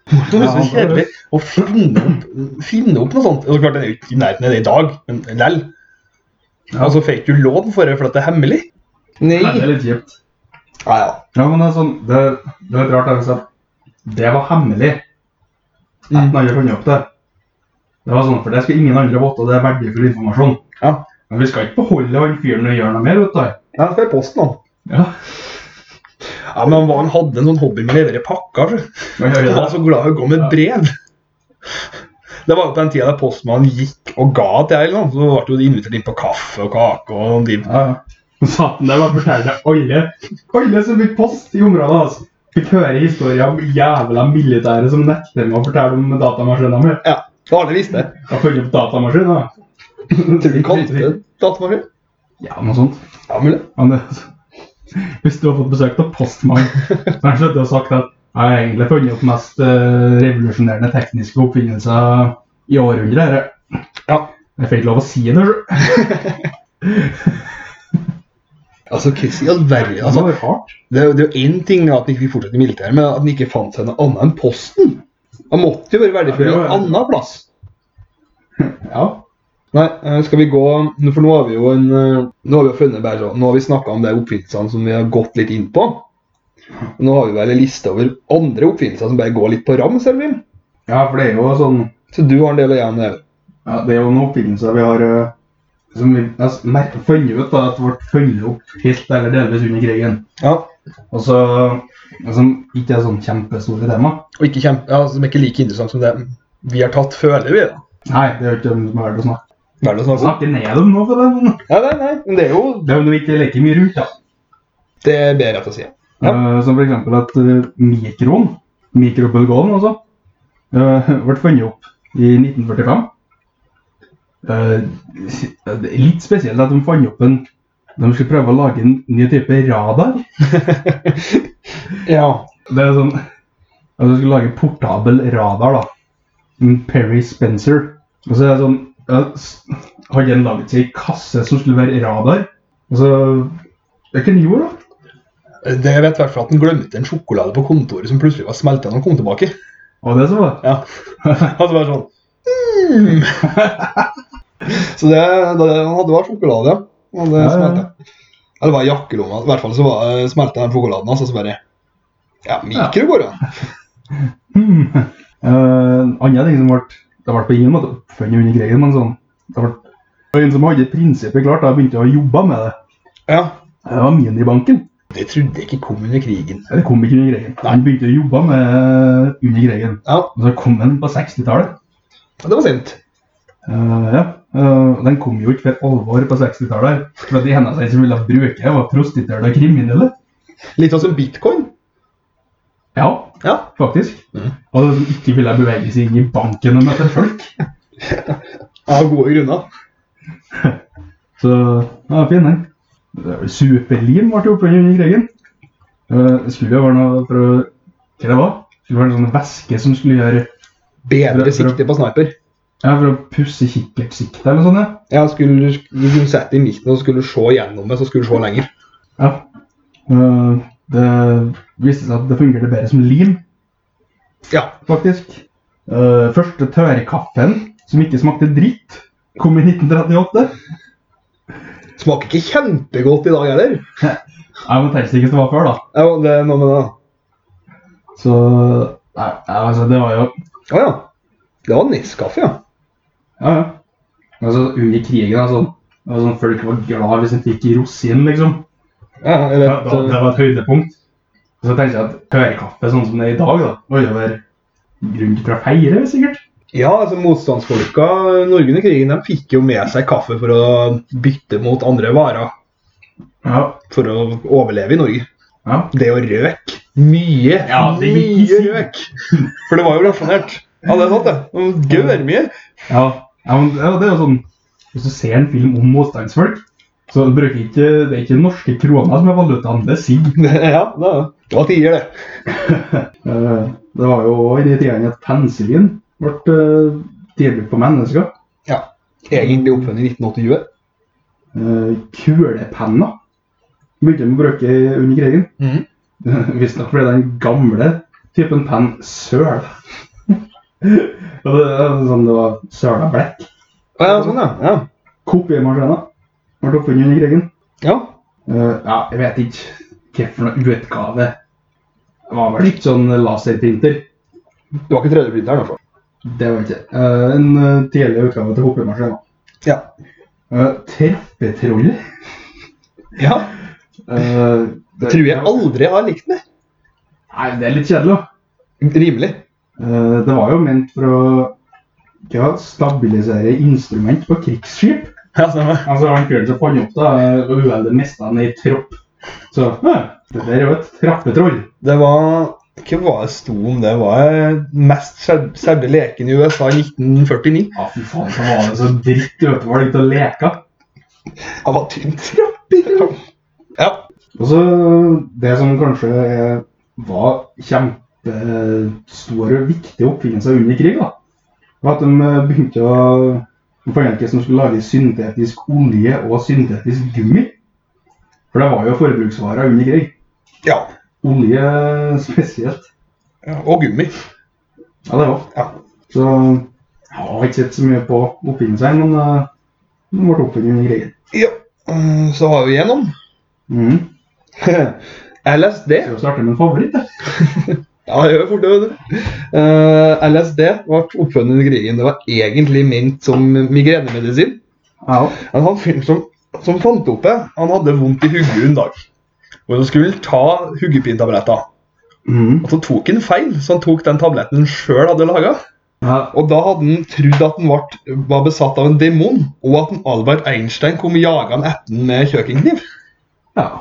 [SPEAKER 1] Det er så kjedelig å finne opp, finne opp noe sånt. Altså, klart, Den er jo ikke i nærheten av det i dag, men lell.
[SPEAKER 2] Ja.
[SPEAKER 1] Altså, fikk du lån for det fordi det er hemmelig? Nei.
[SPEAKER 2] Det er litt kjipt.
[SPEAKER 1] Ja, ja.
[SPEAKER 2] Ja, men det er sånn, det, det er litt rart da, hvis at det var hemmelig. Uten
[SPEAKER 1] Mm.
[SPEAKER 2] andre fant opp det. Det var sånn, for det skal ingen andre vite, og det er verdifull informasjon.
[SPEAKER 1] Ja.
[SPEAKER 2] Men vi skal ikke beholde han fyren og gjøre noe mer, vet du.
[SPEAKER 1] Ja, det er posten, han.
[SPEAKER 2] Ja.
[SPEAKER 1] Ja, men han var- han hadde en sånn hobby med å levere pakker. tror jeg.
[SPEAKER 2] Men jeg
[SPEAKER 1] Han
[SPEAKER 2] gjør
[SPEAKER 1] var
[SPEAKER 2] det.
[SPEAKER 1] så glad i å gå med
[SPEAKER 2] Ja.
[SPEAKER 1] brev. Det var jo på den tida der postmannen gikk og ga til ei, så ble jo de invitert inn på kaffe og kake. og de...
[SPEAKER 2] Ja, ja. Så at han der var fortelle alle, alle som fikk post i området, altså. Fikk høre historier om jævla militære som nekter meg å fortelle om datamaskinen min.
[SPEAKER 1] Ja, så alle visste det.
[SPEAKER 2] Jeg har funnet opp datamaskinen.
[SPEAKER 1] Tror du vi kalte det datamaskin?
[SPEAKER 2] Ja, noe sånt.
[SPEAKER 1] Ja, mulig.
[SPEAKER 2] Men det, hvis du har fått besøk av postmann, så har han sluttet å sagt at jeg har egentlig funnet opp mest eh, revolusjonerende tekniske oppfinnelser i århundret. her».
[SPEAKER 1] Ja.
[SPEAKER 2] Jeg fikk ikke lov å si det. sjø.
[SPEAKER 1] Altså, Chris, i all verden
[SPEAKER 2] Det
[SPEAKER 1] altså,
[SPEAKER 2] var hardt.
[SPEAKER 1] det, er jo- det er jo én ting at han ikke fikk fortsette i militæret, men at han ikke fant seg noe annet enn Posten. Han måtte jo være verdifull
[SPEAKER 2] Ja, det
[SPEAKER 1] i
[SPEAKER 2] var-
[SPEAKER 1] en annen plass.
[SPEAKER 2] Ja.
[SPEAKER 1] Nei, eh, skal vi gå nå- For nå har vi jo en eh, Nå har vi jo funnet bare sånn Nå har vi snakka om de oppfinnelsene som vi har gått litt inn på. Og Nå har vi vel en liste over andre oppfinnelser som bare går litt på rams. Elvin.
[SPEAKER 2] ja, for det er jo sånn
[SPEAKER 1] Så du har en del å gjøre med det.
[SPEAKER 2] ja, Det er jo noen oppfinnelser vi har eh, som vi har merket funnet ut da, at ble funnet opp helt eller delvis under krigen.
[SPEAKER 1] Ja.
[SPEAKER 2] Og så eh, Som ikke er sånn kjempestore tema.
[SPEAKER 1] Og ikke kjempe, ja, som ikke er like interessant som det vi har tatt, føler vi. da.
[SPEAKER 2] Nei, det er jo ikke dem som er verdt å snakke
[SPEAKER 1] Hva er det å snakke om?
[SPEAKER 2] Snakke ned om nå, for det, men
[SPEAKER 1] Nei, nei, nei, men det er jo
[SPEAKER 2] det er jo noe vi ikke leker mye rundt. da.
[SPEAKER 1] Det ber jeg til å si. Ja.
[SPEAKER 2] Eh, Som f.eks. at eh, mikroen, mikrobølgeovnen altså, eh, <laughs> ble funnet opp i 1945. Eh, det er litt spesielt at de fant opp en De skulle prøve å lage en ny type radar.
[SPEAKER 1] Ja.
[SPEAKER 2] Det er sånn At de skulle lage en portabel radar, da. En Perry Spencer. Og så er det sånn ja, s- Hadde han laget seg en kasse som skulle være radar? Og så Det er ikke en jord, da.
[SPEAKER 1] Det jeg vet i hvert fall at han glemte en sjokolade på kontoret som plutselig var smelta når han kom tilbake.
[SPEAKER 2] Og det er så var det.
[SPEAKER 1] Ja. <laughs> Altså bare sånn mm. <laughs> Så det, det han hadde var sjokolade, ja. Og det
[SPEAKER 2] Ja, ja, ja.
[SPEAKER 1] smelta. Eller det var i jakkelomma. I hvert fall så var det smelta den sjokoladen hans, og så bare Ja, mikro går an.
[SPEAKER 2] Hmm. <laughs> Eh, andre ting som ble Det ble på ingen måte oppfunnet under krigen, men sånn Det ble det var en som hadde prinsippet klart da begynte å jobbe med det.
[SPEAKER 1] Ja.
[SPEAKER 2] Det var minibanken.
[SPEAKER 1] Det trodde jeg ikke kom under krigen.
[SPEAKER 2] Det kom ikke under krigen. Han begynte å jobbe med det under krigen.
[SPEAKER 1] Ja,
[SPEAKER 2] Og så kom den på 60-tallet.
[SPEAKER 1] det var sint.
[SPEAKER 2] Eh, ja. Eh, den kom jo ikke for alvor på 60-tallet. For at de eneste som ville bruke det, var prostituerte og kriminelle.
[SPEAKER 1] Litt sånn som bitcoin.
[SPEAKER 2] Ja,
[SPEAKER 1] Ja.
[SPEAKER 2] faktisk.
[SPEAKER 1] Mhm.
[SPEAKER 2] Og de som ikke ville bevege seg inn i banken og møte folk.
[SPEAKER 1] Av gode grunner.
[SPEAKER 2] Så ja, fin den. Superlim ble jo oppfunnet under krigen. Eh, Det skulle jo være noe for å Hva det var? Det skulle være en sånn væske som skulle gjøre
[SPEAKER 1] Bedre
[SPEAKER 2] Bra-
[SPEAKER 1] sikte på sniper.
[SPEAKER 2] Ja, for å pusse kikkertsiktet eller noe sånt.
[SPEAKER 1] Ja, skulle du kunne sette i midten og skulle du se gjennom det, så skulle du se lenger.
[SPEAKER 2] ja. Ja. Eh, Det viste seg at det fungerte bedre som lim,
[SPEAKER 1] Ja.
[SPEAKER 2] faktisk. Eh, Første tørrkaffen som ikke smakte dritt, kom i 1938.
[SPEAKER 1] Smaker ikke kjempegodt i dag heller.
[SPEAKER 2] Jeg må tenke seg ikke det var før, da.
[SPEAKER 1] Ja, det er noe med det. da.
[SPEAKER 2] Så Nei, altså, det var jo
[SPEAKER 1] Å ja. Det var Nescafe, ja.
[SPEAKER 2] Ja, ja. Altså, under krigen, altså. Det var sånn, folk var glad hvis de fikk rosin, liksom.
[SPEAKER 1] ja jeg
[SPEAKER 2] Det,
[SPEAKER 1] vet, eh,
[SPEAKER 2] var et høydepunkt. Og så tenkte jeg at tørrkaffe, sånn som det er i dag, da, må jo være grunn til å feire, sikkert.
[SPEAKER 1] ja, altså Motstandsfolka i Norge under krigen de fikk jo med seg kaffe for å bytte mot andre varer
[SPEAKER 2] Ja.
[SPEAKER 1] for å overleve i Norge.
[SPEAKER 2] ja.
[SPEAKER 1] Det å røk. Mye,
[SPEAKER 2] Ja, det er
[SPEAKER 1] mye
[SPEAKER 2] ikke si-
[SPEAKER 1] røk. For det var jo rasjonert. Ja, det er sant, det. Gørrmye.
[SPEAKER 2] Ja, ja men ja, det er jo sånn Hvis du ser en film om motstandsfolk, så bruker ikke, det er ikke norske kroner som er valutaen, det er sigg.
[SPEAKER 1] <laughs> Ja, det er det. Det var tider, det.
[SPEAKER 2] Eh, Det var jo også i de tidene at penicillin ble eh, delt på mennesker.
[SPEAKER 1] Ja. Egentlig oppfunnet i 1980.
[SPEAKER 2] Eh, kulepenna begynte de å bruke under krigen. <laughs>
[SPEAKER 1] Mm.
[SPEAKER 2] Visstnok fordi den gamle typen penn søl. <laughs> Og det, det er sånn det var søla blekk.
[SPEAKER 1] Ja, sånn, ja. ja.
[SPEAKER 2] Kopimaskiner ble oppfunnet under krigen.
[SPEAKER 1] Ja.
[SPEAKER 2] Eh, ja, jeg vet ikke hvilken utgave. Det var vel ikke sånn laserprinter.
[SPEAKER 1] Det var ikke 3D-printeren, i hvert fall.
[SPEAKER 2] Det var ikke. Eh, en eh, tidligere utgave til hoppemaskin.
[SPEAKER 1] Ja.
[SPEAKER 2] Uh, Treppetroller?
[SPEAKER 1] ja.
[SPEAKER 2] Eh,
[SPEAKER 1] Det tror jeg aldri har likt meg.
[SPEAKER 2] Nei, det er litt kjedelig, da.
[SPEAKER 1] Rimelig.
[SPEAKER 2] Eh, Det var jo ment for å ja, stabilisere instrument på krigsskip.
[SPEAKER 1] Ja, stemmer.
[SPEAKER 2] Altså, han fyren som fant opp det, eh, og uheldig mista han i tropp. Så «Hæ, det der er jo et trappetroll.
[SPEAKER 1] Det var Hva var det sto om det? Var det mest skjedd- skjedde leken i USA i 1949?
[SPEAKER 2] Ja, fy faen, så var det så dritt utevalg til å leke.
[SPEAKER 1] Det var tynt. Ja.
[SPEAKER 2] Og så Altså, det som kanskje er, var kjempestor og viktig oppfinnelse under krig, da, var at de eh, begynte å De fant ut hva som skulle lage syntetisk olje og syntetisk gummi. For det var jo forbruksvarer under krig.
[SPEAKER 1] ja.
[SPEAKER 2] Olje eh, spesielt.
[SPEAKER 1] ja. Og gummi.
[SPEAKER 2] Ja, det var.
[SPEAKER 1] Ja.
[SPEAKER 2] Så jeg har ikke sett så mye på oppfinnelsen, men eh, den ble oppfunnet under krigen.
[SPEAKER 1] ja. Eh, Så har vi <laughs> igjennom.
[SPEAKER 2] Mm.
[SPEAKER 1] LSD.
[SPEAKER 2] Skal jo starte med en favoritt, da.
[SPEAKER 1] Ja, jeg gjør fort det. vet du. Eh, LSD ble oppfunnet under krigen. Det var egentlig ment som migrenemedisin.
[SPEAKER 2] Ja.
[SPEAKER 1] Men han fyren som, som fant opp det, han hadde vondt i hodet en dag. Og så skulle han ta hodepintabletter.
[SPEAKER 2] Mm.
[SPEAKER 1] Og så tok han feil, så han tok den tabletten han sjøl hadde laga.
[SPEAKER 2] ja.
[SPEAKER 1] Og da hadde han trodd at han ble, var besatt av en demon, og at han Albert Einstein kom jagende etter han med kjøkkenkniv.
[SPEAKER 2] ja.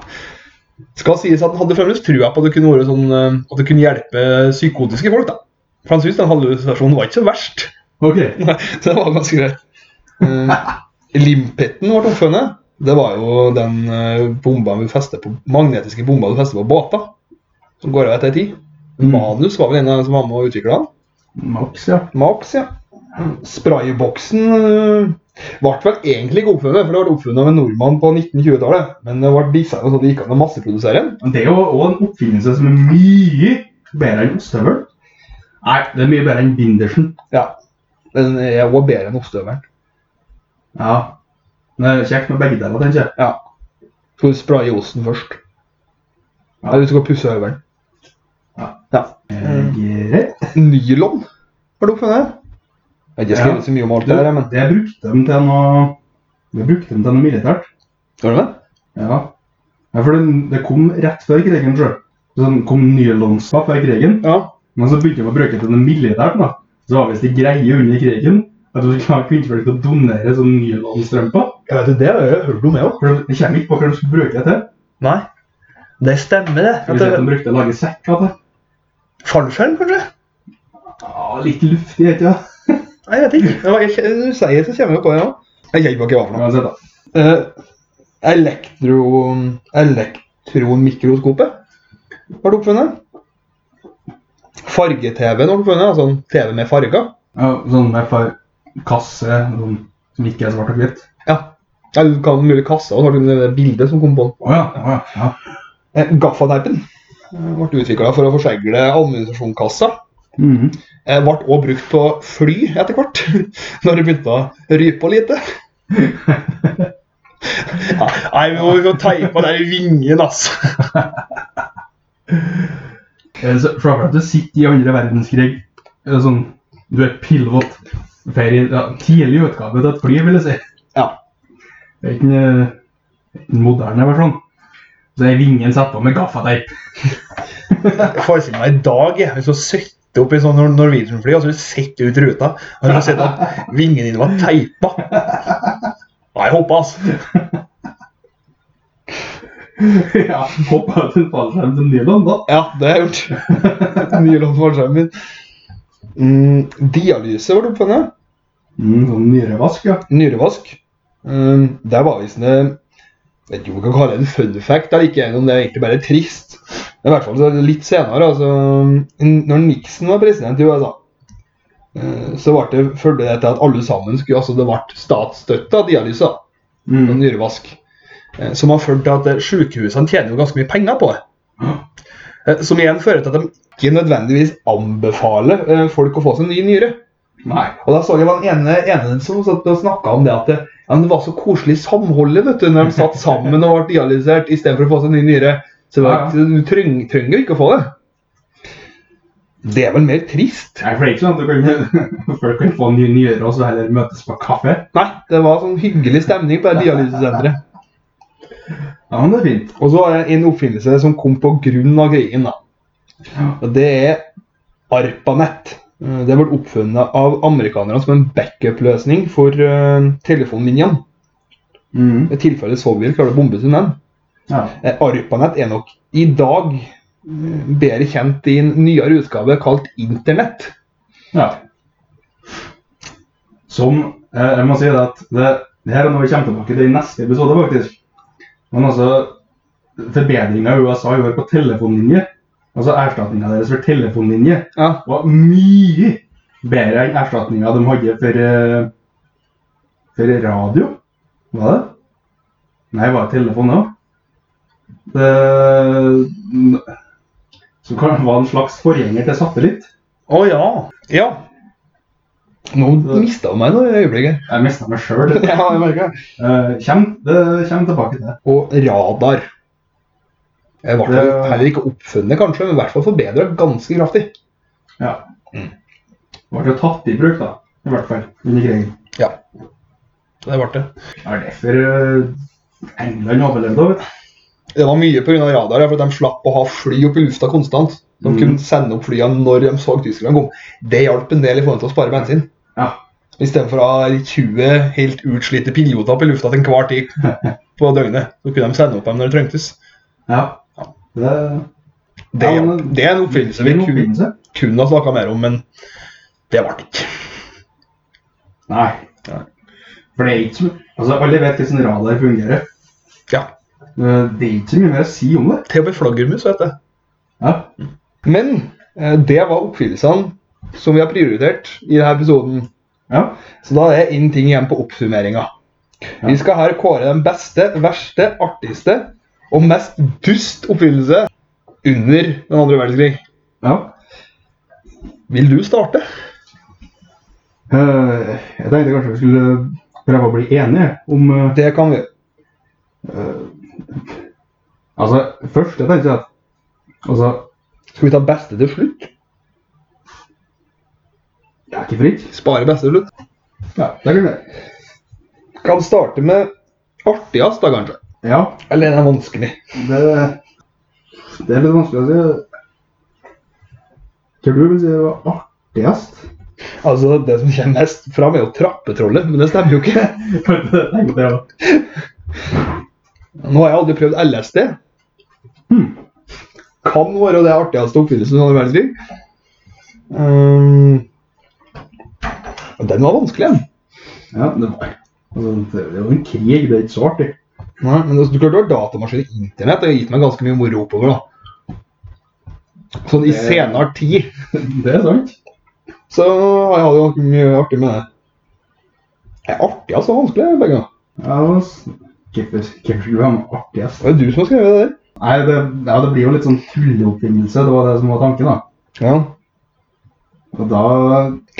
[SPEAKER 1] Skal sies at han hadde fremdeles trua på at det kunne, være sånn, eh, at det kunne hjelpe psykotiske folk. da. For han syntes den hallusinasjonen var ikke så verst. <laughs>
[SPEAKER 2] OK.
[SPEAKER 1] Nei, så det var ganske greit. Uh, Limpetten ble oppfunnet. Det var jo den eh, bomba vi festet på, magnetiske bomba du fester på båter. Som går av etter ei tid.
[SPEAKER 2] Mm.
[SPEAKER 1] Manus var vel en av dem som var med å utvikle den.
[SPEAKER 2] Max, ja.
[SPEAKER 1] Max, ja. Sprayboksen eh, ble vel egentlig ikke oppfunnet, for det ble oppfunnet av en nordmann på 1920-tallet. Men det ble designet sånn at det gikk an å masseprodusere den.
[SPEAKER 2] Men det er jo også en oppfinnelse som er mye bedre enn ostehøvel. Nei, det er mye bedre enn bindersen.
[SPEAKER 1] Ja. Den er også bedre enn ostehøvelen.
[SPEAKER 2] Ja. Men det er kjekt med begge deler, tenker jeg.
[SPEAKER 1] Ja. Skal du spraye osten først?
[SPEAKER 2] Ja.
[SPEAKER 1] Eller du skal pusse høvelen?
[SPEAKER 2] Ja.
[SPEAKER 1] ja.
[SPEAKER 2] Eh, Greit.
[SPEAKER 1] Nylon har du oppfunnet. Jeg har ikke skrevet
[SPEAKER 2] Ja.
[SPEAKER 1] så mye om alt
[SPEAKER 2] Det,
[SPEAKER 1] det her, men
[SPEAKER 2] det brukte de til noe Det brukte de til noe militært.
[SPEAKER 1] Gjør du det?
[SPEAKER 2] Ja. ja for det, det kom rett før krigen, sjøl. Sånn kom nylonspap før krigen.
[SPEAKER 1] Ja.
[SPEAKER 2] Men så begynte de å bruke det til noe militært, da. Så var visst det greie under krigen at du skulle ha kvinnfolk til å donere sånn nylonstrømper.
[SPEAKER 1] Jeg vet jo det, jeg har hørt om det òg.
[SPEAKER 2] For de- Jeg kommer ikke på hva de skulle bruke det til.
[SPEAKER 1] Nei. Det stemmer, det.
[SPEAKER 2] Skal vi si at de brukte å lage sekker til.
[SPEAKER 1] Fallskjerm, kanskje?
[SPEAKER 2] Ja, Ah, litt luftig, vet jeg.
[SPEAKER 1] Nei, jeg vet ikke. Det var, jeg, du sier det, så kommer jeg på det òg. Jeg kjenner ikke hva det var for noe.
[SPEAKER 2] Uansett, da.
[SPEAKER 1] Eh, elektro... Elektronmikroskopet har du oppfunnet. Farge-TV-en har du oppfunnet, altså en TV med farger.
[SPEAKER 2] Ja, sånn med for kasse sånn, som ikke er svart og hvitt.
[SPEAKER 1] Ja. Ja, Du kan mulig kassa og så har du det bildet som kom på den.
[SPEAKER 2] Å ja. å ja, ja.
[SPEAKER 1] Eh, Gaffateipen eh, ble utvikla for å forsegle ammunisjonskassa.
[SPEAKER 2] Mhm.
[SPEAKER 1] Eh, Ble også brukt på fly etter hvert, <laughs> når det begynte å rype <laughs> lite. Ja, Nei, vi må vi må teipe der i vingen, altså.
[SPEAKER 2] Eh, så Se for deg at du sitter i andre verdenskrig. eh, Sånn, du er pilot. Ferie, ja, tidlig utgave til et fly, vil jeg si.
[SPEAKER 1] Ja.
[SPEAKER 2] Det er ikke en, eh, ikke en moderne versjon. Så er vingen satt på med gaffateip.
[SPEAKER 1] Jeg forestiller meg i dag jeg, hvis du sitter opp i sånn Nor- Norwegian-fly og så sitter ut ruta og så ser du at vingen din var teipa. Nei, hoppa, altså.
[SPEAKER 2] <laughs> ja, hoppa ut en fallskjerm til Nyland, da.
[SPEAKER 1] Ja, det har jeg gjort. <laughs> Mye lån på fallskjermen min. Mm, dialyse ble oppfunnet.
[SPEAKER 2] Mm, sånn nyrevask, ja.
[SPEAKER 1] Nyrevask. Um, det var visst en Vet ikke om vi kan kalle det en fun fact, eller ikke engang om det er egentlig bare trist. Men i hvert fall så er det litt senere, altså n- Når Nixon var president i USA, eh, så ble det følge det til at alle sammen skulle Altså det ble statsstøtte av dialyse da, og
[SPEAKER 2] Mm.
[SPEAKER 1] nyrevask. eh, Som har ført til at eh, sykehusene tjener jo ganske mye penger på det. Eh, Som igjen fører til at de ikke nødvendigvis anbefaler eh, folk å få seg en ny nyre. Nei. Og da så jeg var den ene, ene som satt og snakka om det at det, ja, men det var så koselig samholdet vet du, når de satt sammen og ble dialysert istedenfor å få seg ny nyre. Så det var,
[SPEAKER 2] Ja,
[SPEAKER 1] ikke- du treng, trenger ikke å få det. Det er vel mer trist.
[SPEAKER 2] Nei, for det er ikke sånn at du kan, <laughs> folk kan få nye nyere og så heller møtes på kaffe.
[SPEAKER 1] Nei, det var sånn hyggelig stemning på det dialysesenteret.
[SPEAKER 2] Ja, men det er fint.
[SPEAKER 1] Og så var det en oppfinnelse som kom på grunn av krigen. da. Og Det er ARPANET. Eh, Det ble oppfunnet av amerikanerne som en backup-løsning for uh, telefonlinjene.
[SPEAKER 2] Mhm.
[SPEAKER 1] I tilfelle Sovjet klarer å bombe sin den.
[SPEAKER 2] Ja.
[SPEAKER 1] Eh, ARPANET er nok i dag eh, bedre kjent i en nyere utgave kalt Internett.
[SPEAKER 2] ja. Som eh, Jeg må si det at det, det her er noe vi kommer tilbake til i neste episode, faktisk. Men altså Forbedringa USA gjorde på telefonlinje, altså erstatninga deres for telefonlinje,
[SPEAKER 1] Ja,
[SPEAKER 2] var mye bedre enn erstatninga de hadde for, eh, for radio. Var det? Nei, var det telefon òg? Det som kan være en slags forgjenger til satellitt.
[SPEAKER 1] Å ja. Ja. Nå mista du meg nå i øyeblikket.
[SPEAKER 2] Jeg mista meg sjøl.
[SPEAKER 1] <laughs> Ja, jeg merker det.
[SPEAKER 2] Kjem, det kommer tilbake til.
[SPEAKER 1] <laughs> og radar. Det ble
[SPEAKER 2] Det-
[SPEAKER 1] heller ikke oppfunnet, kanskje, men i hvert fall forbedra ganske kraftig.
[SPEAKER 2] Ja.
[SPEAKER 1] Mm.
[SPEAKER 2] Ble jo tatt i bruk, da. I hvert fall under krigen.
[SPEAKER 1] Ja. Det ble det.
[SPEAKER 2] Det er derfor eh, England overlevde. vet du.
[SPEAKER 1] Det var mye pga. radar, ja, for de slapp å ha fly opp i lufta konstant. De
[SPEAKER 2] Mm.
[SPEAKER 1] kunne sende opp flyene når de så Tyskland kom. Det hjalp en del i forhold til å spare bensin.
[SPEAKER 2] Ja.
[SPEAKER 1] Istedenfor å ha 20 helt utslitte piloter opp i lufta til enhver <laughs> tid på døgnet. Så kunne de sende opp dem når det trengtes.
[SPEAKER 2] ja. Det,
[SPEAKER 1] Det,
[SPEAKER 2] Ja,
[SPEAKER 1] hjalp.
[SPEAKER 2] men-
[SPEAKER 1] det er en oppfinnelse vi
[SPEAKER 2] en
[SPEAKER 1] kun,
[SPEAKER 2] oppfinnelse.
[SPEAKER 1] kun har snakka mer om, men det ble det ikke.
[SPEAKER 2] Nei.
[SPEAKER 1] Nei.
[SPEAKER 2] For det er ikke så Altså, Alle vet hvordan radar fungerer.
[SPEAKER 1] Ja.
[SPEAKER 2] Eh, Det er ikke så mye mer å si om det.
[SPEAKER 1] Til og med flaggermus, vet jeg.
[SPEAKER 2] Ja.
[SPEAKER 1] Men eh, det var oppfyllelsene som vi har prioritert i denne episoden.
[SPEAKER 2] ja.
[SPEAKER 1] Så da er én ting igjen på oppsummeringa. Vi skal her kåre den beste, verste, artigste og mest dust oppfyllelse under den andre verdenskrig.
[SPEAKER 2] ja.
[SPEAKER 1] Vil du starte?
[SPEAKER 2] Eh, jeg tenkte kanskje vi skulle prøve å bli enige om eh,
[SPEAKER 1] Det kan vi.
[SPEAKER 2] Eh, altså, først jeg tenkte at Altså,
[SPEAKER 1] Skal vi ta beste til slutt?
[SPEAKER 2] jeg er ikke fritt.
[SPEAKER 1] Spare beste til slutt.
[SPEAKER 2] Ja, det er greit.
[SPEAKER 1] Kan starte med artigst, da kanskje.
[SPEAKER 2] Ja,
[SPEAKER 1] Eller den er vanskelig.
[SPEAKER 2] det, det er litt vanskelig å si. Tror du vil si det var <laughs> artigst?
[SPEAKER 1] Altså, Det som kommer mest fram, er jo trappetrollet, men det stemmer jo <laughs> ikke.
[SPEAKER 2] Kanskje
[SPEAKER 1] Nå har jeg aldri prøvd LSD. Hmm. Kan være det artigste oppfinnelsen under verdenskrig. Um, den var vanskelig, den.
[SPEAKER 2] Ja, det var altså, Det er jo en krig, det er ikke så artig.
[SPEAKER 1] Nei, men altså, du klarte å ha datamaskin og internett. Det har gitt meg ganske mye moro oppover. da. Sånn i
[SPEAKER 2] Det-
[SPEAKER 1] senere tid
[SPEAKER 2] Det er sant.
[SPEAKER 1] så har jeg hatt ganske mye artig med det. Det er artig, altså. Vanskelig, begge. da.
[SPEAKER 2] Ja, altså, Hvorfor hvorfor skulle vi ha med artigst?
[SPEAKER 1] Det er du som har skrevet det der.
[SPEAKER 2] Nei, det, ja, det blir jo litt sånn tulleoppfinnelse. Det var det som var tanken, da.
[SPEAKER 1] Ja.
[SPEAKER 2] Og da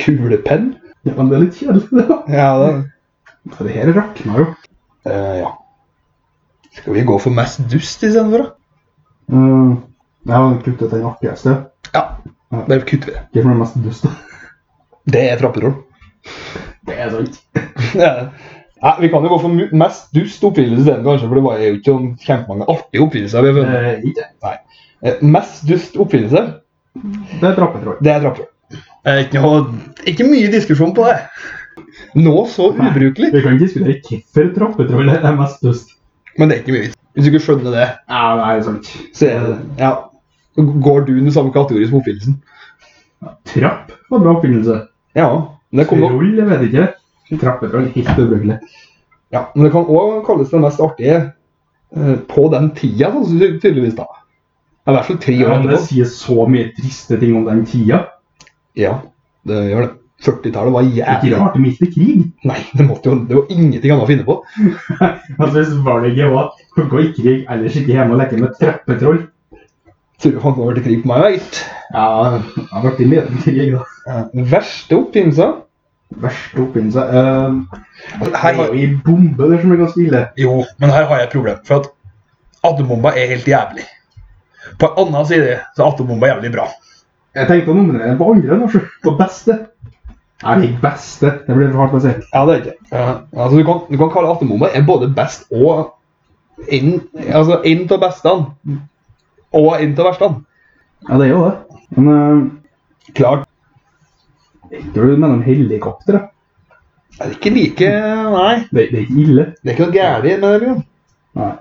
[SPEAKER 1] Kulepenn.
[SPEAKER 2] Ja, men det er litt kjedelig, det. da.
[SPEAKER 1] Ja, det.
[SPEAKER 2] Det her rakna jo.
[SPEAKER 1] Eh, ja. Skal vi gå for mest dust istedenfor, da?
[SPEAKER 2] Uh, jeg har kuttet den artigste.
[SPEAKER 1] Ja, der kutter vi det.
[SPEAKER 2] Hva er det mest dust, <laughs> da?
[SPEAKER 1] Det er <laughs> trappetroll.
[SPEAKER 2] Det er sant.
[SPEAKER 1] Nei, Vi kan jo gå for mu- mest dust oppfyllelse den kanskje, for det var jo ikke sånn kjempemange artige oppfyllelser. vi har funnet.
[SPEAKER 2] ikke.
[SPEAKER 1] Eh, Mest dust oppfyllelse,
[SPEAKER 2] Det er trappetroll.
[SPEAKER 1] det er trappetroll. Eh, Ikke, noe- ikke mye diskusjon på det. Nå så ubrukelig,
[SPEAKER 2] Vi kan ikke diskutere hvorfor trappetrollet er mest dust.
[SPEAKER 1] men det er ikke mye vits. Hvis du ikke skjønner det,
[SPEAKER 2] Ja, det er sant.
[SPEAKER 1] så er det ja. Så Går du under samme kategori som oppfyllelsen?
[SPEAKER 2] Trapp var bra oppfinnelse.
[SPEAKER 1] Ja. Men det, kommer,
[SPEAKER 2] Roll, jeg vet ikke. Trappetroll, helt ubrukelig.
[SPEAKER 1] ja, men det kan òg kalles den mest artige eh, på den tida, sånn som ty- tydeligvis. da. Det er I hvert fall tre
[SPEAKER 2] Ja,
[SPEAKER 1] år
[SPEAKER 2] men det
[SPEAKER 1] etterpå.
[SPEAKER 2] sier så mye triste ting om den tida.
[SPEAKER 1] Ja, det gjør det. 40-tallet var
[SPEAKER 2] Ikke
[SPEAKER 1] jævlig
[SPEAKER 2] rart de gikk til krig.
[SPEAKER 1] Nei, det, måtte jo, det var ingenting annet å finne på.
[SPEAKER 2] Altså, Hvis valget var å gå i krig eller sitte hjemme og leke med trappetroll
[SPEAKER 1] Tror du han går til krig på meg, veit.
[SPEAKER 2] Ja, det har vært en liten krig, da.
[SPEAKER 1] Verste oppfinnelse?
[SPEAKER 2] Verste oppfinnelse eh, Det
[SPEAKER 1] Her
[SPEAKER 2] er
[SPEAKER 1] har,
[SPEAKER 2] jo en bombe der som er ganske ille.
[SPEAKER 1] jo, men her har jeg et problem. For at atombomba er helt jævlig. På en annen side så er atombomba jævlig bra.
[SPEAKER 2] Jeg tenkte å nominere den på andre, da, sjø. på beste. Nei, det er ikke beste. Det blir for hardt å si.
[SPEAKER 1] Ja, det er ikke. altså, du, kan, du kan kalle atombomba er både best og en altså, en av bestene. Og en av verstene.
[SPEAKER 2] Ja, det er jo det. Men eh,
[SPEAKER 1] Klart.
[SPEAKER 2] ikke når du mener om helikopter, da.
[SPEAKER 1] Det er ikke like Nei.
[SPEAKER 2] Det, det er ikke ille.
[SPEAKER 1] Det er ikke noe gærent med det. Bjørn.
[SPEAKER 2] Nei.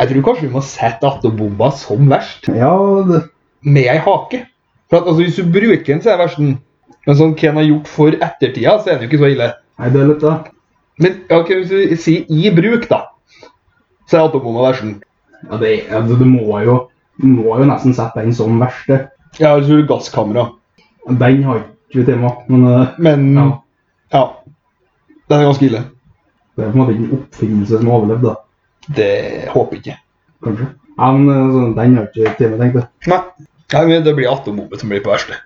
[SPEAKER 1] Jeg tror kanskje vi må sette atombomba som verst.
[SPEAKER 2] Ja, det,
[SPEAKER 1] med ei hake. For at, altså, Hvis du bruker den, så er versen Men sånn hva en har gjort for ettertida, så er den jo ikke så ille.
[SPEAKER 2] nei, det er litt da.
[SPEAKER 1] Men ja, ok, hvis du sier i bruk, da, så er atombomba versen.
[SPEAKER 2] Ja, det, er- ja, du, du må jo du må jo nesten sette den som verste.
[SPEAKER 1] Ja, hvis du har gasskamera.
[SPEAKER 2] Den har ikke vi tema, men eh,
[SPEAKER 1] Men ja.
[SPEAKER 2] ja.
[SPEAKER 1] Den er ganske ille.
[SPEAKER 2] Det er på en måte ikke en oppfinnelse som har overlevd, da.
[SPEAKER 1] Det håper jeg ikke.
[SPEAKER 2] Kanskje. Ja, men eh, sånn, den har ikke tema, tenkte jeg.
[SPEAKER 1] Nei. Nei, men Det blir atombombe som blir på verste.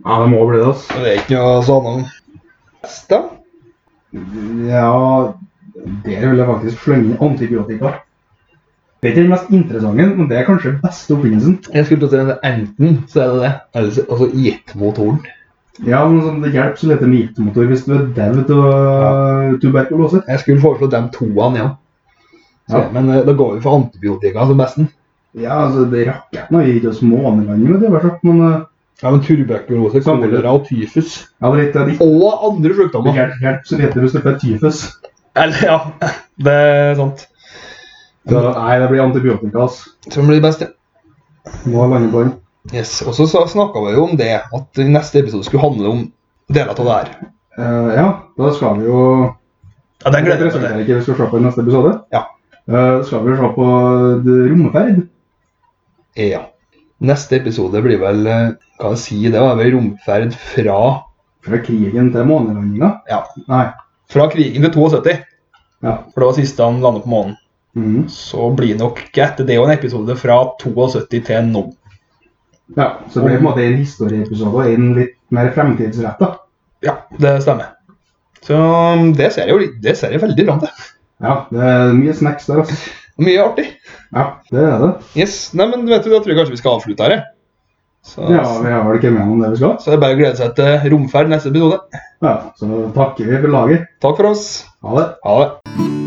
[SPEAKER 2] Ja, det må bli det, altså.
[SPEAKER 1] Og Det er ikke noe sånn annet. Best, da?
[SPEAKER 2] Ja Der vil jeg faktisk slenge inn antibiotika. Det er ikke den mest interessante, men det er kanskje den beste oppfinnelsen.
[SPEAKER 1] Jeg skulle til å si at enten så er det det, eller så altså jetmotoren.
[SPEAKER 2] Ja, men sånn, Det hjelper så lite med gittmotor hvis du er daud av øh, tuberkulose.
[SPEAKER 1] Jeg skulle foreslå de toene, ja. Så,
[SPEAKER 2] Ja.
[SPEAKER 1] Men eh, da går vi for antibiotika som besten.
[SPEAKER 2] Ja, altså, det Raketten har gitt oss månelandinger, det er bare sånn, men øh,
[SPEAKER 1] Ja, men Tuberkulose,
[SPEAKER 2] Samtidig.
[SPEAKER 1] kolera og tyfus.
[SPEAKER 2] ja, det, er litt- det, er litt-
[SPEAKER 1] Og andre
[SPEAKER 2] det
[SPEAKER 1] sykdommer.
[SPEAKER 2] hjelper, hjelper så lite hvis du får tyfus.
[SPEAKER 1] Eller, ja. Det er sant.
[SPEAKER 2] Så, nei, det blir antibiotika. altså.
[SPEAKER 1] Som blir best, ja.
[SPEAKER 2] Må lande på den.
[SPEAKER 1] Yes. Og så snakka vi jo om det, at neste episode skulle handle om deler av det her.
[SPEAKER 2] Eh, ja, da skal vi jo
[SPEAKER 1] Ja, den gleder jeg meg
[SPEAKER 2] Det
[SPEAKER 1] til.
[SPEAKER 2] presenterer ikke vi skal se på i neste episode.
[SPEAKER 1] Ja.
[SPEAKER 2] Eh, skal vi se på eh, romferd?
[SPEAKER 1] Ja. Neste episode blir vel eh, Hva jeg si, det var vel romferd fra
[SPEAKER 2] Fra krigen til månelandinga?
[SPEAKER 1] Ja.
[SPEAKER 2] Nei.
[SPEAKER 1] Fra krigen til 72.
[SPEAKER 2] Ja.
[SPEAKER 1] For det var siste han landet på månen.
[SPEAKER 2] Mhm.
[SPEAKER 1] Så blir det nok ikke etter det og en episode fra 72 til nå.
[SPEAKER 2] ja. Så det blir på en måte en historieepisode og en litt mer fremtidsretta.
[SPEAKER 1] Ja, det stemmer. Så um, det ser jeg jo det ser jeg veldig fram til.
[SPEAKER 2] Ja, det er mye snacks der, altså.
[SPEAKER 1] Mye artig.
[SPEAKER 2] Ja, det er det.
[SPEAKER 1] Yes, nei, men vet du, Da tror jeg kanskje vi skal avslutte her. jeg. Så,
[SPEAKER 2] Ja, vi har vel ikke med om det vi skal.
[SPEAKER 1] så det er bare å glede seg til romferd neste episode.
[SPEAKER 2] Ja, Så takker vi for laget.
[SPEAKER 1] Takk for oss.
[SPEAKER 2] Ha det.
[SPEAKER 1] Ha det.